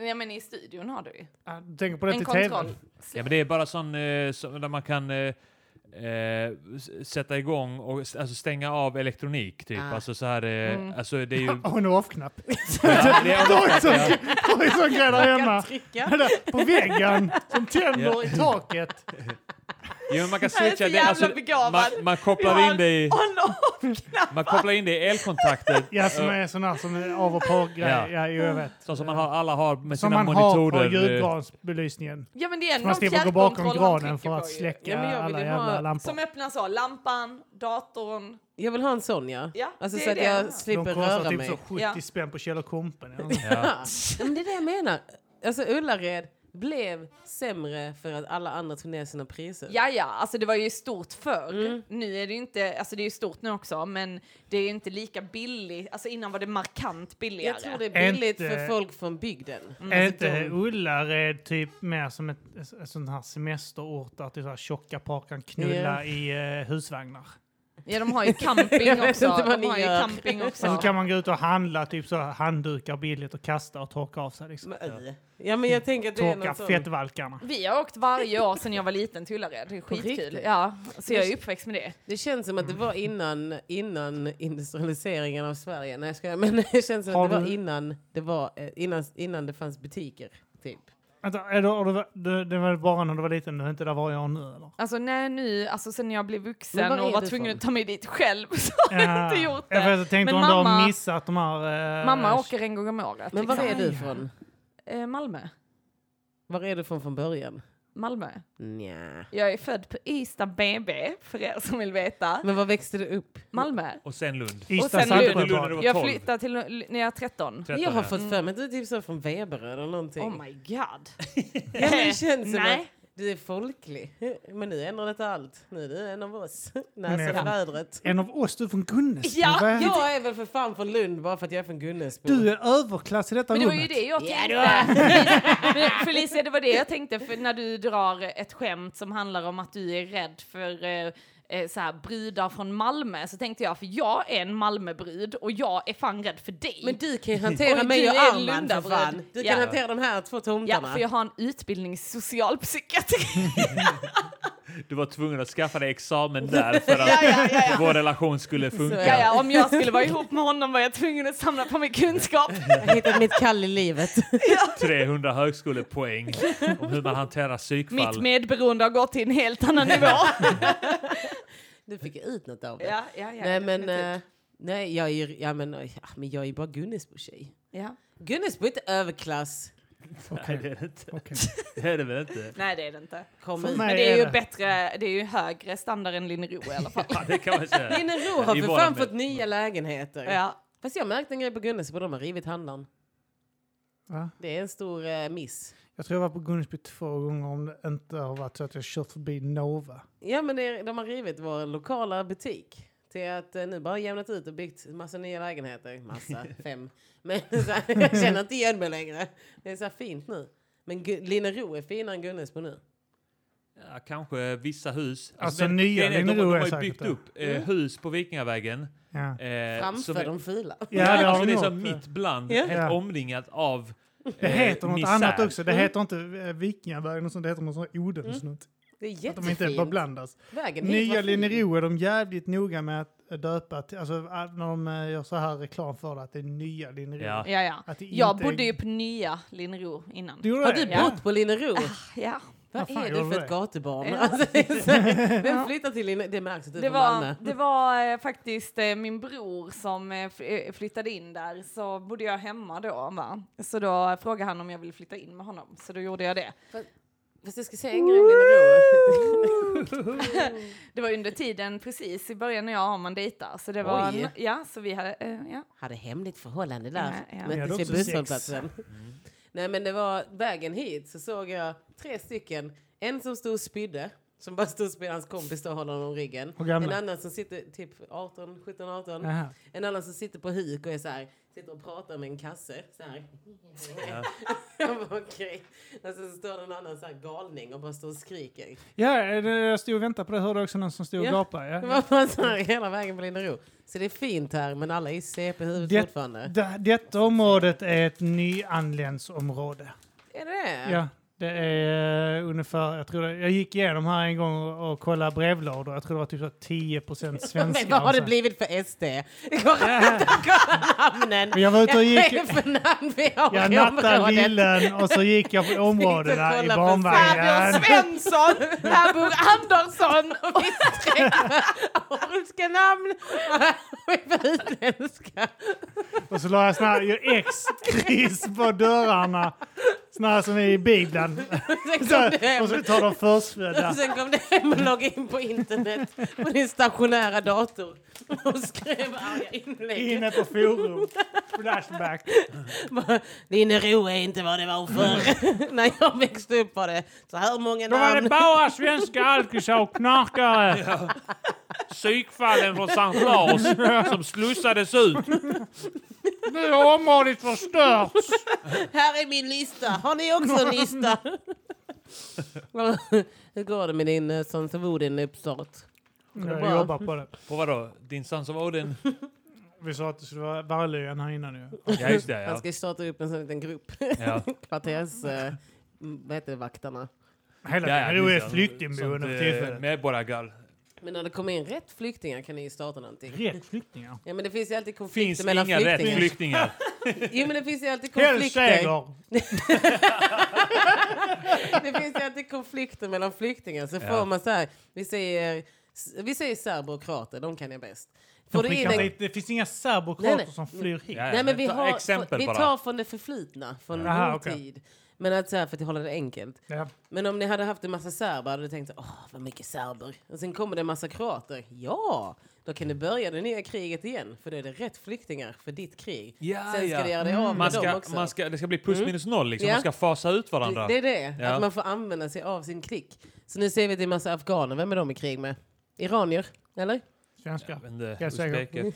Speaker 4: Ja men i studion har du ju.
Speaker 2: ja, Du tänker på det
Speaker 4: En
Speaker 2: till tv.
Speaker 4: kontroll.
Speaker 1: Ja, men det är bara sån eh, som- där man kan eh, eh, s- sätta igång och s- alltså stänga av elektronik typ.
Speaker 3: Ah.
Speaker 1: Alltså så här, eh,
Speaker 4: Mm.
Speaker 1: alltså det är ju...
Speaker 2: Och en off-knapp.
Speaker 1: Ja, det
Speaker 2: Det var
Speaker 1: är-
Speaker 2: en sån- det var en sån grej där hemma.
Speaker 3: Kan trycka.
Speaker 2: Eller På väggen, som
Speaker 1: Ja.
Speaker 2: tänder i taket.
Speaker 1: Jo, men man kan
Speaker 4: Det här är så
Speaker 1: switcha. Det,
Speaker 4: jävla
Speaker 1: alltså,
Speaker 4: begåvad.
Speaker 1: man, man
Speaker 4: Vi
Speaker 1: kopplar
Speaker 4: har
Speaker 1: in det i...
Speaker 4: On off
Speaker 1: Man kopplar in det i elkontakter.
Speaker 2: Ja, som är sån här som är av och på-grej.
Speaker 1: Ja.
Speaker 2: Ja. jo, jag vet.
Speaker 1: Så som man har, alla har med
Speaker 2: Som
Speaker 1: sina
Speaker 2: man har på
Speaker 1: monitorer. eh,
Speaker 2: ljudgransbelysningen.
Speaker 4: Ja men det är
Speaker 2: Man
Speaker 4: någon
Speaker 2: slipper gå
Speaker 4: fjärrkontroll
Speaker 2: bakom
Speaker 4: han
Speaker 2: granen
Speaker 4: trycker
Speaker 2: för
Speaker 4: på
Speaker 2: att
Speaker 4: ju.
Speaker 2: släcka
Speaker 3: Ja, men jag
Speaker 2: alla
Speaker 3: vill
Speaker 2: jävla
Speaker 3: ha-
Speaker 2: lampor.
Speaker 4: Som öppnar så, lampan, datorn.
Speaker 3: Jag vill ha en sån ja.
Speaker 4: Ja,
Speaker 3: alltså,
Speaker 4: det
Speaker 3: så
Speaker 4: är
Speaker 3: att
Speaker 4: det.
Speaker 3: jag
Speaker 2: De
Speaker 3: slipper
Speaker 2: kostar
Speaker 3: röra
Speaker 2: typ
Speaker 3: mig.
Speaker 2: så 70
Speaker 4: Ja.
Speaker 2: spänn på Kjell och Kompen. eller något.
Speaker 1: ja.
Speaker 3: Ja, men det är det jag menar. Alltså Ullared blev sämre för att alla andra tog ner sina priser.
Speaker 4: Ja, ja, alltså det var ju stort förr.
Speaker 3: Mm.
Speaker 4: Nu är det ju inte, alltså det är ju stort nu också, men det är ju inte lika billigt. Alltså innan var det markant billigare.
Speaker 3: Jag tror det är billigt
Speaker 2: Inte-
Speaker 3: för folk från bygden.
Speaker 4: Mm.
Speaker 2: Är inte Ullared typ mer som ett, ett sånt här semesterort där typ så här tjocka par kan knulla i eh, husvagnar?
Speaker 4: Ja, de har ju camping
Speaker 3: vet
Speaker 4: också.
Speaker 3: inte vad
Speaker 4: De
Speaker 3: ni
Speaker 4: har ju
Speaker 3: gör.
Speaker 4: camping
Speaker 2: Och
Speaker 4: också.
Speaker 2: så Alltså, kan man gå ut och handla typ så här handdukar billigt och kasta och torka av sig. Liksom.
Speaker 3: Men, äh. Ja men jag tänker att det är
Speaker 2: Torka
Speaker 3: någon sån.
Speaker 2: fettvalkarna.
Speaker 4: Vi har åkt varje år sedan jag var liten till Ullared. Det är skitkul.
Speaker 3: riktigt?
Speaker 4: Ja, så jag är uppväxt med det.
Speaker 3: Det känns som att det var
Speaker 4: Mm.
Speaker 3: innan, innan industrialiseringen av Sverige. Nej jag skojar. Men det känns som
Speaker 2: Har
Speaker 3: att det var
Speaker 2: du-
Speaker 3: innan det, var, eh, innan, innan det fanns butiker. Typ.
Speaker 2: Vänta, är du, har du, du, det var bara när du var liten, du är inte där varje år nu eller?
Speaker 4: Alltså nej, nu, alltså sen jag blev
Speaker 3: Men
Speaker 4: vuxen
Speaker 3: var är
Speaker 4: och var
Speaker 3: du
Speaker 4: tvungen
Speaker 3: ifrån?
Speaker 4: att ta mig dit själv så har jag inte gjort
Speaker 2: Ja, för
Speaker 4: det.
Speaker 2: Jag tänkte
Speaker 4: Men
Speaker 2: om du
Speaker 4: mamma-
Speaker 2: har missat de här... eh,
Speaker 4: Mamma åker en gång om året.
Speaker 3: Men var är
Speaker 4: liksom.
Speaker 3: du från?
Speaker 4: Eh, Malmö.
Speaker 3: Var är du från från början?
Speaker 4: Malmö.
Speaker 3: Nja.
Speaker 4: Jag är född på Ystad BB, för er som vill veta.
Speaker 3: Men var växte du upp?
Speaker 4: Malmö.
Speaker 1: Och sen Lund.
Speaker 4: och
Speaker 2: Ystad
Speaker 4: sen
Speaker 1: Lund. Lund är
Speaker 2: Saltsjöbad.
Speaker 1: det- var
Speaker 4: Jag
Speaker 1: 12.
Speaker 4: flyttade till Lu- när jag är 13.
Speaker 1: 13,
Speaker 3: Jag har
Speaker 1: ja.
Speaker 3: fått för mig att du är typ så från Veberöd eller någonting.
Speaker 4: Oh my god.
Speaker 3: Ja, men det känns som
Speaker 4: Nej.
Speaker 3: att du är folklig. Men nu ändrar detta allt. Nu är du en av oss.
Speaker 2: Men jag
Speaker 3: Näsan
Speaker 2: är
Speaker 3: i
Speaker 2: fan-
Speaker 3: vädret.
Speaker 2: En av oss, du är från Gunnesby.
Speaker 4: Ja,
Speaker 2: Vad är-
Speaker 3: Jag är väl för fan från Lund bara för att jag är från Gunnesbo.
Speaker 2: Du är överklass i detta
Speaker 4: Men det var ju
Speaker 2: rummet.
Speaker 4: det jag
Speaker 3: Ja,
Speaker 4: tänkte.
Speaker 3: det var-
Speaker 4: Men Felicia, det var det jag tänkte för när du drar ett skämt som handlar om att du är rädd för eh, eh, så här, brudar från Malmö. Så tänkte jag, för jag är en Malmöbrud och jag är fan rädd för dig.
Speaker 3: Men du kan ju hantera
Speaker 4: Oj,
Speaker 3: mig
Speaker 4: du
Speaker 3: och
Speaker 4: är
Speaker 3: Arman för
Speaker 4: Lundabröd.
Speaker 3: fan. Du kan
Speaker 4: Ja.
Speaker 3: hantera de här två
Speaker 4: ja,
Speaker 3: tomtarna.
Speaker 4: för jag har en utbildning i socialpsykiatri.
Speaker 1: Du var tvungen att skaffa dig examen där för att vår relation skulle funka.
Speaker 4: ja, ja, om jag skulle vara ihop med honom var jag tvungen att samla på mig kunskap.
Speaker 3: Jag har hittat mitt kall i livet.
Speaker 1: 300 högskolepoäng om hur man hanterar
Speaker 4: Mitt
Speaker 1: psykfall.
Speaker 4: medberoende har gått till en helt annan nivå.
Speaker 3: Du fick ut något av det.
Speaker 4: ja, ja, ja,
Speaker 3: nej, men,
Speaker 4: definitivt.
Speaker 3: eh, nej, jag är ju ja, men, oj, ja, men jag är ju bara Gunnesbo-tjej.
Speaker 4: ja.
Speaker 3: Gunnesbo är inte överklass.
Speaker 1: Nej,
Speaker 2: Okej,
Speaker 1: det är det inte.
Speaker 2: okej.
Speaker 1: Det är det väl inte?
Speaker 4: Nej, det är det inte.
Speaker 3: Kom
Speaker 2: För
Speaker 3: ut.
Speaker 2: mig-
Speaker 4: Men det är ju
Speaker 2: det.
Speaker 4: bättre, det är ju högre standard än Linnero i alla fall.
Speaker 1: Ja, det kan man säga.
Speaker 3: Linnero har
Speaker 1: I
Speaker 3: för
Speaker 1: våra
Speaker 3: fan
Speaker 1: med-
Speaker 3: fått nya lägenheter.
Speaker 4: ja.
Speaker 3: Fast jag märkte en grej på Gunnesbo, de har rivit handlaren.
Speaker 2: Va?
Speaker 3: Det är en stor eh, miss.
Speaker 2: Jag tror jag var på Gunnesby två gånger om det inte har varit så att jag kört förbi Nova.
Speaker 3: Ja men det, är- de har rivit vår lokala butik. Till att eh, nu bara jämnat ut och byggt massa nya lägenheter. Massa, fem. Men så här, jag känner inte igen mig längre. Det är så här fint nu. Men Gu- Linnero är finare än Gunnesbo nu.
Speaker 1: Ja, kanske vissa hus.
Speaker 2: Alltså,
Speaker 1: den-
Speaker 2: nya
Speaker 1: grejen är, de,
Speaker 2: Linnero
Speaker 1: de
Speaker 2: är
Speaker 1: har ju
Speaker 2: säkert
Speaker 1: byggt
Speaker 2: det.
Speaker 1: upp
Speaker 4: Mm.
Speaker 1: eh, hus på Vikingavägen.
Speaker 2: Ja.
Speaker 1: Eh,
Speaker 3: Framför
Speaker 1: som är-
Speaker 3: de fila.
Speaker 2: Ja,
Speaker 1: Nej,
Speaker 2: det har
Speaker 1: alltså
Speaker 2: de
Speaker 1: det är så
Speaker 2: gjort.
Speaker 1: mitt bland,
Speaker 3: Ja.
Speaker 1: helt
Speaker 2: Ja.
Speaker 1: omringat av
Speaker 2: Det
Speaker 1: eh,
Speaker 2: heter något
Speaker 1: misär.
Speaker 2: annat också. Det
Speaker 3: Mm.
Speaker 2: heter inte eh, Vikingavägen och sånt. Det heter något sånt
Speaker 4: Mm.
Speaker 2: odensnut.
Speaker 3: Det är
Speaker 2: Att de inte
Speaker 3: jättefint.
Speaker 2: blandas.
Speaker 3: Vägen hit
Speaker 2: Nya
Speaker 3: var fin.
Speaker 2: Linero är de jävligt noga med att döpa till, alltså att när de eh, gör så här reklam för det, att det är nya Linero.
Speaker 1: Ja.
Speaker 4: Ja, ja.
Speaker 2: Att det
Speaker 4: Jag
Speaker 2: inte är-
Speaker 4: bodde ju på nya Linnero innan.
Speaker 2: Du gjorde
Speaker 3: Har
Speaker 2: det?
Speaker 3: du
Speaker 4: Ja. Ah,
Speaker 3: bott på Linnero?
Speaker 4: Ja.
Speaker 3: Vad
Speaker 2: fan,
Speaker 3: är
Speaker 2: gjorde
Speaker 3: du för
Speaker 2: det?
Speaker 3: ett gatubarn?
Speaker 4: Ja.
Speaker 3: Alltså, det är så här,
Speaker 4: Ja.
Speaker 3: Vem flyttar till Linnero? Det märks att du är
Speaker 4: Det
Speaker 3: från
Speaker 4: var,
Speaker 3: Malmö.
Speaker 4: det var eh, faktiskt eh, min bror som eh, fly- eh, flyttade in där, så bodde jag hemma då. Va? Så då frågade han om jag ville flytta in med honom, så då gjorde jag det.
Speaker 3: Fast jag ska säga en grej om Linnero.
Speaker 4: Det var under tiden precis i början när jag och man dejtar, så det var...
Speaker 3: Oj.
Speaker 4: En, ja, så vi hade... Eh, ja.
Speaker 3: Hade hålligt förhållande där.
Speaker 4: Ja, ja.
Speaker 2: Ni hade
Speaker 3: Möttes vid
Speaker 2: också sex. Mm.
Speaker 3: busshållplatsen. Nej men det var vägen hit så såg jag tre stycken. En som stod och spydde. Som bara stod och spydde. Hans kompis står och håller honom om ryggen.
Speaker 2: Hur gamla?
Speaker 3: En annan som sitter typ 18, 17, 18.
Speaker 2: Jaha.
Speaker 3: En annan som sitter på huk och är så här, sitter och pratar med en kasse. Så här. Jag bara, Okej. Och sen står det en annan så här galning och bara står och skriker.
Speaker 2: Ja, eh, det- jag stod och väntade på det. Hörde också någon som stod och
Speaker 3: Ja.
Speaker 2: gapade.
Speaker 3: Det
Speaker 2: Ja.
Speaker 3: var bara så här hela vägen på Linnero. Så det är fint här men alla är i CP huvudet
Speaker 2: Det-
Speaker 3: fortfarande.
Speaker 2: Det, detta området är ett nyanländsområde.
Speaker 3: Är det det?
Speaker 2: Ja, det är eh, ungefär, jag tror det, jag gick igenom här en gång och, och kollade brevlådor. Jag tror det var typ så 10 svenskar.
Speaker 3: Men vad har
Speaker 2: och
Speaker 3: det
Speaker 2: så.
Speaker 3: blivit för SD? Det går inte att kolla namnen.
Speaker 2: Men jag var ute och gick,
Speaker 3: Vad är det för namn vi har
Speaker 2: jag
Speaker 3: i
Speaker 2: nattade
Speaker 3: området?
Speaker 2: lillen och så gick jag på områdena i
Speaker 3: kolla på
Speaker 2: barnvagnen.
Speaker 4: Svensson! Här bor Andersson!
Speaker 3: Och vi träffade Ormska namn. Och vi var utländska.
Speaker 2: Och så la jag såna här ju X-kryss på dörrarna. Såna här som är i Bibeln.
Speaker 3: Sen
Speaker 2: Så,
Speaker 3: kom det hem.
Speaker 2: och så tar de förstfödda.
Speaker 3: Sen kom det hem och loggade in på internet på din stationära dator och skrev arga inlägg.
Speaker 2: Inne på forum. Flashback.
Speaker 3: Linnero är inte vad det var förr. När jag växte upp var det så här många
Speaker 2: Då var
Speaker 3: namn.
Speaker 2: det bara svenska alkisar och knarkare.
Speaker 1: Psykfallen från Sankt Lars som slussades ut.
Speaker 2: Nu är området förstört.
Speaker 3: Här är min lista. Har ni också en lista? Hur går det med din eh, Sons of Odin uppstart? det bra?
Speaker 2: Jag jobbar på det.
Speaker 1: På vadå? Din Sons of Odin?
Speaker 2: Vi sa att det skulle vara Varlöjan här innan ju.
Speaker 1: Ja, just det.
Speaker 3: Han
Speaker 1: Ja.
Speaker 3: ska ju starta upp en sån liten grupp.
Speaker 1: Ja.
Speaker 3: Kvarters... Eh, m- vad heter det? Vaktarna.
Speaker 2: Hela
Speaker 1: Ja, ja,
Speaker 2: Tenero är
Speaker 1: just
Speaker 2: ett
Speaker 1: det.
Speaker 2: flyktingboende
Speaker 1: Sånt,
Speaker 2: för
Speaker 1: eh,
Speaker 2: tillfället.
Speaker 1: Medborgargall.
Speaker 3: Men när det kommer in rätt flyktingar kan ni ju starta någonting.
Speaker 2: Rätt flyktingar.
Speaker 3: Ja men det finns ju alltid konflikter
Speaker 1: Finns
Speaker 3: mellan
Speaker 1: inga rätt
Speaker 3: flyktingar.
Speaker 1: flyktingar.
Speaker 3: Jo men det finns ju alltid konflikter.
Speaker 2: Hellseger!
Speaker 3: Det finns ju alltid konflikter mellan flyktingar. Så
Speaker 1: Ja.
Speaker 3: får man så här, vi säger, vi säger serber och kroater, de kan jag bäst. Får
Speaker 2: De
Speaker 3: du in
Speaker 2: skickar
Speaker 3: en,
Speaker 2: hit- Det finns inga serber och
Speaker 3: Nej,
Speaker 2: kroater
Speaker 3: nej.
Speaker 2: som flyr hit.
Speaker 1: Ja, ja.
Speaker 3: nej men vi,
Speaker 1: Ta
Speaker 3: har,
Speaker 1: exempel
Speaker 3: vi
Speaker 1: bara.
Speaker 3: tar från det förflutna, från
Speaker 2: Aha,
Speaker 3: vår
Speaker 2: okej.
Speaker 3: tid. Men att, så här, för att hålla det enkelt.
Speaker 2: Ja.
Speaker 3: Men om ni hade haft en massa serber hade du tänkt åh vad mycket serber. Och sen kommer det en massa kroater. Ja, då kan du börja det nya kriget igen. För då är det rätt flyktingar för ditt krig.
Speaker 1: Ja,
Speaker 3: sen ska
Speaker 1: ja.
Speaker 3: du göra dig av med
Speaker 1: Man
Speaker 3: dem
Speaker 1: ska,
Speaker 3: också. Mm.
Speaker 1: man ska, det ska bli plus minus noll liksom.
Speaker 3: Ja.
Speaker 1: Man ska fasa ut varandra.
Speaker 3: det, det är det,
Speaker 1: Ja.
Speaker 3: att man får använda sig av sin klick. Så nu ser vi att det är en massa afghaner. Vem är de i krig med? Iranier? Eller?
Speaker 2: Svenskar.
Speaker 1: Men det-
Speaker 2: Jag säger-
Speaker 1: Uzbeke.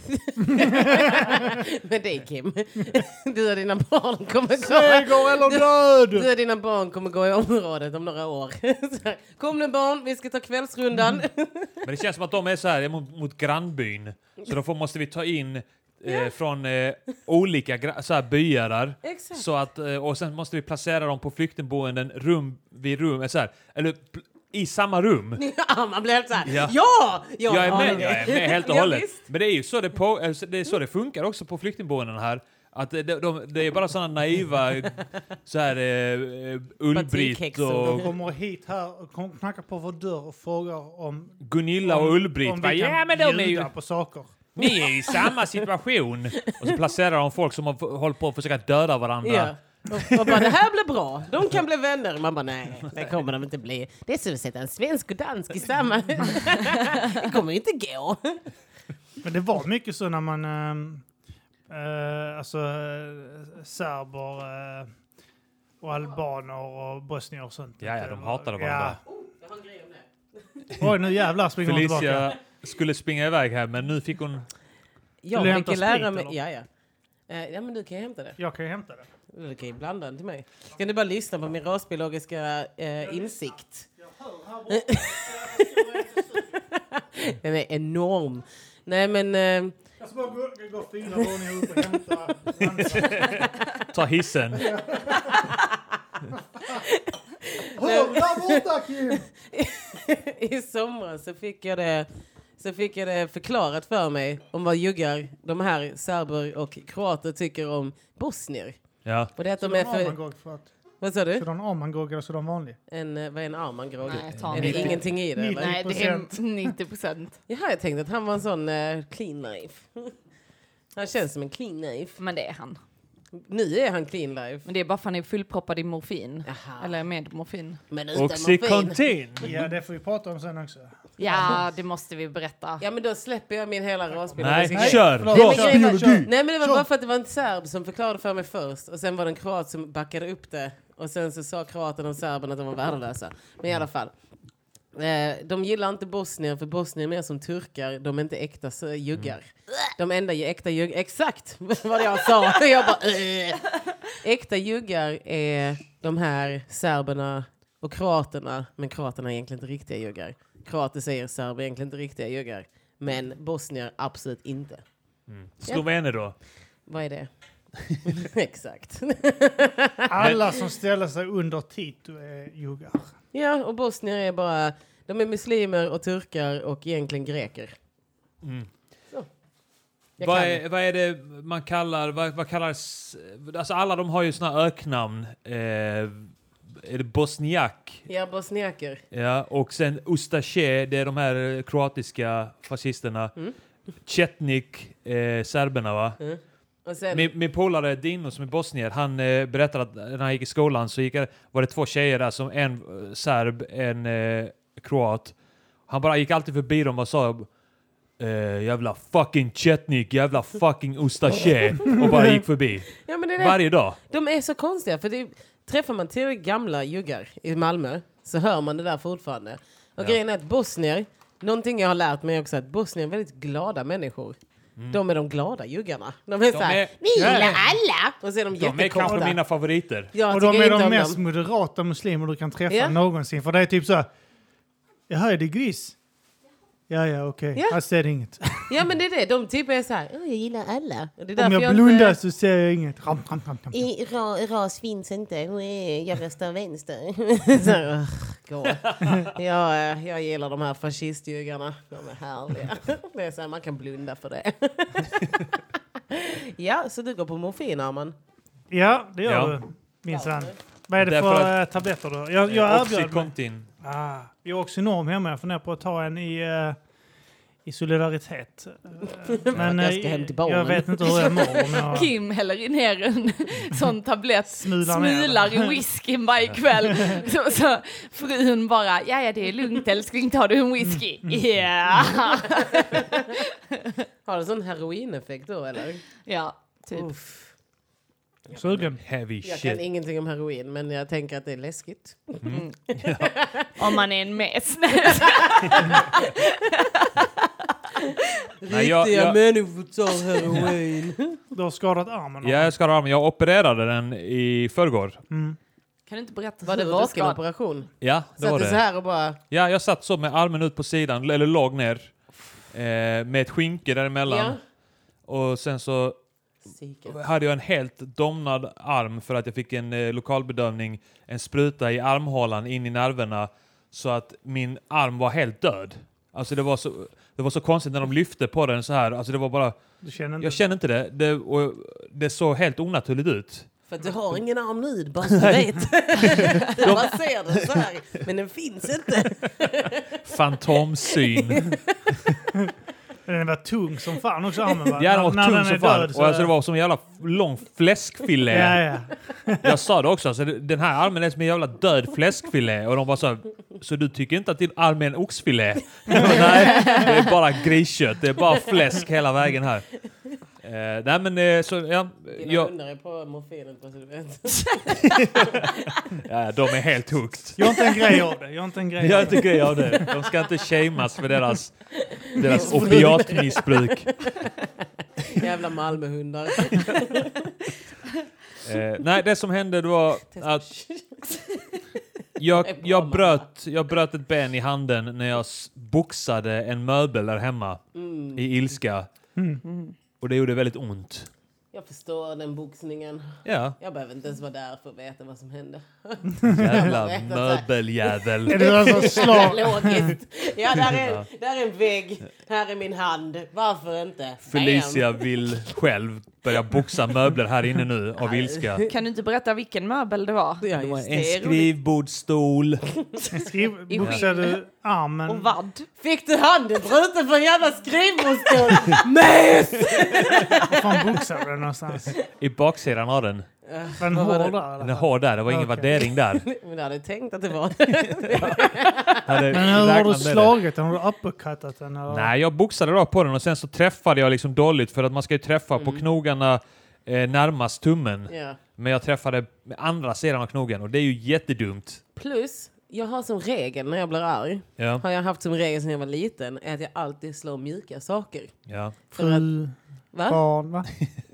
Speaker 3: Med dig Kim. Du och dina barn kommer gå...
Speaker 2: Seger eller död!
Speaker 3: Du och dina barn kommer gå i området om några år. Så här, Kom nu barn, vi ska ta kvällsrundan.
Speaker 1: Mm. Men det känns som att de är så här mot, mot grannbyn. Så då får, måste vi ta in eh, från eh, olika gra- så här byar där.
Speaker 3: Exakt.
Speaker 1: Så att, eh, och sen måste vi placera dem på flyktingboenden rum vid rum, eh, så här, eller pl- i samma rum.
Speaker 3: Ja, man blir helt såhär,
Speaker 1: Ja.
Speaker 3: ja! ja!
Speaker 1: Jag är med, jag är med helt och hållet.
Speaker 3: Ja, visst.
Speaker 1: Men det är ju så det, på, eh, så- det, är så det funkar också på flyktingboenden här. Att de, de, det är bara sådana naiva så här, eh, eh, Ull-Britt
Speaker 3: Batikhäxor.
Speaker 2: De
Speaker 1: och
Speaker 2: kommer hit här och kom- knackar på vår dörr och frågar om,
Speaker 1: Gunilla och
Speaker 2: om,
Speaker 1: Ull-Britt.
Speaker 2: om
Speaker 1: bara,
Speaker 2: vi
Speaker 1: Ja,
Speaker 2: kan
Speaker 1: men de är ju
Speaker 2: bjuda på saker.
Speaker 1: Ni är i samma situation! Och så placerar de folk som har f- hållit på att försöka döda varandra.
Speaker 3: Ja. Och, och bara, det här blir bra, de kan bli vänner. Man bara, nej, det kommer de inte bli. Det är som att sätta en svensk och dansk i samma... det kommer ju inte gå.
Speaker 2: Men det var mycket så när man... ehm, eh, alltså eh, serber eh, och albaner och bosnier och sånt.
Speaker 1: Ja, ja,
Speaker 2: Det
Speaker 1: de
Speaker 2: var-
Speaker 1: hatade varandra.
Speaker 3: Jag har en grej om det.
Speaker 2: Oj, nu jävlar springer hon tillbaka.
Speaker 1: Felicia skulle springa iväg här, men nu fick hon...
Speaker 2: Vill du
Speaker 3: Jag
Speaker 2: hämta
Speaker 3: fick lära
Speaker 2: sprit,
Speaker 3: mig...
Speaker 2: eller?
Speaker 3: Ja, ja. Eh, Ja, men du kan ju hämta det.
Speaker 2: Jag kan ju hämta det.
Speaker 3: Du kan ju blanda den till mig. Kan du bara lyssna på min rasbiologiska eh, insikt?
Speaker 2: Jag hör
Speaker 3: Den är enorm. Nej men, eh,
Speaker 2: Jag ska bara gå, gå fyra våningar upp och hämta Hansa.
Speaker 1: Ta hissen.
Speaker 2: Hör där borta Kim!
Speaker 3: i somras så fick jag det så fick jag det förklarat för mig om vad juggar de här serber och kroater tycker om bosnier.
Speaker 1: Ja.
Speaker 3: Och det är att de
Speaker 2: De
Speaker 3: är
Speaker 2: har
Speaker 3: för...
Speaker 2: amangård för att...
Speaker 3: Vad sa
Speaker 2: Så
Speaker 3: du?
Speaker 2: de har amangård eller så de vanlig?
Speaker 3: En, eh, vad är en armangrog?
Speaker 5: Nej, ta
Speaker 3: Är det
Speaker 5: mig.
Speaker 3: ingenting i det?
Speaker 2: Mitt-
Speaker 3: Eller?
Speaker 5: Nej, det är 90 procent.
Speaker 3: Jaha, jag tänkte att han var en sån eh, clean knife. Han känns som en clean knife.
Speaker 4: Men det är han.
Speaker 3: Nu är han clean life.
Speaker 4: Men det är bara för att han är fullproppad i morfin.
Speaker 3: Jaha.
Speaker 4: Eller med morfin.
Speaker 3: Men
Speaker 1: Oxycontin.
Speaker 2: Ja, det får vi prata om sen också.
Speaker 4: Ja, det måste vi berätta.
Speaker 3: Ja men då släpper jag min hela rasbild.
Speaker 1: Nej,
Speaker 3: Jag ska-
Speaker 1: kör!
Speaker 2: förlåt.
Speaker 1: Bra
Speaker 3: Nej, men grejen var-
Speaker 1: biologi!
Speaker 3: Nej men det var
Speaker 2: Kör.
Speaker 3: bara för att det var en serb som förklarade för mig först och sen var det en kroat som backade upp det och sen så sa kroaten och serben att de var värdelösa. Men i alla fall. Eh, de gillar inte bosnier för bosnier är mer som turkar, de är inte äkta så- juggar. De enda ju- äkta juggar, exakt vad jag sa. jag bara, eh. Äkta juggar är de här serberna och kroaterna, men kroaterna är egentligen inte riktiga juggar. Kroater säger serber är egentligen inte riktiga juggar, men bosnier absolut inte.
Speaker 1: Mm. Slovener då?
Speaker 3: Vad är det? Exakt.
Speaker 2: Alla som ställer sig under Tito är juggar.
Speaker 3: ja, och bosnier är bara... De är muslimer och turkar och egentligen greker.
Speaker 1: Mm.
Speaker 3: Så. Jag
Speaker 1: Vad
Speaker 3: kan.
Speaker 1: är, vad är det man kallar... Vad, vad kallas... Alltså alla de har ju såna här öknamn. Eh, är det bosniak?
Speaker 3: Ja, bosniaker.
Speaker 1: Ja, och sen Ustache, det är de här eh, kroatiska fascisterna.
Speaker 3: Mm.
Speaker 1: Chetnik, eh, serberna va?
Speaker 3: Och sen,
Speaker 1: Min, min polare Dino som är bosnier, han eh, berättade att när han gick i skolan så gick, han- var det två tjejer där, som en eh, serb, en eh, kroat. Han bara gick alltid förbi dem och sa eh, jävla fucking Chetnik, jävla fucking Ustache och bara gick förbi.
Speaker 3: ja, men det är det.
Speaker 1: Varje dag.
Speaker 3: De är så konstiga. För det, träffar man till gamla juggar i Malmö så hör man det där fortfarande.
Speaker 1: Ja.
Speaker 3: Och grejen är att bosnier, någonting jag har lärt mig också, är att bosnier är väldigt glada människor. De är de glada juggarna. De är så här,
Speaker 1: Mm. är-
Speaker 3: vi gillar alla! Och så är de,
Speaker 1: De är kanske
Speaker 3: jättekorta.
Speaker 1: mina favoriter.
Speaker 3: Jag
Speaker 2: Och de
Speaker 3: tycker
Speaker 2: är
Speaker 3: inte
Speaker 2: de
Speaker 3: om
Speaker 2: mest
Speaker 3: dem.
Speaker 2: moderata muslimer du kan träffa
Speaker 3: Ja.
Speaker 2: någonsin. För det är typ så här, jaha är det gris? Ja, ja, okej.
Speaker 3: Ja.
Speaker 2: Jag ser inget.
Speaker 3: Ja men det är det, de typ är så här, "Åh, jag gillar alla. Och Det är
Speaker 2: Om
Speaker 3: därför
Speaker 2: jag blundar
Speaker 3: Inte,
Speaker 2: så ser jag inget. Ram, ram, ram, ram.
Speaker 3: I, ra, ras finns inte, Eh, jag röstar vänster. så, här, "Ugh, gå. jag, eh, jag gillar de här fascistjuggarna, de är härliga. det är så här, man kan blunda för det. ja, så du går på morfin Arman?
Speaker 2: Ja, det gör
Speaker 1: Ja.
Speaker 2: du. Minsann. Vad är det
Speaker 1: Därför Eh,
Speaker 2: för eh, tabletter då? Jag, jag erbjöd mig.
Speaker 1: Oxycontin.
Speaker 2: Ah, vi har Oxynorm hemma. Jag funderar på att ta en i, eh, i solidaritet. Eh, Men
Speaker 3: Jag
Speaker 2: eh,
Speaker 3: ska hem till barnen.
Speaker 2: jag vet inte hur jag mår. om jag-
Speaker 4: Kim häller ner en sån tablett,
Speaker 2: Smular ner den.
Speaker 4: smular i whiskyn varje kväll. Så, så frun bara, ja ja det är lugnt älskling, tar du en whisky? Ja.
Speaker 3: Har det sån heroineffekt då eller?
Speaker 4: Ja, typ.
Speaker 3: Uff.
Speaker 2: Sugen?
Speaker 1: Heavy
Speaker 3: Jag kan
Speaker 1: shit.
Speaker 3: ingenting om heroin men jag tänker att det är läskigt.
Speaker 4: Mm. Om man är en mes.
Speaker 1: Nej, jag, jag,
Speaker 3: människor tar heroin.
Speaker 2: Du har skadat armen?
Speaker 1: Ja, jag skar av mig. Jag opererade den i förrgår.
Speaker 2: Mm.
Speaker 4: Kan du inte berätta
Speaker 3: Var det
Speaker 4: hur du
Speaker 3: vaken
Speaker 4: ska?
Speaker 3: operation?
Speaker 1: Ja, det
Speaker 3: Satt
Speaker 1: var
Speaker 3: du så
Speaker 1: det.
Speaker 3: här och bara...
Speaker 1: Ja, jag satt så med armen ut på sidan, eller låg ner. Eh, med ett skynke däremellan. Och sen så hade jag en helt domnad arm för att jag fick en eh, lokalbedömning, en spruta i armhålan in i nerverna så att min arm var helt död. Alltså det var så, det var så konstigt när de lyfte på den så här. Alltså det var bara,
Speaker 2: Du känner inte?
Speaker 1: jag kände inte det. Det, och det såg helt onaturligt ut.
Speaker 3: För att du har ingen arm nu, bara så du vet. Man ser den så här, men den finns inte.
Speaker 1: Fantomsyn.
Speaker 2: Men den var tung som fan också armen va?
Speaker 1: Ja, den var
Speaker 2: När- när
Speaker 1: tung
Speaker 2: den är
Speaker 1: som fan.
Speaker 2: död så-
Speaker 1: Och alltså, det var som en jävla lång fläskfilé.
Speaker 2: Ja, ja.
Speaker 1: Jag sa det också, alltså, det- den här armen är som en jävla död fläskfilé. Och de bara så här, så du tycker inte att din arm är en oxfilé? Jag bara, nej, det är bara griskött. Det är bara fläsk hela vägen här. Eh, nej men eh, så, ja,
Speaker 3: Dina
Speaker 1: jag,
Speaker 3: hundar är på morfinet, bara så du vet.
Speaker 1: ja, de är helt hooked.
Speaker 2: Gör inte en grej av det. Gör inte en grej
Speaker 1: Jag
Speaker 2: av
Speaker 1: är inte grej av det. De ska inte shameas för deras, deras opiatmissbruk.
Speaker 3: Jävla Malmöhundar.
Speaker 1: Eh, nej, det som hände det var att jag, jag, bröt, jag bröt ett ben i handen när jag s- boxade en möbel där hemma
Speaker 3: Mm.
Speaker 1: i ilska. Och det gjorde väldigt ont.
Speaker 3: Jag förstår den boxningen.
Speaker 1: Ja,
Speaker 3: Jag behöver inte ens vara där för att veta vad som hände.
Speaker 1: jävla
Speaker 3: Rätt att
Speaker 1: möbeljävel.
Speaker 2: Är det alltså slag?
Speaker 3: Logiskt. Ja, där
Speaker 1: Ja.
Speaker 3: är, där är en vägg. Här är min hand. Varför inte?
Speaker 1: Felicia vill själv börja boxa möbler här inne nu av ilska.
Speaker 4: Kan du inte berätta vilken möbel det var?
Speaker 3: Bam. Ja, just
Speaker 1: En
Speaker 3: det.
Speaker 1: skrivbordsstol.
Speaker 2: Skriv, boxade du armen?
Speaker 4: Och vadd.
Speaker 3: Fick du handen bruten för en jävla skrivbordsstol? Mös!
Speaker 2: Var fan boxade du den någonstans?
Speaker 1: I baksidan av den.
Speaker 2: Var den
Speaker 3: Vad var det?
Speaker 2: hård där?
Speaker 1: Den
Speaker 2: eller?
Speaker 1: är hård där, det var ingen
Speaker 2: Okej.
Speaker 1: värdering där.
Speaker 3: Men jag hade tänkt att det var
Speaker 1: Hade
Speaker 2: Men hur har
Speaker 1: räknat
Speaker 2: du
Speaker 1: med det.
Speaker 2: slagit den? Har du uppercuttat den? Eller?
Speaker 1: Nej, jag boxade rakt på den och sen så träffade jag liksom dåligt för att man ska ju träffa på knogarna eh, närmast tummen.
Speaker 3: Ja.
Speaker 1: Men jag träffade med andra sidan av knogen och det är ju jättedumt.
Speaker 3: Plus, jag har som regel när jag blir arg,
Speaker 1: Ja,
Speaker 3: har jag haft som regel sedan jag var liten, är att jag alltid slår mjuka saker.
Speaker 1: ja.
Speaker 3: För att,
Speaker 2: Fru,
Speaker 3: va?
Speaker 2: barn, va?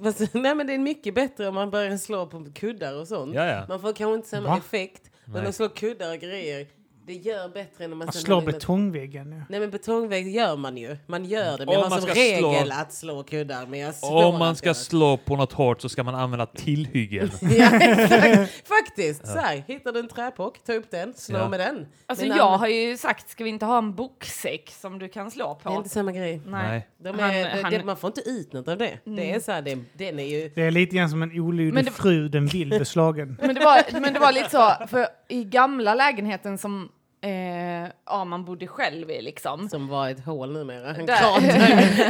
Speaker 3: Fast, nej men det är mycket bättre om man börjar slå på kuddar och sånt.
Speaker 1: ja, ja.
Speaker 3: Man får kanske inte samma
Speaker 2: Va?
Speaker 3: effekt, men
Speaker 1: Nej.
Speaker 3: att slå kuddar och grejer, det gör bättre än om man...
Speaker 2: Man
Speaker 3: sen
Speaker 2: slår
Speaker 3: använder-
Speaker 2: betongväggen. Ja.
Speaker 3: Nej men betongvägg gör man ju. Man gör det, men
Speaker 1: Om
Speaker 3: jag har
Speaker 1: man
Speaker 3: som
Speaker 1: ska slå-
Speaker 3: regel att slå kuddar. Men jag slår
Speaker 1: Om man
Speaker 3: inte
Speaker 1: ska
Speaker 3: alls.
Speaker 1: slå på något hårt så ska man använda tillhyggen.
Speaker 3: Ja, exakt. Faktiskt, så här, hittar du en träpock, ta upp den, slå
Speaker 1: Ja.
Speaker 3: med den.
Speaker 4: Alltså
Speaker 3: Men
Speaker 4: jag
Speaker 3: annan-
Speaker 4: har ju sagt, ska vi inte ha en boksäck som du kan slå
Speaker 3: Det är
Speaker 4: på?
Speaker 3: inte samma grej.
Speaker 1: Nej.
Speaker 3: De är,
Speaker 4: Han-
Speaker 3: det,
Speaker 4: han- Mm.
Speaker 3: det, man får inte ut något av det. Det är så här, det, den är ju...
Speaker 2: Det är lite grann som en
Speaker 4: Men
Speaker 2: olydig
Speaker 4: det-
Speaker 2: fru, den vill bli slagen.
Speaker 4: Men det, var, men det var lite så, för i gamla lägenheten som eh, ja, man bodde själv i liksom.
Speaker 3: Som var ett hål numera. En
Speaker 4: Där-
Speaker 3: kran.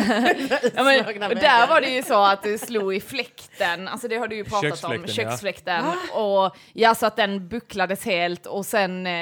Speaker 4: Ja, men,
Speaker 3: Slagna
Speaker 4: och där
Speaker 3: väggar.
Speaker 4: var det ju så att det slog i fläkten, alltså det har du ju pratat om,
Speaker 1: Köksfläkten, ja.
Speaker 4: köksfläkten. Och, ja, så att den bucklades helt och sen eh,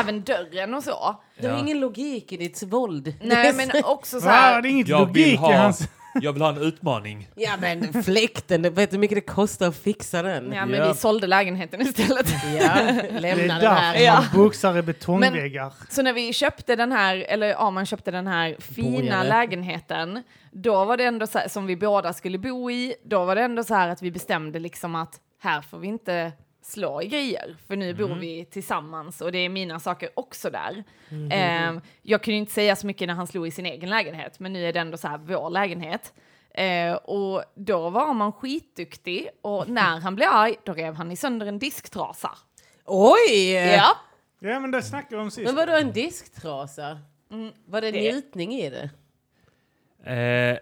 Speaker 4: även dörren och så.
Speaker 3: Du har
Speaker 1: Ja.
Speaker 3: ingen logik i ditt våld.
Speaker 4: Nej
Speaker 3: Det är så-
Speaker 4: men också så
Speaker 2: Va? Det är
Speaker 4: här,
Speaker 2: inget
Speaker 1: Jag vill,
Speaker 2: logik i
Speaker 1: ha,
Speaker 2: hans...
Speaker 1: jag vill ha en utmaning.
Speaker 3: Ja men fläkten, du vet hur mycket det kostar att fixa den.
Speaker 4: ja,
Speaker 3: Ja,
Speaker 4: men vi sålde lägenheten istället.
Speaker 2: Det är
Speaker 3: lämna den här.
Speaker 2: därför
Speaker 4: Ja.
Speaker 2: man boxar i betongväggar.
Speaker 4: Så när vi köpte den här, eller ja, man köpte den här fina
Speaker 1: Borgare.
Speaker 4: lägenheten, då var det ändå så här, som vi båda skulle bo i, då var det ändå så här att vi bestämde liksom att här får vi inte slå i grejer, för nu bor vi tillsammans och det är mina saker också där. Eh, jag kunde inte säga så mycket när han slog i sin egen lägenhet, men nu är det ändå så här vår lägenhet. Eh, och då var man skitduktig och när han blev arg, då rev han i sönder en disktrasa.
Speaker 3: Oj!
Speaker 4: Ja.
Speaker 2: Ja, men det snackade vi om sist.
Speaker 3: Men vadå en disktrasa? Mm, Var det,
Speaker 4: det-
Speaker 3: njutning i det?
Speaker 1: Eh,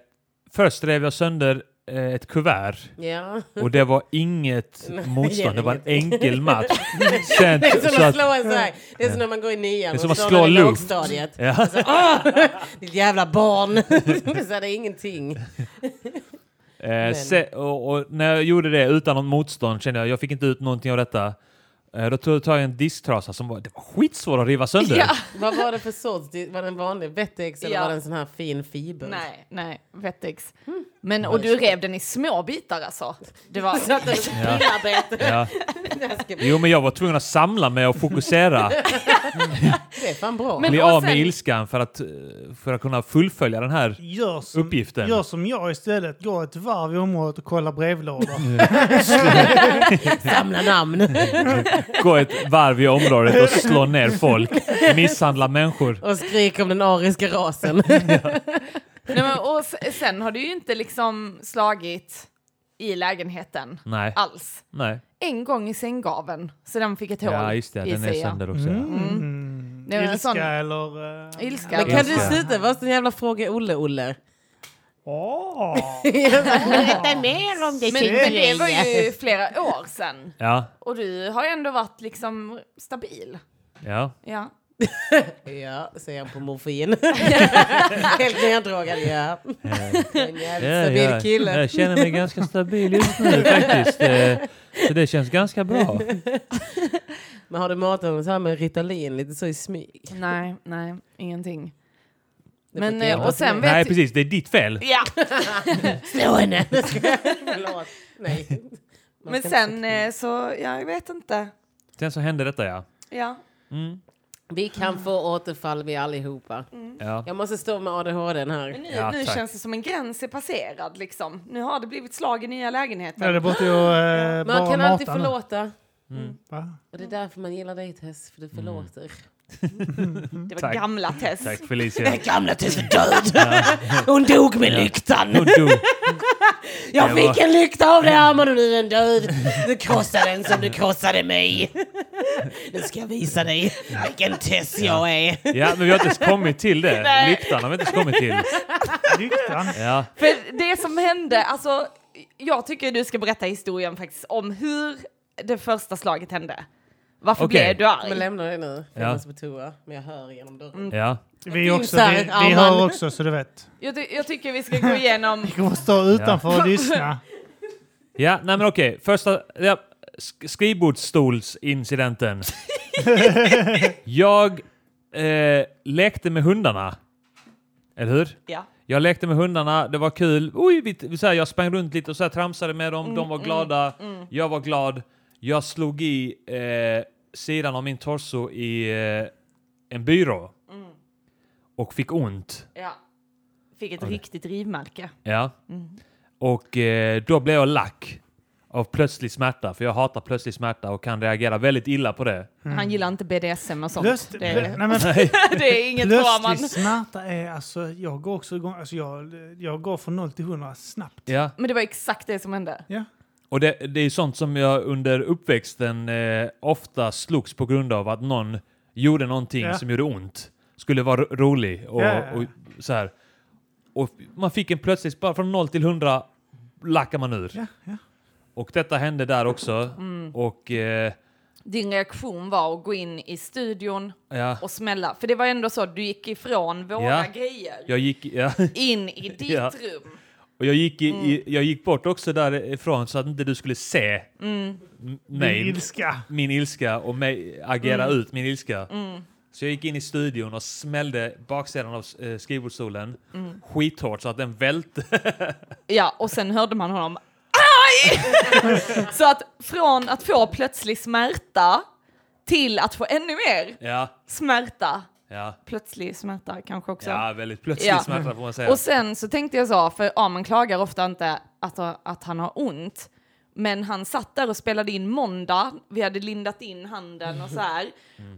Speaker 1: först rev jag sönder eh, ett kuvert
Speaker 3: Ja.
Speaker 1: och det var inget motstånd, det var en enkel match. Sen,
Speaker 3: Det är som
Speaker 1: så
Speaker 3: att
Speaker 1: att,
Speaker 3: slå en så här. Det är som när man går i nian
Speaker 1: Det är
Speaker 3: och
Speaker 1: som att
Speaker 3: slår
Speaker 1: slå
Speaker 3: någon i
Speaker 1: luft.
Speaker 3: lågstadiet.
Speaker 1: ja.
Speaker 3: Ditt jävla barn! det är så här, det är ingenting.
Speaker 1: Eh, se, och, och när jag gjorde det utan något motstånd kände jag jag fick inte ut någonting av detta. Eh, då tog tog jag en disktrasa som var, det var skitsvår att riva sönder.
Speaker 4: ja.
Speaker 3: Vad var det för sorts? Det- Var det en vanlig Wettex eller
Speaker 4: Ja.
Speaker 3: var det en sån här fin fiber?
Speaker 4: Nej, nej, vettex.
Speaker 3: Mm.
Speaker 4: Men, och du rev den i små bitar alltså. Det var,
Speaker 3: Så att det var
Speaker 1: Ja.
Speaker 3: pilarbete.
Speaker 1: Ja.
Speaker 3: Det här ska-
Speaker 1: Jo, men jag var tvungen att samla mig och fokusera.
Speaker 3: Det är fan bra.
Speaker 4: Men-
Speaker 1: Bli
Speaker 4: och
Speaker 1: av med
Speaker 4: sen-
Speaker 1: ilskan för att, eh, för att kunna fullfölja den här.
Speaker 2: Gör som,
Speaker 1: Uppgiften.
Speaker 2: Gör som jag istället. Gå ett varv i området och kolla brevlådor.
Speaker 3: Samla namn.
Speaker 1: Gå ett varv i området och slå ner folk. Misshandla människor.
Speaker 3: Och skrik om den ariska rasen.
Speaker 4: nej, men, och s- sen har du ju inte liksom slagit i lägenheten
Speaker 1: Nej,
Speaker 4: alls.
Speaker 1: nej.
Speaker 4: En gång i sänggaveln, så den fick ett hål
Speaker 1: Ja, just det.
Speaker 4: i
Speaker 1: Den är
Speaker 4: sig. ja.
Speaker 1: sönder också. ja.
Speaker 2: Mm.
Speaker 4: Det var en
Speaker 2: Ilska
Speaker 4: sån-
Speaker 2: eller... eh,
Speaker 4: Ilska.
Speaker 3: Men kan du
Speaker 1: Ilska.
Speaker 3: sluta? Vad är den jävla fråga Olle-Olle?
Speaker 2: Åh!
Speaker 3: Berätta mer om det.
Speaker 4: Men, men det var ju flera år sedan.
Speaker 1: Ja,
Speaker 4: Och du har ju ändå varit liksom stabil.
Speaker 1: ja.
Speaker 4: Ja.
Speaker 3: Ja, säger han på morfin. Helt neddrogad, ja. En
Speaker 1: Ja,
Speaker 3: jävligt
Speaker 1: ja.
Speaker 3: stabil kille.
Speaker 1: Jag känner mig ganska stabil just nu faktiskt. Eh, Så det känns ganska bra.
Speaker 3: Men har du matat honom så här med Ritalin lite så i smyg?
Speaker 4: Nej, nej, ingenting.
Speaker 3: Det
Speaker 4: Men,
Speaker 3: brukar
Speaker 4: eh,
Speaker 3: hjälpa
Speaker 4: och sen
Speaker 3: till.
Speaker 4: vet-
Speaker 1: Nej, precis. Det är ditt fel.
Speaker 4: Ja,
Speaker 3: Slå henne! Förlåt. Nej. Man
Speaker 4: men
Speaker 3: ska inte-
Speaker 4: sen eh, så, ja, jag vet inte.
Speaker 1: Sen så hände detta, ja.
Speaker 4: Ja.
Speaker 1: Mm.
Speaker 3: Vi kan få återfall vi allihopa.
Speaker 1: Ja.
Speaker 3: Jag måste stå med ADHD här.
Speaker 4: Men nu,
Speaker 1: Ja,
Speaker 4: nu
Speaker 1: tack.
Speaker 4: känns det som en gräns är passerad liksom. Nu har det blivit slag i nya lägenheter.
Speaker 2: Ja, det är bara till att eh,
Speaker 3: Man
Speaker 2: bara
Speaker 3: kan alltid
Speaker 2: mata nu.
Speaker 3: förlåta.
Speaker 1: Mm.
Speaker 2: Va?
Speaker 3: Och det är därför man gillar dig Tess, för du
Speaker 1: Mm.
Speaker 3: förlåter.
Speaker 4: Det var
Speaker 1: Tack.
Speaker 4: gamla Tess.
Speaker 1: Tack Felicia.
Speaker 3: gamla Tess var död! Hon dog
Speaker 1: Ja.
Speaker 3: lyktan!
Speaker 1: Hon dog.
Speaker 3: Jag
Speaker 1: Det var-
Speaker 3: fick en lykta av dig Herman och nu är den död. Du krossade den som du krossade mig. Nu ska jag visa dig vilken Tess jag är.
Speaker 1: Ja, men vi har inte ens kommit till det.
Speaker 4: Nej.
Speaker 1: Lyktan har vi inte ens kommit till.
Speaker 2: Lyktan?
Speaker 1: Ja.
Speaker 4: För det som hände, alltså jag tycker du ska berätta historien faktiskt om hur det första slaget hände. Varför
Speaker 1: Okej.
Speaker 4: blev du arg?
Speaker 3: Men lämna det nu, för
Speaker 1: Ja.
Speaker 3: jag måste på toa. Men jag hör genom dörren.
Speaker 1: Ja.
Speaker 2: Vi, också,
Speaker 3: Gusar,
Speaker 2: vi, vi
Speaker 3: Arman.
Speaker 2: hör också så du vet.
Speaker 4: Jag, ty- jag tycker vi ska gå igenom...
Speaker 2: Vi kommer stå utanför och lyssna.
Speaker 1: Ja, nej men okej. Första... Ja, sk- skrivbordsstolsincidenten. jag eh, lekte med hundarna. Eller hur?
Speaker 4: Ja.
Speaker 1: Jag lekte med hundarna, det var kul. Oj, vi, vi, så här, jag sprang runt lite och så här, tramsade med dem. de var glada, jag var glad. Jag slog i eh, sidan av min torso i eh, en byrå. Och fick ont.
Speaker 4: ja. Fick ett riktigt rivmärke.
Speaker 1: Ja. Och eh, då blev jag lack av plötslig smärta, för jag hatar plötslig smärta och kan reagera väldigt illa på det.
Speaker 4: Han gillar inte BDSM och sånt.
Speaker 2: Plöst,
Speaker 4: det,
Speaker 2: plö,
Speaker 4: är,
Speaker 2: nej men,
Speaker 4: det är inget bra man...
Speaker 2: plötslig smärta är alltså, jag går också igång, alltså jag, jag går från 0 till 100 snabbt.
Speaker 1: Ja.
Speaker 4: Men det var exakt det som hände.
Speaker 2: Ja.
Speaker 1: Och det, det är sånt som jag under uppväxten eh, ofta slogs på grund av att någon gjorde någonting
Speaker 2: Ja.
Speaker 1: som gjorde ont. Skulle vara ro- rolig och,
Speaker 2: Ja, ja, ja.
Speaker 1: och så här. Och man fick en plötsligt, bara från 0 till 100 lackar man ur.
Speaker 2: Ja, Mm. ja.
Speaker 1: Och detta hände där också. Och eh,
Speaker 4: Din reaktion var att gå in i studion
Speaker 1: ja,
Speaker 4: och smälla. För det var ändå så, du gick ifrån våra
Speaker 1: Ja.
Speaker 4: grejer
Speaker 1: jag gick... Ja.
Speaker 4: in i ditt
Speaker 1: Ja.
Speaker 4: rum.
Speaker 1: Och jag gick, i, i,
Speaker 4: Mm.
Speaker 1: jag gick bort också därifrån så att inte du skulle se
Speaker 4: Mm.
Speaker 1: m-
Speaker 2: Min
Speaker 1: mig,
Speaker 2: ilska.
Speaker 1: min ilska och mig agera
Speaker 4: Mm.
Speaker 1: ut min ilska. Så jag gick in i studion och smällde baksidan av eh, skrivbordsstolen
Speaker 4: Mm.
Speaker 1: skithårt så att den välte.
Speaker 4: Ja, och sen hörde man honom Aj! så att från att få plötslig smärta till att få ännu mer
Speaker 1: ja,
Speaker 4: smärta,
Speaker 1: ja,
Speaker 4: plötslig smärta kanske också.
Speaker 1: ja, väldigt plötslig
Speaker 4: Ja.
Speaker 1: smärta får man säga.
Speaker 4: Och sen så tänkte jag så, för Aman klagar ofta inte att, att han har ont. Men han satt där och spelade in måndag, vi hade lindat in handen och så här.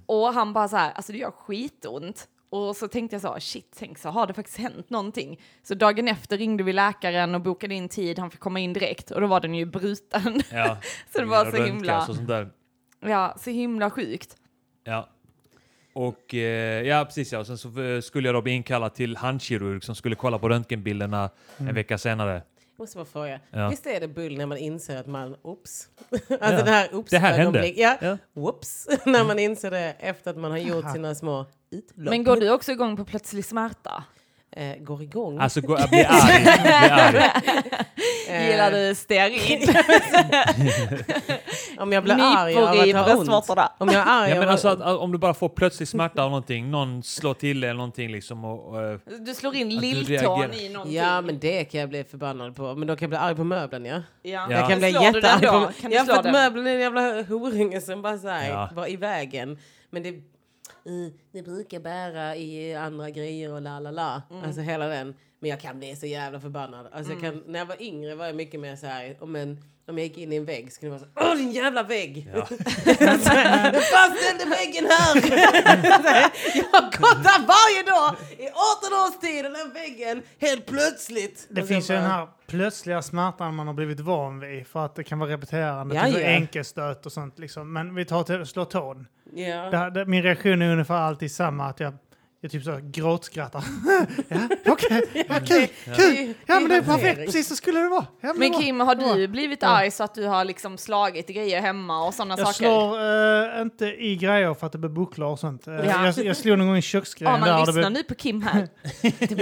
Speaker 4: Och han bara så här, alltså det gör skitont. Och så tänkte jag så, shit, tänk så har det faktiskt hänt någonting. Så dagen efter ringde vi läkaren och bokade in tid, han fick komma in direkt och då var den ju bruten.
Speaker 1: ja.
Speaker 4: så det var så
Speaker 1: Röntgas
Speaker 4: himla,
Speaker 1: Och sånt där.
Speaker 4: ja, så himla sjukt.
Speaker 1: Ja. Och eh, ja, precis ja. Och sen så eh, skulle jag då bli inkallad till handkirurg som skulle kolla på röntgenbilderna en vecka senare.
Speaker 3: Jag måste bara fråga.
Speaker 1: Ja.
Speaker 3: Visst är det bull när man inser att man, oops. Alltså
Speaker 1: Ja.
Speaker 3: det här oops
Speaker 1: Det här hände.
Speaker 3: ögonblick. Ja,
Speaker 1: Ja.
Speaker 3: whoops. när man inser det efter att man har gjort sina små utlopp.
Speaker 4: Men går du också igång på plötslig smärta?
Speaker 3: eh, går igång.
Speaker 1: Alltså, gå, bli arg. Bli arg.
Speaker 3: Eh,
Speaker 4: Gillar du stearin?
Speaker 3: Om jag blir arg av
Speaker 4: Nypor i
Speaker 3: att ha ont.
Speaker 4: bröstvårtorna?
Speaker 3: Om jag är arg
Speaker 1: Ja, men
Speaker 3: av
Speaker 1: alltså att, att, om du bara får plötslig smärta av någonting, någon slår till dig eller någonting liksom och, och eh,
Speaker 4: Du slår in
Speaker 1: Att du
Speaker 4: lilltån
Speaker 1: reagerar.
Speaker 4: i någonting.
Speaker 3: Ja men det kan jag bli förbannad på. Men då kan jag bli arg på möbeln ja.
Speaker 4: Ja.
Speaker 1: Jag
Speaker 3: Jag kan bli
Speaker 4: Slår du den
Speaker 3: jättearg
Speaker 4: då?
Speaker 3: på
Speaker 4: Kan du
Speaker 3: Ja för
Speaker 4: slå
Speaker 3: att
Speaker 4: den?
Speaker 3: möbeln är en jävla horunge som bara såhär,
Speaker 1: Ja.
Speaker 3: var i vägen. Men det, i, det brukar bära i andra grejer och la la la.
Speaker 4: Mm.
Speaker 3: Alltså hela den. Men jag kan bli så jävla förbannad. Alltså jag
Speaker 4: Mm.
Speaker 3: kan, när jag var yngre var jag mycket mer såhär, om, en- om jag gick in i en vägg så kunde jag vara såhär, åh din jävla vägg!
Speaker 1: Ja.
Speaker 3: Så här, Den fastnade väggen här! Så här, jag har gått där varje dag i 18 års tid, den här väggen, helt plötsligt.
Speaker 2: Det
Speaker 3: Och
Speaker 2: finns ju
Speaker 3: sen
Speaker 2: den
Speaker 3: bara-
Speaker 2: här plötsliga smärtan man har blivit van vid för att det kan vara repeterande,
Speaker 3: Ja,
Speaker 2: typ
Speaker 3: ja.
Speaker 2: enkelstöt och sånt liksom. Men vi tar till slå tån.
Speaker 3: Ja.
Speaker 2: Det, här- det, min reaktion är ungefär alltid samma, att jag, jag typ så här gråtskrattar. ja, okej, ja, kul, kul!
Speaker 3: Det är
Speaker 2: Ja men det är
Speaker 3: hantering.
Speaker 2: perfekt, precis så skulle det vara. Ja, det
Speaker 4: Men
Speaker 2: var-
Speaker 4: Kim, har
Speaker 2: det var-
Speaker 4: du blivit arg så att du har liksom slagit grejer hemma och sådana
Speaker 2: Jag
Speaker 4: saker?
Speaker 2: slår eh, inte i grejer för att det blir bucklar och sånt. Eh,
Speaker 4: Ja.
Speaker 2: jag, jag slog någon gång i köksgrejen
Speaker 4: Ja, man
Speaker 2: där. och det
Speaker 4: lyssnar
Speaker 2: blev-
Speaker 4: nu på Kim här.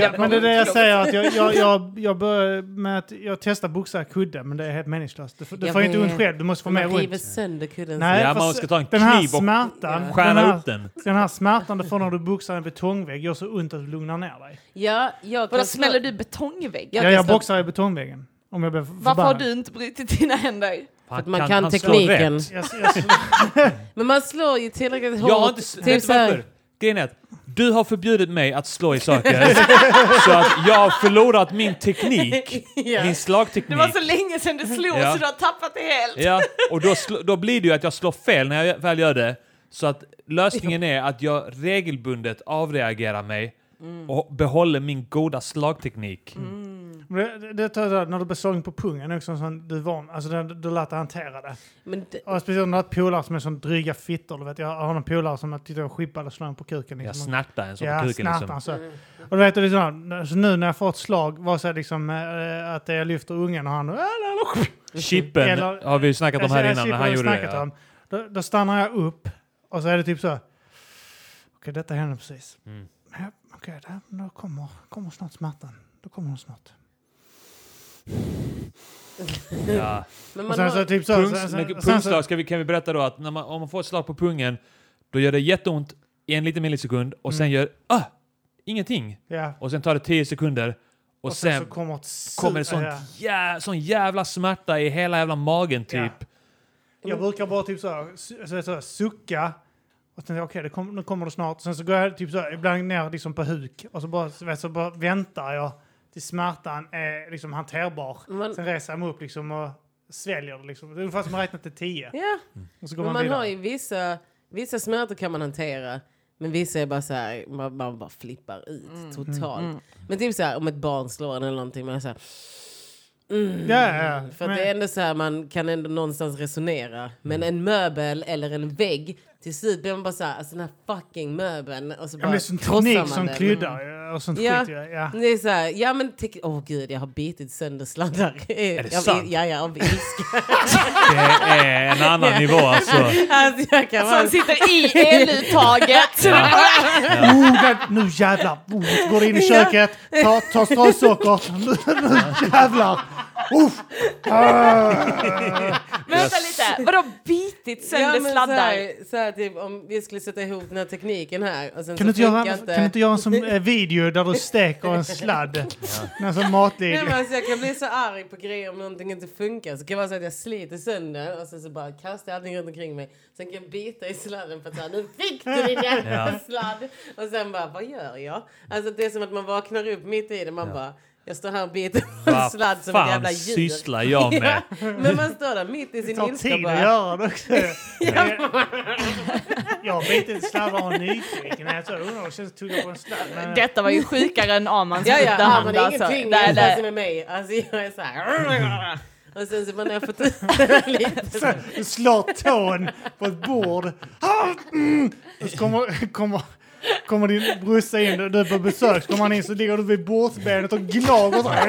Speaker 2: Ja, men det är det jag säger, att jag, jag, jag, jag börjar med att jag testar boxa kudde, men det är helt meningslöst. Du, får- du
Speaker 3: Jag
Speaker 2: får ju inte
Speaker 3: vet.
Speaker 2: ont själv, du måste få
Speaker 3: Om
Speaker 2: mer
Speaker 3: man river
Speaker 2: ont.
Speaker 3: sönder kudden.
Speaker 2: Nej,
Speaker 1: Ja, man
Speaker 2: fast
Speaker 1: ska ta en
Speaker 2: den här
Speaker 1: kniv och-
Speaker 2: smärtan,
Speaker 3: Ja.
Speaker 2: den,
Speaker 1: skära
Speaker 2: här,
Speaker 1: upp den.
Speaker 2: den här smärtan du får när du boxar en betongvägg gör så ont att du lugnar ner dig.
Speaker 3: Ja, jag
Speaker 4: Vadå,
Speaker 3: kan slå-
Speaker 4: smäller du betongvägg?
Speaker 3: Jag
Speaker 2: Ja,
Speaker 3: kan
Speaker 2: jag
Speaker 3: slå-
Speaker 2: boxar i betongväggen. Om jag blir
Speaker 4: Varför har
Speaker 2: förbannad.
Speaker 4: du inte brutit dina händer?
Speaker 1: han
Speaker 3: att man kan
Speaker 1: han slår
Speaker 3: tekniken.
Speaker 1: rätt.
Speaker 2: Jag, jag,
Speaker 3: Men man slår ju tillräckligt hårt.
Speaker 1: Jag har inte... s-
Speaker 3: typ
Speaker 1: Vet du
Speaker 3: så här-
Speaker 1: varför? Grejen är att Du har förbjudit mig att slå i saker så att jag har förlorat min teknik,
Speaker 3: Ja.
Speaker 1: min
Speaker 4: Det
Speaker 1: slagteknik.
Speaker 4: var så länge sedan du slog
Speaker 1: Ja.
Speaker 4: så du har tappat det helt.
Speaker 1: Ja, och då, sl- då blir det ju att jag slår fel när jag väl gör det. Så att lösningen är att jag regelbundet avreagerar mig
Speaker 3: Mm.
Speaker 1: och behåller min goda slagteknik.
Speaker 2: Men Det, det, det, tar- när du blir slagen på pungen är också en sån, du är van, alltså du, du lär dig hantera det.
Speaker 3: Men det,
Speaker 2: Och speciellt när det är polare som är sån dryga fittor, du vet. Jag har en polare som jag tyckte jag skippade slå en på kuken.
Speaker 1: Jag
Speaker 2: Liksom.
Speaker 1: snärtar en sån
Speaker 2: Ja,
Speaker 1: på kuken
Speaker 2: snart
Speaker 1: liksom.
Speaker 2: alltså.
Speaker 4: Mm.
Speaker 2: Och du vet, och det är sådär, så nu när jag får ett slag, var så här liksom eh, att jag lyfter ungen och han... Äh,
Speaker 1: Chippen
Speaker 2: Eller-
Speaker 1: har vi ju snackat om
Speaker 2: Jag-
Speaker 1: här
Speaker 2: jag
Speaker 1: innan när
Speaker 2: slipper
Speaker 1: han
Speaker 2: att
Speaker 1: gjorde det.
Speaker 2: snacka till
Speaker 1: Ja.
Speaker 2: honom. Då, då stannar jag upp och så är det typ så. Okej, detta hände precis.
Speaker 1: Mm.
Speaker 2: Ja, Okej, okay, då kommer, kommer snart smärtan. Då kommer hon snart.
Speaker 1: Ja.
Speaker 3: men
Speaker 2: Och
Speaker 3: man
Speaker 2: sen så
Speaker 3: har,
Speaker 2: typ så.
Speaker 1: Pungs,
Speaker 2: sen- sen-
Speaker 1: men
Speaker 2: sen så-
Speaker 1: pungslag ska vi, kan vi berätta då att när man, om man får ett slag på pungen då gör det jätteont i en liten millisekund och
Speaker 2: Mm.
Speaker 1: sen gör ah, ingenting.
Speaker 2: Ja.
Speaker 1: Och sen tar det 10 sekunder och,
Speaker 2: Och sen,
Speaker 1: sen
Speaker 2: så kommer ett su-
Speaker 1: kommer det sån,
Speaker 2: ja.
Speaker 1: jä, sån jävla smärta i hela jävla magen typ.
Speaker 2: Ja. Jag brukar bara typ så här, su- så, här- så här, sucka. Och sen okej, det kom, nu kommer det snart. Sen så går jag typ så här, ibland ner liksom på huk. Och så bara, så, vet, så bara väntar jag tills smärtan är liksom hanterbar.
Speaker 3: man,
Speaker 2: Sen reser jag mig upp liksom och sväljer det liksom. Det är ungefär som att räkna till tio.
Speaker 3: ja,
Speaker 2: Och så går
Speaker 3: men
Speaker 2: man,
Speaker 3: man
Speaker 2: vidare.
Speaker 3: har ju vissa, vissa smärtor kan man hantera. Men vissa är bara så här, man, man bara flippar ut
Speaker 4: Mm.
Speaker 3: totalt. Men typ så här, om ett barn slår en eller någonting, man är så här, mm.
Speaker 2: Ja, ja, ja.
Speaker 3: För att
Speaker 2: Men- Mm.
Speaker 3: det är ändå så här, man kan ändå någonstans resonera. Men en möbel eller en vägg, till slut blir man bara så här, alltså den här fucking möbeln. Och så
Speaker 2: Ja, men
Speaker 3: bara
Speaker 2: det är sån
Speaker 3: krossar man
Speaker 2: teknik som
Speaker 3: den.
Speaker 2: kryddar ju, och sånt
Speaker 3: Ja.
Speaker 2: skit ju. Ja.
Speaker 3: Det är så här, ja men tek- åh gud jag har bitit sönder sladdar. Är
Speaker 1: det
Speaker 3: jag,
Speaker 1: sant?
Speaker 3: Ja, ja, av
Speaker 2: Alltså.
Speaker 3: ilska.
Speaker 1: Det är en annan nivå alltså.
Speaker 3: alltså, jag kan
Speaker 4: Så han
Speaker 3: vara...
Speaker 4: sitter i eluttaget.
Speaker 2: Oh, där- nu jävlar! Oh, går in i köket, tar ta strösocker. Nu- nu jävlar! Uff. Ah.
Speaker 4: Vänta lite, vadå bitit
Speaker 3: Ja,
Speaker 4: sönder
Speaker 3: men Så
Speaker 4: sladdar?
Speaker 3: här, så här, typ, om vi skulle sätta ihop den här tekniken här. Och sen
Speaker 2: Kan du,
Speaker 3: så
Speaker 2: inte göra,
Speaker 3: funkar
Speaker 2: kan du inte göra en sån eh, video där du steker en sladd? En sån
Speaker 3: Nej,
Speaker 2: matvideo.
Speaker 3: men alltså, jag kan bli så arg på grejer om någonting inte funkar. Så kan det vara så att jag sliter sönder och sen så bara kastar jag allting runt omkring mig. Sen kan jag bita i sladden för att säga nu fick du din jävla
Speaker 1: Ja.
Speaker 3: sladd. Och sen bara vad gör jag? Alltså det är som att man vaknar upp mitt i det. Man bara jag står här och biter på en
Speaker 1: Vad
Speaker 3: sladd som ett jävla
Speaker 1: fan
Speaker 3: djur.
Speaker 1: sysslar jag med?
Speaker 3: Men man står där mitt i
Speaker 2: Det
Speaker 3: sin
Speaker 2: tar
Speaker 3: ilska
Speaker 2: tid
Speaker 3: och
Speaker 2: att
Speaker 3: bara.
Speaker 2: göra det också. Jag har bitit sladdar och är nyfiken. Jag tror, undrar om det känns att tugga på en sladd. Men,
Speaker 4: Detta var ju sjukare än Amans
Speaker 3: Ja, ja, ja, men
Speaker 4: hand
Speaker 3: det är
Speaker 4: alltså.
Speaker 3: ingenting
Speaker 4: Nej,
Speaker 3: jämfört
Speaker 4: nej.
Speaker 3: med mig. Alltså jag är så här. Och sen så bara när jag fått ut det där lite. så-
Speaker 2: Du slår tån på ett bord. Ah, mm. Och så kommer, kommer, kommer din brorsa in, du är på besök, så kommer han in så ligger du vid bordsbenet och gnager. så här.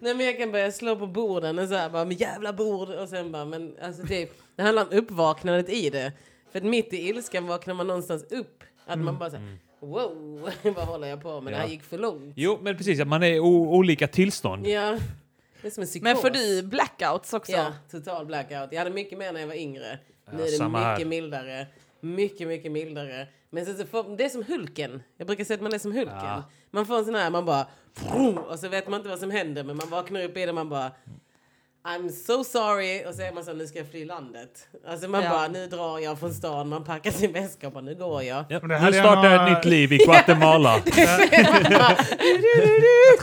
Speaker 3: Nej men jag kan börja slå på borden och så här bara, men jävla bord! Och sen bara, men alltså typ, det handlar om uppvaknandet i det. För att mitt i ilskan vaknar man någonstans upp. Att
Speaker 2: Mm.
Speaker 3: man bara såhär, wow, vad håller jag på med? Det här
Speaker 1: Ja.
Speaker 3: gick för långt.
Speaker 1: Jo, men precis. att Man är i o- olika tillstånd.
Speaker 3: Ja, det är som en psykos.
Speaker 4: Men får du blackouts också?
Speaker 3: Ja, total blackout. Jag hade mycket mer när jag var yngre.
Speaker 1: Ja,
Speaker 3: Nu är det
Speaker 1: samma
Speaker 3: mycket
Speaker 1: här.
Speaker 3: mildare. Mycket, mycket mildare. Men sen så får, det är som Hulken. Jag brukar säga att man är som Hulken.
Speaker 1: Ja.
Speaker 3: Man får en sån här, man bara... vroom, Och så vet man inte vad som händer, men man vaknar upp i det och man bara... I'm so sorry. Och så är man så nu ska jag fly landet. Alltså man
Speaker 4: Ja.
Speaker 3: bara, nu drar jag från stan. Man packar sin väska och bara, nu går jag.
Speaker 1: Ja,
Speaker 2: Men det
Speaker 1: nu
Speaker 2: hade jag
Speaker 1: startar jag
Speaker 2: några-
Speaker 1: ett nytt liv i Guatemala.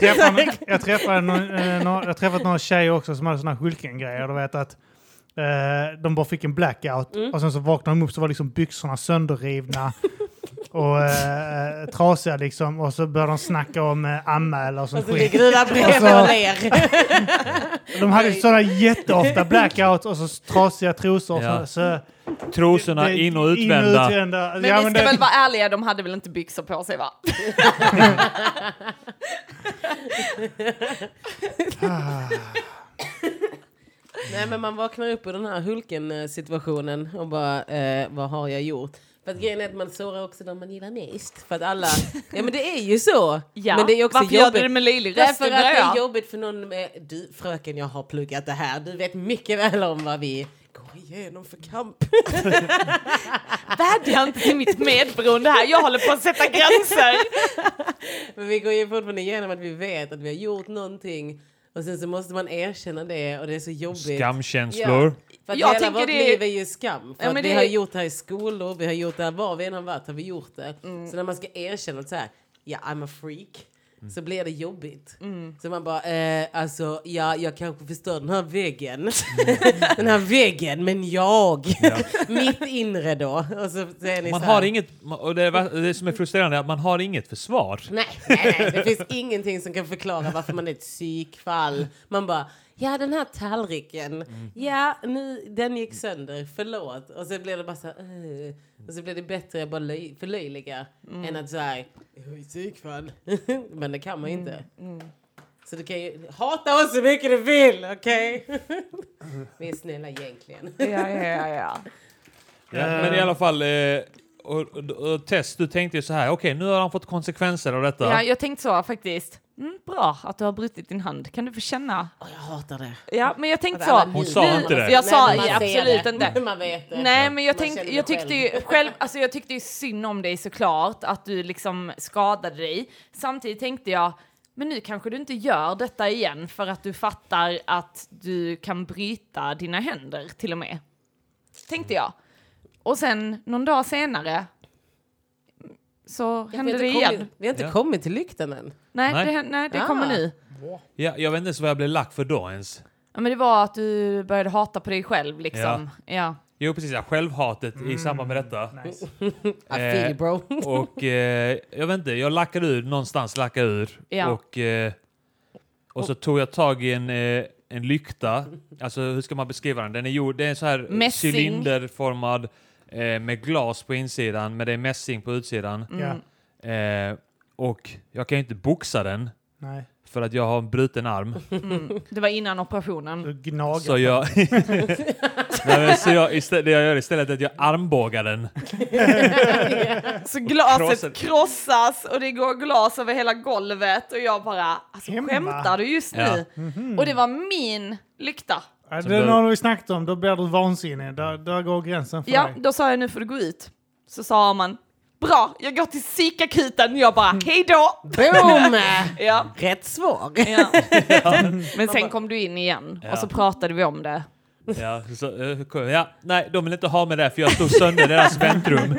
Speaker 2: Jag träffade- Jag träffade någon- eh, några- jag har träffat några tjejer också som hade såna här Hulken-grejer. Du vet att eh, de bara fick en blackout och sen så vaknade de upp så var liksom byxorna sönderrivna. Och eh, trasiga liksom. Och så började de snacka om eh, amma eller sånt
Speaker 3: Och så
Speaker 2: skit.
Speaker 3: ligger du där bredvid och ler.
Speaker 2: De hade ju sådana jätteofta blackouts och så trasiga trosor. och Så,
Speaker 1: Ja.
Speaker 2: så,
Speaker 1: Trosorna
Speaker 2: det-
Speaker 1: in och utvända.
Speaker 2: utvända.
Speaker 4: Men
Speaker 2: Ja,
Speaker 4: vi ska
Speaker 2: det-
Speaker 4: väl vara ärliga, de hade väl inte byxor på sig va?
Speaker 2: Ah,
Speaker 3: Nej men man vaknar upp ur den här Hulken-situationen och bara, eh, vad har jag gjort? För
Speaker 4: Mm.
Speaker 3: att grejen är att man sårar också de man gillar mest. För att alla, ja men det är ju så.
Speaker 4: Ja.
Speaker 3: Men det är också
Speaker 4: Varför gör
Speaker 3: jobbigt.
Speaker 4: du det med löjlig röst?
Speaker 3: Därför
Speaker 4: Det
Speaker 3: att det är
Speaker 4: börjar.
Speaker 3: jobbigt för någon med, du fröken jag har pluggat det här, du vet mycket väl om vad vi går igenom för kamp.
Speaker 4: Vädja inte till mitt medberoende här, jag håller på att sätta gränser.
Speaker 3: Men vi går ju fortfarande igenom att vi vet att vi har gjort någonting och sen så måste man erkänna det och det är så jobbigt.
Speaker 1: Skamkänslor.
Speaker 3: För att
Speaker 4: Jag
Speaker 3: hela
Speaker 4: tänker
Speaker 3: vårt
Speaker 4: det-
Speaker 3: liv är ju skam. För
Speaker 4: Ja,
Speaker 3: att
Speaker 4: men
Speaker 3: vi
Speaker 4: det-
Speaker 3: har gjort det här i skolor, vi har gjort det här var vi än har varit har vi gjort det.
Speaker 4: Mm.
Speaker 3: Så när man ska erkänna att så här, ja I'm a freak.
Speaker 1: Mm.
Speaker 3: Så blir det jobbigt.
Speaker 4: Mm.
Speaker 3: Så man bara, eh, alltså ja, jag kanske förstör den här väggen.
Speaker 1: Mm.
Speaker 3: den här väggen, men jag. Mitt inre då. Och så säger ni
Speaker 1: Man
Speaker 3: så här,
Speaker 1: har inget, ma- och det, är va- det som är frustrerande är att man har inget försvar.
Speaker 3: Typ. Nej, nej, nej, det finns ingenting som kan förklara varför man är ett psykfall. Man bara, ja den här tallriken, ja nu, den gick sönder, förlåt. Och så blir det bara så här, "Ugh." och så blir det bättre att bara löj, förlöjliga än att så här, jag är psykfall. Men det kan man ju inte. Så du kan ju hata oss så mycket du vill, okej? Vi är snälla egentligen.
Speaker 4: Ja, ja, ja.
Speaker 1: Ja, men i alla fall, eh, och, och, och Tess, du tänkte ju så här, okej nu har han fått konsekvenser av detta.
Speaker 4: ja jag tänkte så faktiskt. Mm, bra att du har brutit din hand. Kan du få känna?
Speaker 3: Åh, jag hatar det.
Speaker 4: Ja, men jag tänkte
Speaker 3: Att
Speaker 4: så.
Speaker 3: alla
Speaker 1: Hon sa
Speaker 3: njuter.
Speaker 1: inte det.
Speaker 4: Jag sa
Speaker 3: Nej, men man ser
Speaker 4: absolut
Speaker 3: det.
Speaker 4: inte.
Speaker 3: Man vet det.
Speaker 4: Nej, men jag,
Speaker 3: Man
Speaker 4: tänkte,
Speaker 3: känner
Speaker 4: jag
Speaker 3: det
Speaker 4: tyckte ju själv, alltså jag tyckte ju synd om dig såklart, att du liksom skadade dig. Samtidigt tänkte jag, men nu kanske du inte gör detta igen för att du fattar att du kan bryta dina händer till och med. Tänkte jag. Och sen någon dag senare så
Speaker 3: Vi har
Speaker 4: hände
Speaker 3: inte
Speaker 4: det
Speaker 3: kommit-
Speaker 4: igen.
Speaker 3: Vi har inte
Speaker 1: Ja.
Speaker 3: kommit till lyktan än.
Speaker 4: Nej,
Speaker 1: Nej.
Speaker 4: det, hän- nej, det
Speaker 3: Ah.
Speaker 4: kommer nu.
Speaker 1: Ja, jag vet inte ens vad jag blev lack för då ens.
Speaker 4: Ja, men det var att du började hata på dig själv liksom. Ja.
Speaker 1: Jo precis, ja, självhatet i samband med detta.
Speaker 2: Nice.
Speaker 3: I feel you, bro.
Speaker 1: Och eh, jag vet inte, jag lackade ur någonstans, lackade ur.
Speaker 4: Ja.
Speaker 1: Och, eh, och så tog jag tag i en, eh, en lykta. Alltså hur ska man beskriva den? Den är gjord, det är en så här
Speaker 4: Mässing.
Speaker 1: cylinderformad eh, med glas på insidan, men det är mässing på utsidan.
Speaker 2: Ja.
Speaker 1: Eh, och jag kan ju inte boxa den
Speaker 2: Nej.
Speaker 1: för att jag har en bruten arm.
Speaker 4: Det var innan operationen.
Speaker 2: Du gnagar.
Speaker 1: Så jag... Nej, men, så jag istället, det jag gör istället är att jag armbågar den.
Speaker 4: Så
Speaker 1: Krossar-
Speaker 4: glaset krossas och det går glas över hela golvet och jag bara, alltså
Speaker 2: Hemma.
Speaker 4: skämtar du just nu?
Speaker 1: Mhm.
Speaker 4: Och det var min lykta.
Speaker 2: Ja,
Speaker 1: Så
Speaker 2: det är
Speaker 1: där-
Speaker 2: något vi snackat om, då blir du vansinnig. Där, där går gränsen för
Speaker 4: Ja,
Speaker 2: dig.
Speaker 4: då sa jag nu får du gå ut. Så sa man, bra, jag går till psykakuten. Jag bara,
Speaker 1: Mm.
Speaker 4: hej då!
Speaker 3: Boom!
Speaker 4: Ja,
Speaker 3: Rätt svar.
Speaker 4: ja. Men sen kom du in igen och så pratade vi om det.
Speaker 1: Ja, så, eh, kom- ja, nej, de vill inte ha mig där för jag slog sönder deras väntrum.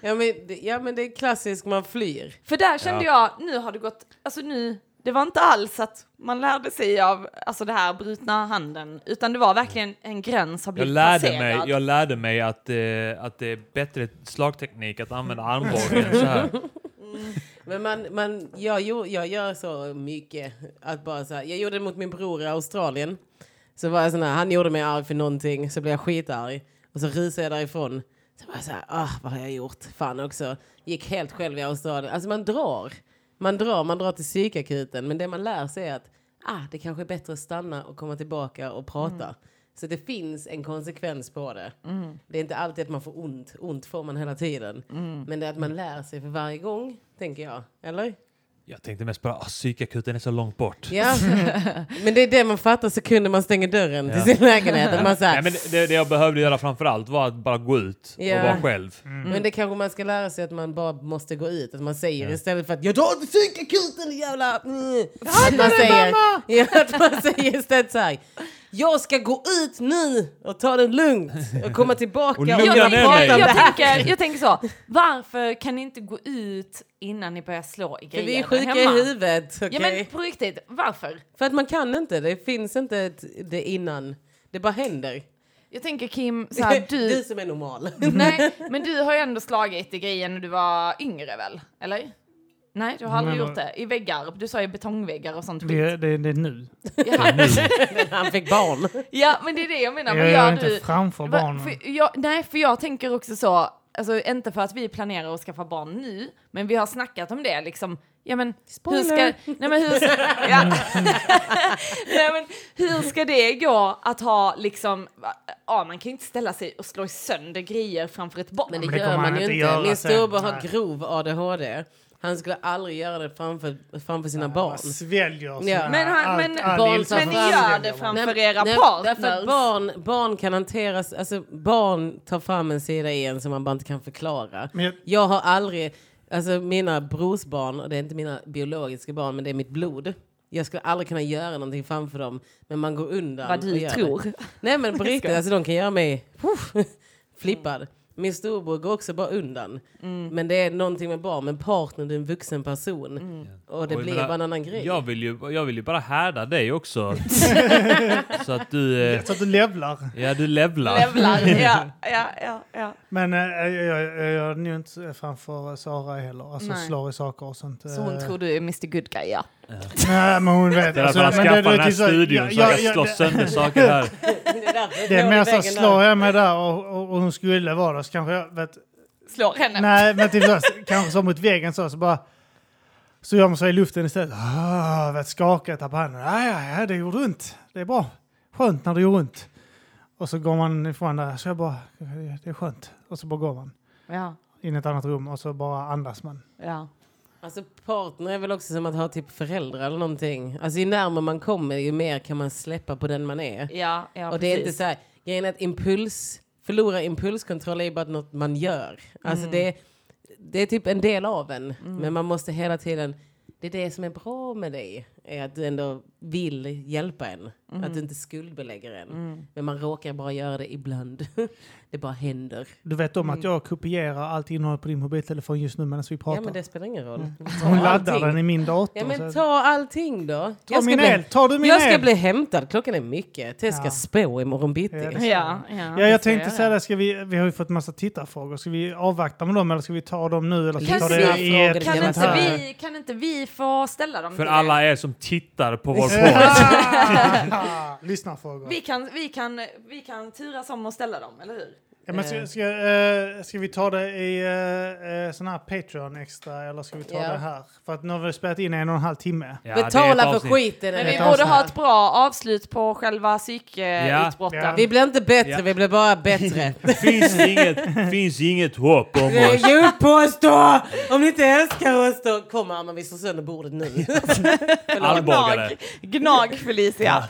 Speaker 3: Ja men, det- ja men det är klassiskt, man flyr.
Speaker 4: För där kände jag, nu har det gått, alltså nu, det var inte alls att man lärde sig av alltså det här brutna handen, utan det var verkligen en gräns har
Speaker 1: Jag
Speaker 4: blivit
Speaker 1: lärde
Speaker 4: passerad.
Speaker 1: mig, jag lärde mig att, eh, att det är bättre slagteknik att använda
Speaker 3: Mm.
Speaker 1: armbågen så här.
Speaker 3: Men man, man, jag, gjo- jag gör så mycket. Att bara så här, jag gjorde det mot min bror i Australien. Så var jag sån här, han gjorde mig arg för någonting, så blev jag skitarg. Och så rusade jag därifrån. Så var jag så här, ah, vad har jag gjort? Fan också. Gick helt själv i Australien. Alltså man drar. Man drar, man drar till psykakuten. Men det man lär sig är att ah, det kanske är bättre att stanna och komma tillbaka och prata. Så det finns en konsekvens på det. Det är inte alltid att man får ont. Ont får man hela tiden. Men det är att man lär sig för varje gång, tänker jag. Eller?
Speaker 1: Jag tänkte mest bara, ah, psykakuten är så långt bort.
Speaker 3: Ja. men det är det man fattar sekunden man stänger dörren
Speaker 1: Ja.
Speaker 3: till sin lägenhet. Att man så
Speaker 1: Nej,
Speaker 3: här,
Speaker 1: men det, det jag behövde göra framför allt var att bara gå ut
Speaker 3: Ja. Mm.
Speaker 1: och vara själv.
Speaker 2: Mm.
Speaker 3: Men det kanske man ska lära sig att man bara måste gå ut. Att man säger istället för att jag drar till psykakuten jävla... Mm. Att man säger, ja, att man säger istället så här. Jag ska gå ut nu och ta det lugnt och komma tillbaka.
Speaker 1: Och lugna
Speaker 3: kunna
Speaker 4: jag,
Speaker 1: ner
Speaker 3: prata
Speaker 1: dig.
Speaker 4: tänker,
Speaker 3: om det
Speaker 4: jag,
Speaker 3: här.
Speaker 4: tänker, jag tänker så, varför kan ni inte gå ut innan ni börjar slå i
Speaker 3: För
Speaker 4: grejer
Speaker 3: vi är
Speaker 4: där
Speaker 3: sjuka i
Speaker 4: hemma?
Speaker 3: huvudet. okej?
Speaker 4: Ja men på riktigt, varför?
Speaker 3: För att man kan inte. Det finns inte ett, det innan. Det bara händer.
Speaker 4: Jag tänker Kim, så här,
Speaker 3: du Mm.
Speaker 4: du,
Speaker 3: som är normal.
Speaker 4: nej, men du har ju ändå slagit i grejer när du var yngre väl? Eller? Nej, du har aldrig
Speaker 2: Men-
Speaker 4: gjort det. I väggar, du sa ju betongväggar och sånt.
Speaker 2: Det, det, det är nu.
Speaker 4: Jaha.
Speaker 3: Han fick barn.
Speaker 4: Ja, men det är det jag menar.
Speaker 2: Jag
Speaker 4: Vad
Speaker 2: gör
Speaker 4: gör
Speaker 2: inte
Speaker 4: du?
Speaker 2: framför
Speaker 4: Va-
Speaker 2: barnen.
Speaker 4: För jag, nej, för jag tänker också så, alltså inte för att vi planerar att skaffa barn nu, men vi har snackat om det liksom. Ja men, hur ska,
Speaker 3: Spoiler.
Speaker 4: nej, men, hur, ja. nej, men hur ska det gå att ha liksom, ja man kan ju inte ställa sig och slå sönder grejer framför ett barn.
Speaker 3: Men det,
Speaker 2: Men det
Speaker 3: gör
Speaker 2: kommer
Speaker 3: man
Speaker 2: han
Speaker 3: ju
Speaker 2: inte
Speaker 3: inte.
Speaker 2: göra
Speaker 3: Min
Speaker 2: sen.
Speaker 3: storebror har
Speaker 2: Nej.
Speaker 3: grov ADHD. Han skulle aldrig göra det framför, framför sina
Speaker 2: Man
Speaker 3: barn.
Speaker 2: sväljer sina-
Speaker 3: Ja.
Speaker 4: Men han-
Speaker 2: allt-
Speaker 4: men-
Speaker 2: all
Speaker 3: Barn
Speaker 2: ilska
Speaker 3: som
Speaker 4: men ni
Speaker 2: försvinner.
Speaker 4: gör det framför era
Speaker 3: nej, Därför att
Speaker 4: partners.
Speaker 3: barn, barn kan hanteras, alltså barn tar fram en sida i en som man bara inte kan förklara.
Speaker 2: Men jag-
Speaker 3: Jag har aldrig, alltså mina brorsbarn, och det är inte mina biologiska barn men det är mitt blod. Jag skulle aldrig kunna göra någonting framför dem. Men man går undan.
Speaker 4: Vad
Speaker 3: och
Speaker 4: du
Speaker 3: gör det.
Speaker 4: tror.
Speaker 3: Nej men på riktigt,
Speaker 4: Ska-
Speaker 3: alltså, de kan göra mig puff, flippad. Min storbror går också bara undan.
Speaker 4: Mm.
Speaker 3: Men det är någonting med barn, med partner, du är en vuxen person.
Speaker 4: Mm.
Speaker 3: Och det
Speaker 1: Och jag
Speaker 3: blir
Speaker 1: menar,
Speaker 3: bara en annan grej.
Speaker 1: Jag vill, ju, jag vill ju bara härda dig också. så att du, eh,
Speaker 2: Så att du levlar.
Speaker 1: ja du levlar.
Speaker 4: Levlar. Ja, ja, ja, ja.
Speaker 2: Men eh, jag, jag, jag är nu inte framför Sara heller. Alltså
Speaker 4: Nej.
Speaker 2: slår i saker och sånt.
Speaker 4: Så hon
Speaker 2: eh.
Speaker 4: tror du är Mr Good Guy, ja.
Speaker 2: Nej, men hon vet. Alltså,
Speaker 1: Det är därför han
Speaker 2: men det-
Speaker 1: skaffar
Speaker 2: det-
Speaker 1: den här
Speaker 2: det- så-
Speaker 1: studion så han kan slå
Speaker 2: det-
Speaker 1: sönder saker här.
Speaker 3: det är, därför jag
Speaker 2: Det är
Speaker 3: slår i
Speaker 2: mer så här,
Speaker 3: väggen där.
Speaker 2: slår jag mig där och, och, och hon skulle vara där så kanske jag, vet,
Speaker 4: Slår henne.
Speaker 2: nej men typ så, här, kanske så mot väggen så, så bara, så gör man så i luften istället. Ah, vet, skakar, tappar handen. Ja, ja, ja, det gjorde ont. Det är bra. Skönt när det gör ont. Och så går man ifrån där, så jag bara, det är skönt. Och så bara går man
Speaker 4: Ja,
Speaker 2: in i ett annat rum och så bara andas man.
Speaker 4: ja.
Speaker 3: Alltså partner är väl också som att ha typ föräldrar eller någonting. Alltså ju närmare man kommer ju mer kan man släppa på den man är.
Speaker 4: Ja, ja,
Speaker 3: och det är inte
Speaker 4: precis.
Speaker 3: så här, grejen är att impuls, förlora impulskontroll är ju bara något man gör. Alltså
Speaker 4: Mm.
Speaker 3: det, det är typ en del av en. Men man måste hela tiden, det är det som är bra med dig, är att du ändå vill hjälpa en.
Speaker 4: Mm.
Speaker 3: Att du inte skuldbelägger en. Men man råkar bara göra det ibland. det bara händer.
Speaker 2: Du vet om att jag kopierar allt innehåll på din mobiltelefon just nu medan vi pratar.
Speaker 3: Mm. Ja men det spelar ingen roll. Ta
Speaker 2: Mm. Hon laddar
Speaker 3: allting.
Speaker 2: den i min dator.
Speaker 3: Ja men
Speaker 2: så-
Speaker 3: ta allting då.
Speaker 2: ta min el, tar du min
Speaker 3: jag ska
Speaker 2: el?
Speaker 3: bli hämtad, klockan är mycket. Tess ska
Speaker 2: Ja.
Speaker 3: spå imorgon bitti.
Speaker 2: Ja, det
Speaker 4: Ja, ja,
Speaker 2: Ja,
Speaker 4: vi
Speaker 2: jag
Speaker 4: ska
Speaker 2: tänkte
Speaker 4: göra
Speaker 2: säga det. Ska vi, vi har ju fått massa tittarfrågor. Ska vi avvakta med dem eller ska vi ta dem nu? Eller ska vi ta
Speaker 4: Kan
Speaker 2: det i
Speaker 4: vi-
Speaker 2: ett
Speaker 4: Kan
Speaker 3: Jävla
Speaker 2: sånt
Speaker 4: inte,
Speaker 2: här?
Speaker 4: vi, kan inte vi få ställa dem
Speaker 1: För
Speaker 4: till
Speaker 1: alla
Speaker 4: er?
Speaker 1: er som tittar på vår podd.
Speaker 2: Lyssnarfrågor.
Speaker 4: Vi kan, vi, kan, vi kan turas om och ställa dem, eller hur?
Speaker 2: Ja, men ska, ska, eh, ska vi ta det i uh, sån här Patreon extra eller ska vi ta
Speaker 3: Ja.
Speaker 2: det här? För att nu har vi spelat in en och en halv timme.
Speaker 1: Ja, det är ett
Speaker 3: Betala för
Speaker 1: avsnitt.
Speaker 3: skiten.
Speaker 4: Men
Speaker 3: eller?
Speaker 4: vi
Speaker 2: ett
Speaker 4: borde ha
Speaker 2: avsnitt.
Speaker 4: ett bra avslut på själva
Speaker 1: Ja.
Speaker 4: psykutbrotten.
Speaker 2: Ja.
Speaker 3: Vi blir inte bättre,
Speaker 1: Ja.
Speaker 3: vi blir bara bättre.
Speaker 1: Finns inget, finns inget hopp om
Speaker 3: Eh,
Speaker 1: oss.
Speaker 3: Ge upp på oss då! Om ni inte älskar oss då. Kom Arman, vi slår sönder bordet nu.
Speaker 1: Armbågare.
Speaker 4: Gnag, gnag Felicia.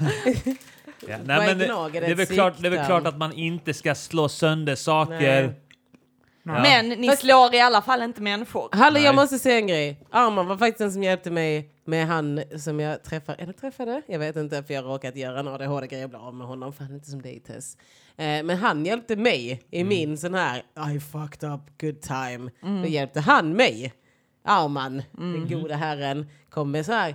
Speaker 1: Ja,
Speaker 3: Vad är
Speaker 1: nej, men
Speaker 3: gnag? Är
Speaker 1: det,
Speaker 3: det
Speaker 1: det, är
Speaker 3: ett
Speaker 1: väl klart, det är väl
Speaker 3: sikten?
Speaker 1: klart att man inte ska slå sönder saker.
Speaker 3: Nej.
Speaker 1: Ja.
Speaker 4: Men ni slår i alla fall inte människor.
Speaker 3: Hallå,
Speaker 1: Nej.
Speaker 3: jag måste säga en grej. Arman var faktiskt den som hjälpte mig med han som jag träffade. Eller träffade? Jag vet inte, för jag har råkat göra en ADHD-grej. Jag blev av med honom, för han är inte som dig Tess. Eh, men han hjälpte mig i min sån här I fucked up, good time. Då hjälpte han mig. Arman, den goda herren, kom med så här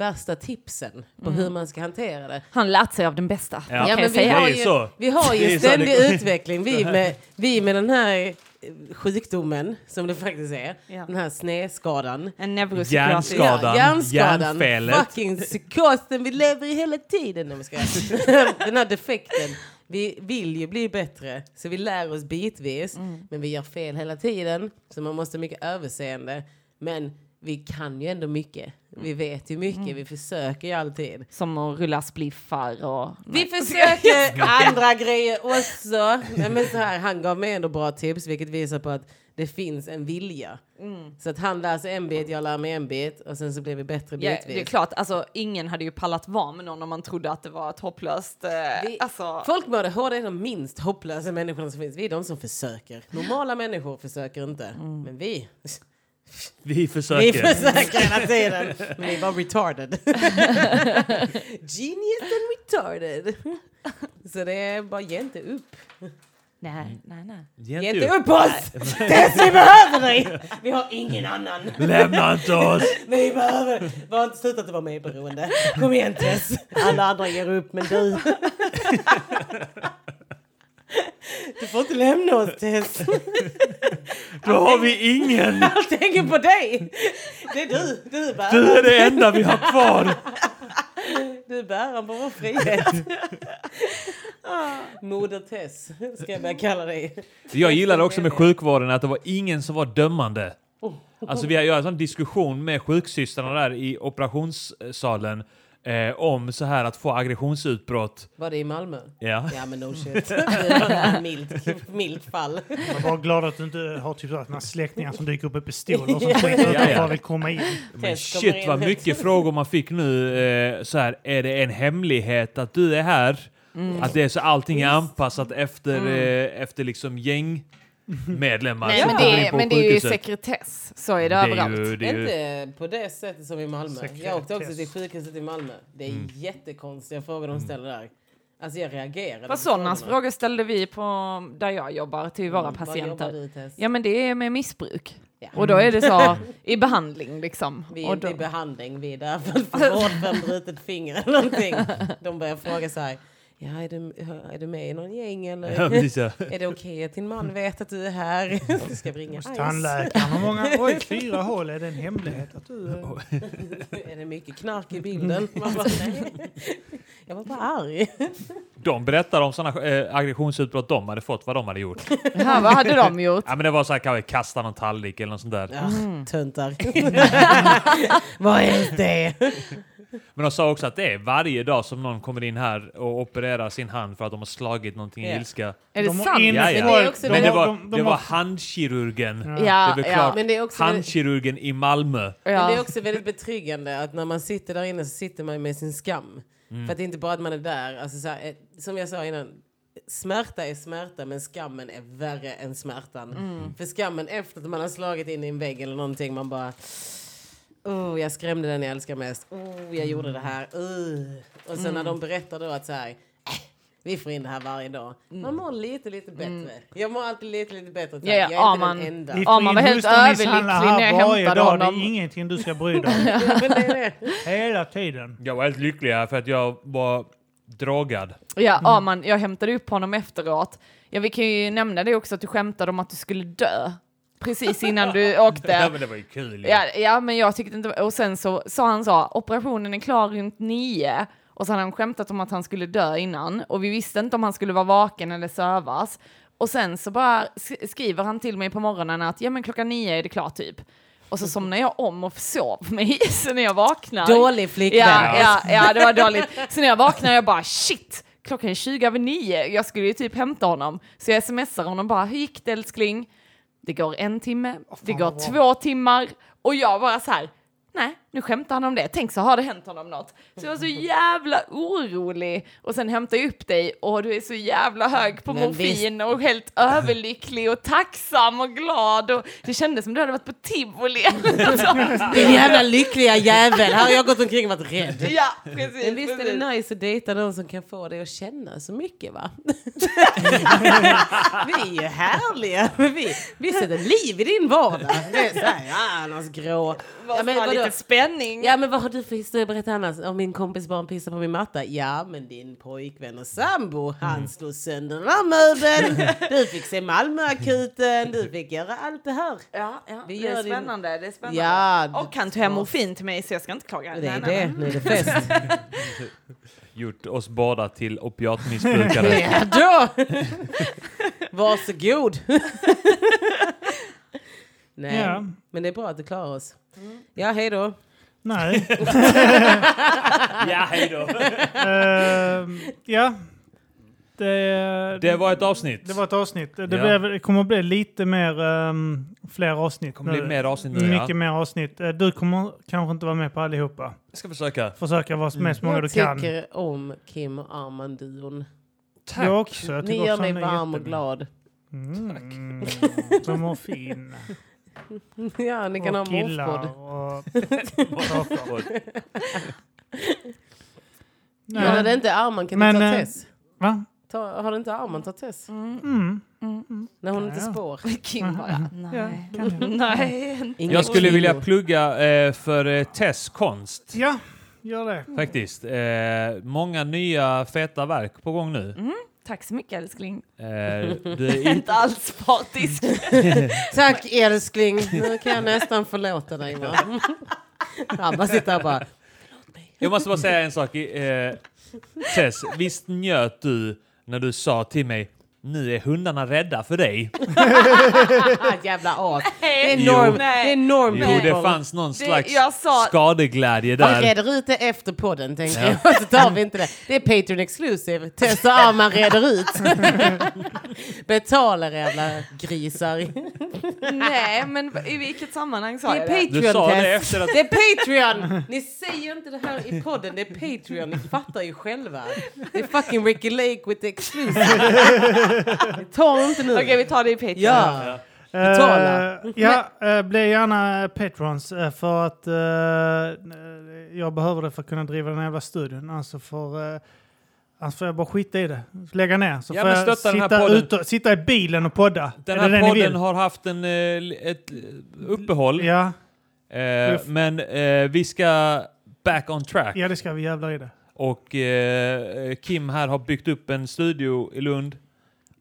Speaker 3: värsta tipsen på hur man ska hantera det.
Speaker 4: Han lät sig av den bästa.
Speaker 1: Ja.
Speaker 4: kan
Speaker 1: men
Speaker 4: jag
Speaker 3: vi
Speaker 1: Det
Speaker 4: säga.
Speaker 1: är
Speaker 3: har
Speaker 1: ju
Speaker 3: ju,
Speaker 1: så.
Speaker 3: vi har
Speaker 1: Det
Speaker 3: ju
Speaker 1: är så
Speaker 3: ständig
Speaker 1: det-
Speaker 3: utveckling. Vi med, vi med den här eh, sjukdomen, som det faktiskt är,
Speaker 4: Ja.
Speaker 3: den här sneskadan.
Speaker 4: En neuropsykiatrisk.
Speaker 1: Hjärnskada. Skadan,
Speaker 3: hjärnskadan,
Speaker 1: hjärnfelet.
Speaker 3: fucking psykosen vi lever i hela tiden. Om vi ska. den här defekten. Vi vill ju bli bättre, så vi lär oss bitvis. Men vi gör fel hela tiden, så man måste ha mycket överseende. Men vi kan ju ändå mycket. Vi vet ju mycket, vi försöker ju alltid.
Speaker 4: Som att rulla spliffar och...
Speaker 3: Vi försöker andra grejer också. Nej, men så här, han gav mig ändå bra tips, vilket visar på att det finns en vilja.
Speaker 4: Mm.
Speaker 3: Så att han lär sig en bit, jag lär mig en bit och sen så blir vi bättre
Speaker 4: Ja,
Speaker 3: bitvis.
Speaker 4: det är klart, alltså, ingen hade ju pallat vara med någon om man trodde att det var ett hopplöst... Eh,
Speaker 3: Vi-
Speaker 4: alltså,
Speaker 3: Folk med ADHD är de minst hopplösa människorna som finns. Vi är de som försöker. Normala människor försöker inte.
Speaker 4: Mm.
Speaker 3: Men vi,
Speaker 1: Vi
Speaker 3: vi
Speaker 1: försöker.
Speaker 3: försöker hela tiden. Men vi är bara retarded. Genius and retarded. Så det är bara ge inte upp.
Speaker 4: nej, nej, nej.
Speaker 3: Ge
Speaker 1: Ge
Speaker 3: inte
Speaker 1: inte upp.
Speaker 3: upp oss! Tess, vi behöver dig! Vi har ingen annan.
Speaker 1: Lämna inte oss!
Speaker 3: Vi behöver... Vi har inte slutat att vara medberoende. Kom igen Tess! Alla andra ger upp, men du... Du får inte lämna oss Tess.
Speaker 1: Då har vi ingen!
Speaker 3: Jag tänker på dig! Det är du. Du är
Speaker 1: Du är
Speaker 3: bäraren.
Speaker 1: det enda vi har kvar!
Speaker 3: Du är bäraren på vår frihet. Ah. Moder Tess, ska jag börja kalla dig.
Speaker 1: Jag gillade också med sjukvården att det var ingen som var dömande. Alltså vi har ju en sån diskussion med sjuksystrarna där i operationssalen eh, om så här att få aggressionsutbrott.
Speaker 3: Var det i Malmö?
Speaker 1: Ja.
Speaker 3: Ja men no shit. Det var milt, milt fall.
Speaker 2: Jag var glad att du inte har typ så här några släktingar som dyker upp med pistoler och sånt
Speaker 3: Ja,
Speaker 2: skit.
Speaker 1: ja.
Speaker 2: Jag bara vill komma in.
Speaker 1: Men
Speaker 3: Tess kommer
Speaker 1: shit
Speaker 3: in
Speaker 1: vad
Speaker 3: här.
Speaker 1: mycket frågor man fick nu. Eh, så här, är det en hemlighet att
Speaker 5: Mm.
Speaker 1: du är här? Att det är så allting är anpassat efter, eh, efter liksom gäng... medlemmar
Speaker 5: Nej,
Speaker 1: som
Speaker 5: men
Speaker 1: kommer
Speaker 5: det,
Speaker 1: in
Speaker 5: är,
Speaker 1: på
Speaker 5: men det är ju
Speaker 1: sjukhuset.
Speaker 5: sekretess. Så är det,
Speaker 1: Det är
Speaker 5: överallt.
Speaker 1: ju, det är ju,
Speaker 3: Inte på det sättet som i Malmö. Jag åkte också
Speaker 2: Sekretess.
Speaker 3: till sjukhuset i Malmö. Det är
Speaker 1: Mm.
Speaker 3: jättekonstiga frågor de ställer där. Alltså jag reagerade. på
Speaker 4: Vad sådana
Speaker 3: frågorna.
Speaker 4: frågor ställde vi på där jag jobbar till våra
Speaker 3: Mm, vad jobbar
Speaker 4: patienter.
Speaker 3: du, Tess?
Speaker 4: Ja men det är med missbruk.
Speaker 3: Ja.
Speaker 4: Och då är det så i behandling liksom.
Speaker 3: Vi är
Speaker 4: och
Speaker 3: inte
Speaker 4: då,
Speaker 3: i behandling, vi är där för att få vård för en brutet finger eller någonting. De börjar fråga så här, ja, är, du, är du med i någon gäng eller
Speaker 1: ja, precis, ja.
Speaker 3: är det okej att din man vet att du är här? Du ska vi ringa
Speaker 2: Hos
Speaker 3: ICE.
Speaker 2: tandläkaren. Hur många... Oj, fyra hål. Är det en hemlighet att du... eh,
Speaker 3: Är det mycket knark i bilden? Man bara, nej. Jag var bara arg.
Speaker 1: De berättar om sådana eh, aggressionsutbrott de hade fått, vad de hade gjort.
Speaker 5: Ja, vad hade de gjort?
Speaker 1: ja, men det var så här, kanske kasta någon tallrik eller något sånt
Speaker 4: Mm.
Speaker 1: där.
Speaker 3: Ja, töntar. Vad är det?
Speaker 1: Men de sa också att det är varje dag som någon kommer in här och opererar sin hand för att de har slagit någonting i
Speaker 3: Ja.
Speaker 1: ilska.
Speaker 5: Är det
Speaker 2: har
Speaker 5: sant?
Speaker 2: in-
Speaker 1: Ja, ja.
Speaker 5: Men det är också
Speaker 2: De
Speaker 1: Men det
Speaker 2: har-
Speaker 1: var,
Speaker 2: de- de
Speaker 1: det
Speaker 2: har-
Speaker 1: var handkirurgen.
Speaker 5: Ja,
Speaker 1: Det är väl
Speaker 5: ja.
Speaker 1: klart.
Speaker 3: Men det är också väldigt,
Speaker 1: Handkirurgen i Malmö.
Speaker 5: Ja.
Speaker 3: men det är också väldigt betryggande att när man sitter där inne så sitter man med sin skam. För att det är inte bara att man är där. Alltså så här, eh, som jag sa innan, smärta är smärta men skammen är värre än smärtan.
Speaker 5: Mm.
Speaker 3: För skammen efter att man har slagit in i en vägg eller någonting, man bara... Oh, jag skrämde den jag älskar mest. Oh, jag gjorde det här.
Speaker 5: Mm.
Speaker 3: Uh. Och sen när de berättar då att så här... "Äh, Vi får in det här varje dag. Man mår lite, lite bättre. Jag mår alltid lite, lite bättre. Så här,
Speaker 5: Mm. Ja, ja,
Speaker 3: jag är inte
Speaker 5: Arman.
Speaker 3: den enda.
Speaker 2: Vi
Speaker 5: Ja,
Speaker 2: får
Speaker 5: man
Speaker 2: in
Speaker 5: var helt
Speaker 2: hustrumisshandlare
Speaker 5: överlycklig när jag
Speaker 2: här varje
Speaker 5: hämtade
Speaker 2: dag.
Speaker 5: honom.
Speaker 2: Det är ingenting du ska bry dig om.
Speaker 3: Ja, men det är det.
Speaker 2: Hela tiden.
Speaker 1: Jag var helt lycklig här för att jag var drogad.
Speaker 4: ja, ja man, jag hämtade upp honom efteråt. Ja vi kan ju nämna det också att du skämtade om att du skulle dö precis innan du
Speaker 1: Ja,
Speaker 4: åkte.
Speaker 1: men det var ju kul. ju.
Speaker 4: Ja, ja men jag tyckte inte, och sen så sa han så, operationen är klar runt nio. Och så hade han skämtat om att han skulle dö innan och vi visste inte om han skulle vara vaken eller sövas. Och sen så bara sk- skriver han till mig på morgonen att ja men klockan nio är det klart typ. Och så somnar jag om och sov mig så när jag vaknar.
Speaker 3: Dålig flickvän.
Speaker 4: Ja, ja, ja, det var dåligt. Så när jag vaknar jag bara shit, klockan är 20 över 9. Jag skulle ju typ hämta honom. Så jag smsar honom bara, hur gick det älskling? Det går en timme, det går
Speaker 2: vad
Speaker 4: två timmar och jag bara så här, nej, nu skämtar han om det. Tänk så har det hänt honom något. Så jag var så
Speaker 3: Mm.
Speaker 4: jävla orolig och sen hämtar jag upp dig och du är så jävla hög på
Speaker 3: Men
Speaker 4: morfin och helt överlycklig och tacksam och glad och det kändes som du hade varit på tivoli. eller något.
Speaker 3: Din jävla lyckliga jävel. Här har jag gått omkring och varit rädd.
Speaker 4: ja, precis.
Speaker 3: Men visst är
Speaker 4: precis.
Speaker 3: det nice att dejta någon som kan få dig att känna så mycket va? vi är ju härliga. men Vi, vi sätter liv i din vardag. Det är så här, ja, annars grå. Ja, men, vadå?
Speaker 4: spänning.
Speaker 3: ja men vad har du för historia att berätta annars? Om min kompis barn pissar på min matta? Ja men din pojkvän och sambo
Speaker 4: Mm.
Speaker 3: han slog sönder den här möbeln. Du fick se Malmöakuten. Du fick göra allt det här.
Speaker 4: Ja, ja.
Speaker 3: Vi
Speaker 4: Det,
Speaker 3: gör
Speaker 4: är
Speaker 3: det-
Speaker 4: spännande, det är spännande.
Speaker 3: Ja.
Speaker 4: Och han tog hem morfin till mig så jag ska inte klaga.
Speaker 3: Det är
Speaker 4: Nej, nej,
Speaker 3: det. Nu är det fest.
Speaker 1: Gjort oss båda till opiatmissbrukare.
Speaker 3: Ja då! Varsågod! Nej,
Speaker 2: Ja. Mm.
Speaker 3: men det är bra att du klarar oss. Ja, hej då.
Speaker 2: Nej.
Speaker 1: ja, hej då.
Speaker 2: Ehm, ja. Det,
Speaker 1: Det var ett avsnitt.
Speaker 2: det var ett avsnitt. Det,
Speaker 1: Ja.
Speaker 2: blev, det kommer att bli lite mer, ehm, fler avsnitt.
Speaker 1: kommer bli
Speaker 2: nu.
Speaker 1: mer avsnitt nu.
Speaker 2: Mycket
Speaker 1: Ja.
Speaker 2: mer avsnitt. Eh, Du kommer kanske inte vara med på allihopa.
Speaker 1: Jag ska försöka.
Speaker 2: Försöka vara med så många du
Speaker 3: Mm. Jag
Speaker 2: kan.
Speaker 3: tycker om Kim och Armand-duon.
Speaker 1: Tack.
Speaker 2: Jag också. Jag
Speaker 3: Ni
Speaker 2: tycker
Speaker 3: gör
Speaker 2: också
Speaker 3: mig
Speaker 2: han är
Speaker 3: varm och
Speaker 2: jättebra.
Speaker 3: glad.
Speaker 2: Mm. De har fin.
Speaker 3: Ja, ni kan ha
Speaker 2: och killar
Speaker 3: morfpodd.
Speaker 2: och saker.
Speaker 1: Och-
Speaker 3: Men har det
Speaker 2: Nej.
Speaker 3: inte Armand kan
Speaker 2: Men,
Speaker 3: du ta
Speaker 2: eh,
Speaker 3: Tess.
Speaker 2: Va?
Speaker 3: Ta, har du inte Armand tagit Tess?
Speaker 2: Mm.
Speaker 3: När hon
Speaker 2: Ja,
Speaker 3: inte
Speaker 2: ja.
Speaker 3: spår.
Speaker 4: nej. Mm. Kim bara,
Speaker 2: Ja,
Speaker 4: nej. Mm.
Speaker 2: kan jag.
Speaker 4: nej. inte.
Speaker 3: Ingen
Speaker 1: Jag skulle
Speaker 3: kvinno.
Speaker 1: vilja plugga eh, för eh, Tess konst.
Speaker 2: ja, gör det.
Speaker 1: Faktiskt. Eh, många nya feta verk på gång nu.
Speaker 4: Tack så mycket älskling.
Speaker 1: Eh, du är inte
Speaker 4: Inte alls partisk.
Speaker 3: Tack älskling, nu kan jag nästan förlåta dig. va? Armand sitter här och bara...
Speaker 1: Jag måste bara säga en sak. Eh, Tess, visst njöt du när du sa till mig nu är hundarna rädda för dig?
Speaker 3: Ah, jävla as. Det är
Speaker 4: Nej.
Speaker 1: Jo.
Speaker 3: norm,
Speaker 4: Nej.
Speaker 3: det är norm
Speaker 1: Jo,
Speaker 3: people.
Speaker 1: det fanns någon slags
Speaker 4: jag sa-
Speaker 1: skadeglädje
Speaker 3: Vi
Speaker 1: där.
Speaker 3: reder ut det efter podden, tänker jag. Så tar vi inte det. Det är Patreon exclusive. Tess och Arman reder ut. Betala era jävla grisar.
Speaker 4: nej, men i vilket sammanhang sa
Speaker 3: Det är
Speaker 4: jag det?
Speaker 1: Du sa
Speaker 3: Patreon,
Speaker 1: det
Speaker 3: Tess.
Speaker 1: efter att...
Speaker 3: Det är Patreon! Ni säger inte det här i podden, det är Patreon. Ni fattar ju själva. Det är fucking Ricky Lake with the exclusive. Ta inte nu.
Speaker 4: Okej, vi tar det i Patreon.
Speaker 3: Ja. Betala.
Speaker 2: Eh, ja, eh, bli gärna patrons eh, för att eh, jag behöver det för att kunna driva den här jävla studion. Alltså för, eh, annars får jag bara skita i det. Lägga ner. Så
Speaker 1: Ja,
Speaker 2: får
Speaker 1: men
Speaker 2: jag
Speaker 1: stötta den här
Speaker 2: sitta,
Speaker 1: podden.
Speaker 2: ute och, sitta i bilen och podda.
Speaker 1: Den
Speaker 2: Är det
Speaker 1: här
Speaker 2: det ni vill?
Speaker 1: podden har haft en, eh, li- ett eh, uppehåll,
Speaker 2: Ja,
Speaker 1: eh, men eh, vi ska back on track.
Speaker 2: ja, det ska vi jävlar i det.
Speaker 1: Och eh, Kim här har byggt upp en studio i Lund.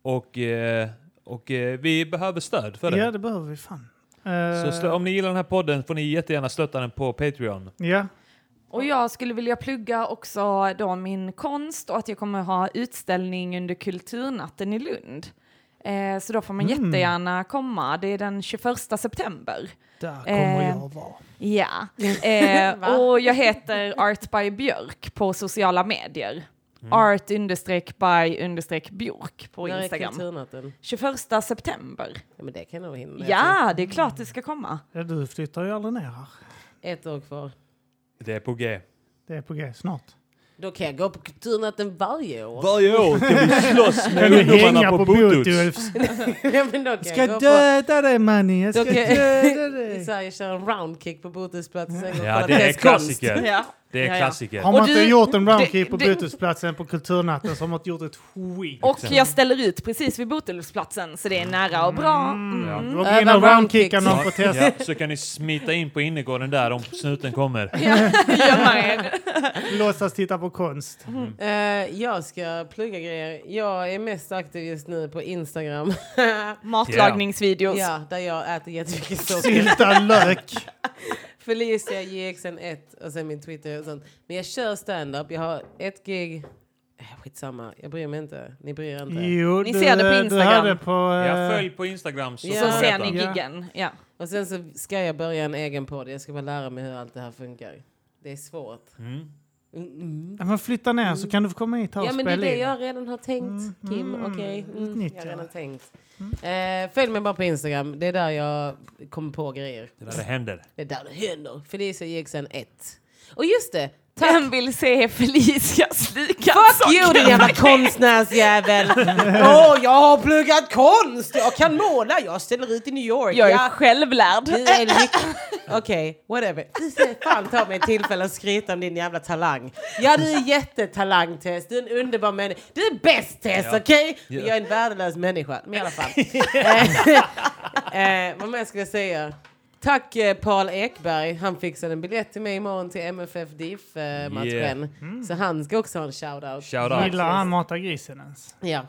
Speaker 1: Och, eh, och eh, vi behöver stöd för det.
Speaker 2: Ja, det behöver vi fan. Eh,
Speaker 1: Så stö- om ni gillar den här podden får ni jättegärna stötta den på Patreon.
Speaker 2: ja.
Speaker 4: Och jag skulle vilja plugga också då min konst och att jag kommer ha utställning under Kulturnatten i Lund. Eh, så då får man
Speaker 2: Mm.
Speaker 4: jättegärna komma. Det är den 21 september.
Speaker 2: Där kommer
Speaker 4: Eh,
Speaker 2: jag vara.
Speaker 4: Ja.
Speaker 3: Va?
Speaker 4: Eh, och jag heter Art by Björk på sociala medier. Art understreck by understreck Björk på
Speaker 3: När är
Speaker 4: Instagram.
Speaker 3: kulturnatten?
Speaker 4: 21 september.
Speaker 3: Ja, men det kan jag nog hinna. med.
Speaker 4: Ja, det är klart du ska komma.
Speaker 2: Ja, du flyttar ju aldrig ner här.
Speaker 3: Ett år kvar.
Speaker 1: Det är på G.
Speaker 2: Det är på G snart.
Speaker 3: Då kan jag gå på kulturnatten varje år.
Speaker 1: Varje år ska vi slåss
Speaker 2: Kan
Speaker 1: med
Speaker 2: du
Speaker 1: ungdomarna
Speaker 2: hänga
Speaker 1: på
Speaker 2: på
Speaker 1: Botuts.
Speaker 2: Botuls?
Speaker 3: ja, men då kan
Speaker 2: Jag
Speaker 3: jag
Speaker 2: ska
Speaker 3: gå
Speaker 2: döda dig mannen, jag ska
Speaker 3: Då kan jag-
Speaker 2: döda
Speaker 3: på... I
Speaker 2: dig.
Speaker 3: Sverige kör en roundkick på Botusplatsen. sen går jag och
Speaker 1: Ja,
Speaker 3: kollar
Speaker 1: det är
Speaker 3: dess konst.
Speaker 1: klassiker.
Speaker 4: Ja.
Speaker 1: Det
Speaker 4: Ja,
Speaker 1: är
Speaker 4: ja.
Speaker 1: klassiker.
Speaker 2: Har man
Speaker 4: Och
Speaker 2: inte
Speaker 4: du-
Speaker 2: gjort en
Speaker 4: det-
Speaker 2: roundkick på
Speaker 4: det-
Speaker 2: Botusplatsen på Kulturnatten så har man inte gjort ett skit.
Speaker 4: Och jag ställer ut precis vid Botelhusplatsen så det är nära och bra. Mm.
Speaker 1: Ja.
Speaker 2: Gå in och
Speaker 3: Över
Speaker 2: roundkicka någon på test.
Speaker 1: Ja, Eh. så kan ni smita in på innergården där om snuten kommer.
Speaker 4: Gömma er.
Speaker 2: Låtsas titta på konst.
Speaker 4: Mm.
Speaker 3: Eh, jag ska plugga grejer. Jag är mest aktiv just nu på Instagram.
Speaker 4: Matlagningsvideos.
Speaker 3: ja, där jag äter jättemycket socker.
Speaker 2: Sylta lök.
Speaker 3: Felicia JXN1 och sen min Twitter och sånt. Men jag kör stand-up. Jag har ett gig. Eh, Skitsamma, jag bryr mig inte. Ni bryr er inte.
Speaker 2: Jo,
Speaker 4: Ni
Speaker 2: du,
Speaker 4: ser det på
Speaker 2: eh, Du
Speaker 4: Instagram.
Speaker 2: hörde på...
Speaker 1: Ja,
Speaker 2: eh,
Speaker 1: följ på Instagram så,
Speaker 3: Ja.
Speaker 4: Så
Speaker 1: får
Speaker 4: ser
Speaker 1: veta.
Speaker 4: ni
Speaker 2: Ja.
Speaker 4: giggen. Ja.
Speaker 3: Och sen så ska jag börja en egen podd. Jag ska bara lära mig hur allt det här funkar. Det är svårt.
Speaker 1: Mm.
Speaker 3: Mm, mm.
Speaker 2: Ja, Men flytta ner så kan du få komma hit här och
Speaker 3: Ja men det är
Speaker 2: spela
Speaker 3: det
Speaker 2: in.
Speaker 3: jag redan har tänkt Kim.
Speaker 2: Mm.
Speaker 3: Okej, mm. jag
Speaker 2: Utnyttja
Speaker 3: har redan
Speaker 2: det.
Speaker 3: tänkt. Eh, följ mig bara på Instagram. Det är där jag kommer på grejer.
Speaker 1: Det där det händer.
Speaker 3: Det är där det händer. Felicia JXN1. Och just det! Tack!
Speaker 4: Vem vill se Felicia sluka
Speaker 3: Fuck you din jävla konstnärsjävel! Åh, jag har pluggat konst! Jag kan måla, jag ställer ut i New York.
Speaker 4: Jag är
Speaker 3: Ja,
Speaker 4: självlärd.
Speaker 3: du är lyck- Okej, whatever. Du ska fan ta mig ett tillfälle att skryta om din jävla talang. Ja, du är jättetalang Tess. Du är en underbar människa. Du är bäst Tess,
Speaker 1: Ja.
Speaker 3: okej?
Speaker 1: Ja.
Speaker 3: Jag är en värdelös människa, men i alla fall. eh, eh, vad mer skulle jag säga? Tack eh, Paul Ekberg. Han fixade en biljett till mig imorgon till MFF DIF-matchen.
Speaker 1: Yeah.
Speaker 3: eh,
Speaker 1: Mm.
Speaker 3: Så han ska också ha en shout-out.
Speaker 1: Shout Mm. out.
Speaker 2: Gillar han Mata grisen ens?
Speaker 3: Ja.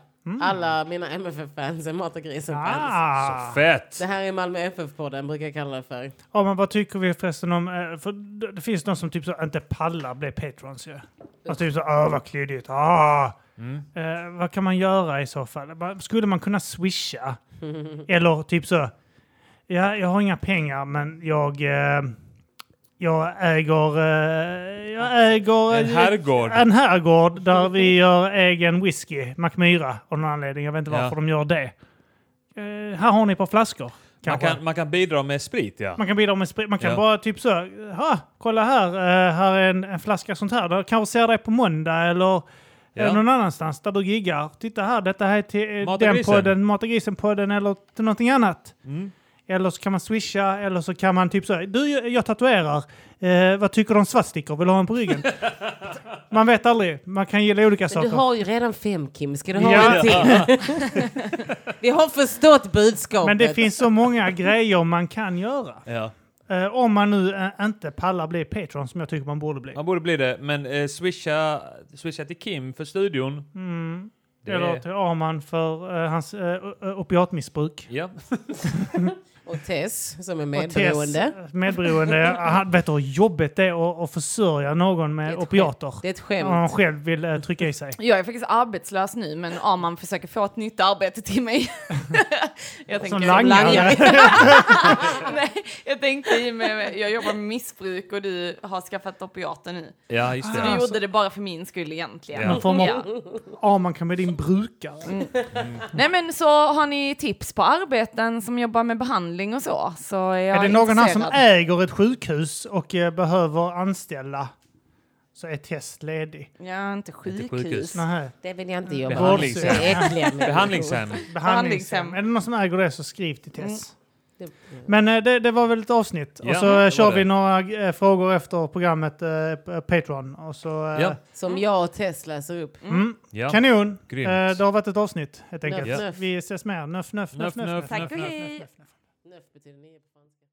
Speaker 3: Alla mina MFF-fans är Mata Grisen-fans.
Speaker 2: Ah.
Speaker 1: Fett!
Speaker 3: Det här är Malmö FF-podden, brukar jag kalla det för.
Speaker 2: Ja, men vad tycker vi förresten om... eh, För det det finns någon som typ så inte pallar bli patrons ju. Alltså typ så, åh vad klyddigt, ah.
Speaker 1: Mm.
Speaker 2: Eh, vad kan man göra i så fall? Man- Skulle man kunna swisha? Eller typ så, ja, jag har inga pengar men jag... Eh, jag äger... Eh, jag äger...
Speaker 1: En herrgård.
Speaker 2: En herrgård där vi gör egen whisky, Macmyra, av någon anledning. Jag vet inte
Speaker 1: Ja.
Speaker 2: varför de gör det. Eh, här har ni ett par flaskor.
Speaker 1: Man
Speaker 2: Kanske.
Speaker 1: kan, man kan bidra med sprit ja.
Speaker 2: Man kan bidra med sprit. Man kan
Speaker 1: Ja.
Speaker 2: bara typ så, ha, kolla här, eh, här är en, en flaska sånt här. Där kanske ser dig på måndag eller
Speaker 1: Ja.
Speaker 2: eh, någon annanstans där du giggar. Titta här, detta här är till eh,
Speaker 1: Mata
Speaker 2: den
Speaker 1: grisen.
Speaker 2: podden, Mata grisen-podden eller till någonting annat.
Speaker 1: Mm.
Speaker 2: Eller så kan man swisha, eller så kan man typ så, du, jag- jag tatuerar. Eh, vad tycker du om svartstickor? Vill du ha en på ryggen? man vet aldrig. Man kan gilla olika
Speaker 3: Men
Speaker 2: saker.
Speaker 3: du har ju redan fem, Kim. Ska du ha
Speaker 2: Ja.
Speaker 3: en till? Vi har förstått budskapet.
Speaker 2: Men det finns så många grejer man kan göra.
Speaker 1: Ja.
Speaker 2: Eh, om man nu eh, inte pallar bli Patreon som jag tycker man borde bli.
Speaker 1: Man borde bli det, men eh, swisha, swisha till Kim för studion.
Speaker 2: Mm.
Speaker 1: Det-
Speaker 2: Eller till Arman för eh, hans uh, opiatmissbruk.
Speaker 1: Ja.
Speaker 3: Och Tess, som är
Speaker 2: Och Tess,
Speaker 3: medberoende.
Speaker 2: eh, Medberoende. Han vet du hur jobbigt det är att, att försörja någon
Speaker 3: Det är
Speaker 2: med
Speaker 3: ett
Speaker 2: opiater?
Speaker 3: Det är ett
Speaker 2: Om
Speaker 3: skämt.
Speaker 2: han själv vill eh, trycka i sig.
Speaker 4: Jag är faktiskt arbetslös nu men Arman försöker få ett nytt arbete till mig. jag
Speaker 2: Som
Speaker 3: langare.
Speaker 2: langare.
Speaker 4: Nej, jag tänkte i och med, jag jobbar med missbruk och du har skaffat opiater nu.
Speaker 1: ja, just
Speaker 4: Du
Speaker 1: det.
Speaker 2: Ah. Alltså.
Speaker 4: gjorde det bara för min skull egentligen.
Speaker 1: Ja.
Speaker 2: Någon form av-
Speaker 4: Ja.
Speaker 2: Arman kan bli din brukare.
Speaker 4: Nej men så har ni tips på arbeten som jobbar med behandling och så? så är, jag
Speaker 2: är det någon här som
Speaker 4: intresserad.
Speaker 2: äger ett sjukhus och eh, behöver anställa så är Tess ledig.
Speaker 4: Ja, inte
Speaker 1: sjukhus.
Speaker 4: sjukhus.
Speaker 2: Nähä.
Speaker 3: Det vill jag inte jobba med.
Speaker 1: Behandlingshem.
Speaker 3: Det är äckliga människor.
Speaker 1: Behandlingshem.
Speaker 2: Behandlingshem.
Speaker 4: Behandlingshem.
Speaker 2: Är det någon som äger det så skriv till
Speaker 3: Mm.
Speaker 2: Tess.
Speaker 3: Det-
Speaker 2: Men eh, det, det var väl ett avsnitt.
Speaker 1: Ja,
Speaker 2: och
Speaker 1: det
Speaker 2: så eh,
Speaker 1: var
Speaker 2: kör
Speaker 1: det.
Speaker 2: vi några eh, frågor efter programmet eh, på Patreon. Och så, eh,
Speaker 1: Ja.
Speaker 3: Som jag och Tess läser upp.
Speaker 2: mm,
Speaker 1: Ja.
Speaker 2: Kanon!
Speaker 1: Grymt.
Speaker 2: Eh, det har varit ett avsnitt helt
Speaker 3: Nöff,
Speaker 2: enkelt.
Speaker 3: nöff.
Speaker 2: Vi ses mer. Nuff, nuff, nuff,
Speaker 1: Nöff,
Speaker 2: nuff.
Speaker 1: nöff,
Speaker 2: nuff.
Speaker 4: Tack och hej!
Speaker 3: Nöff betyder nio på franska.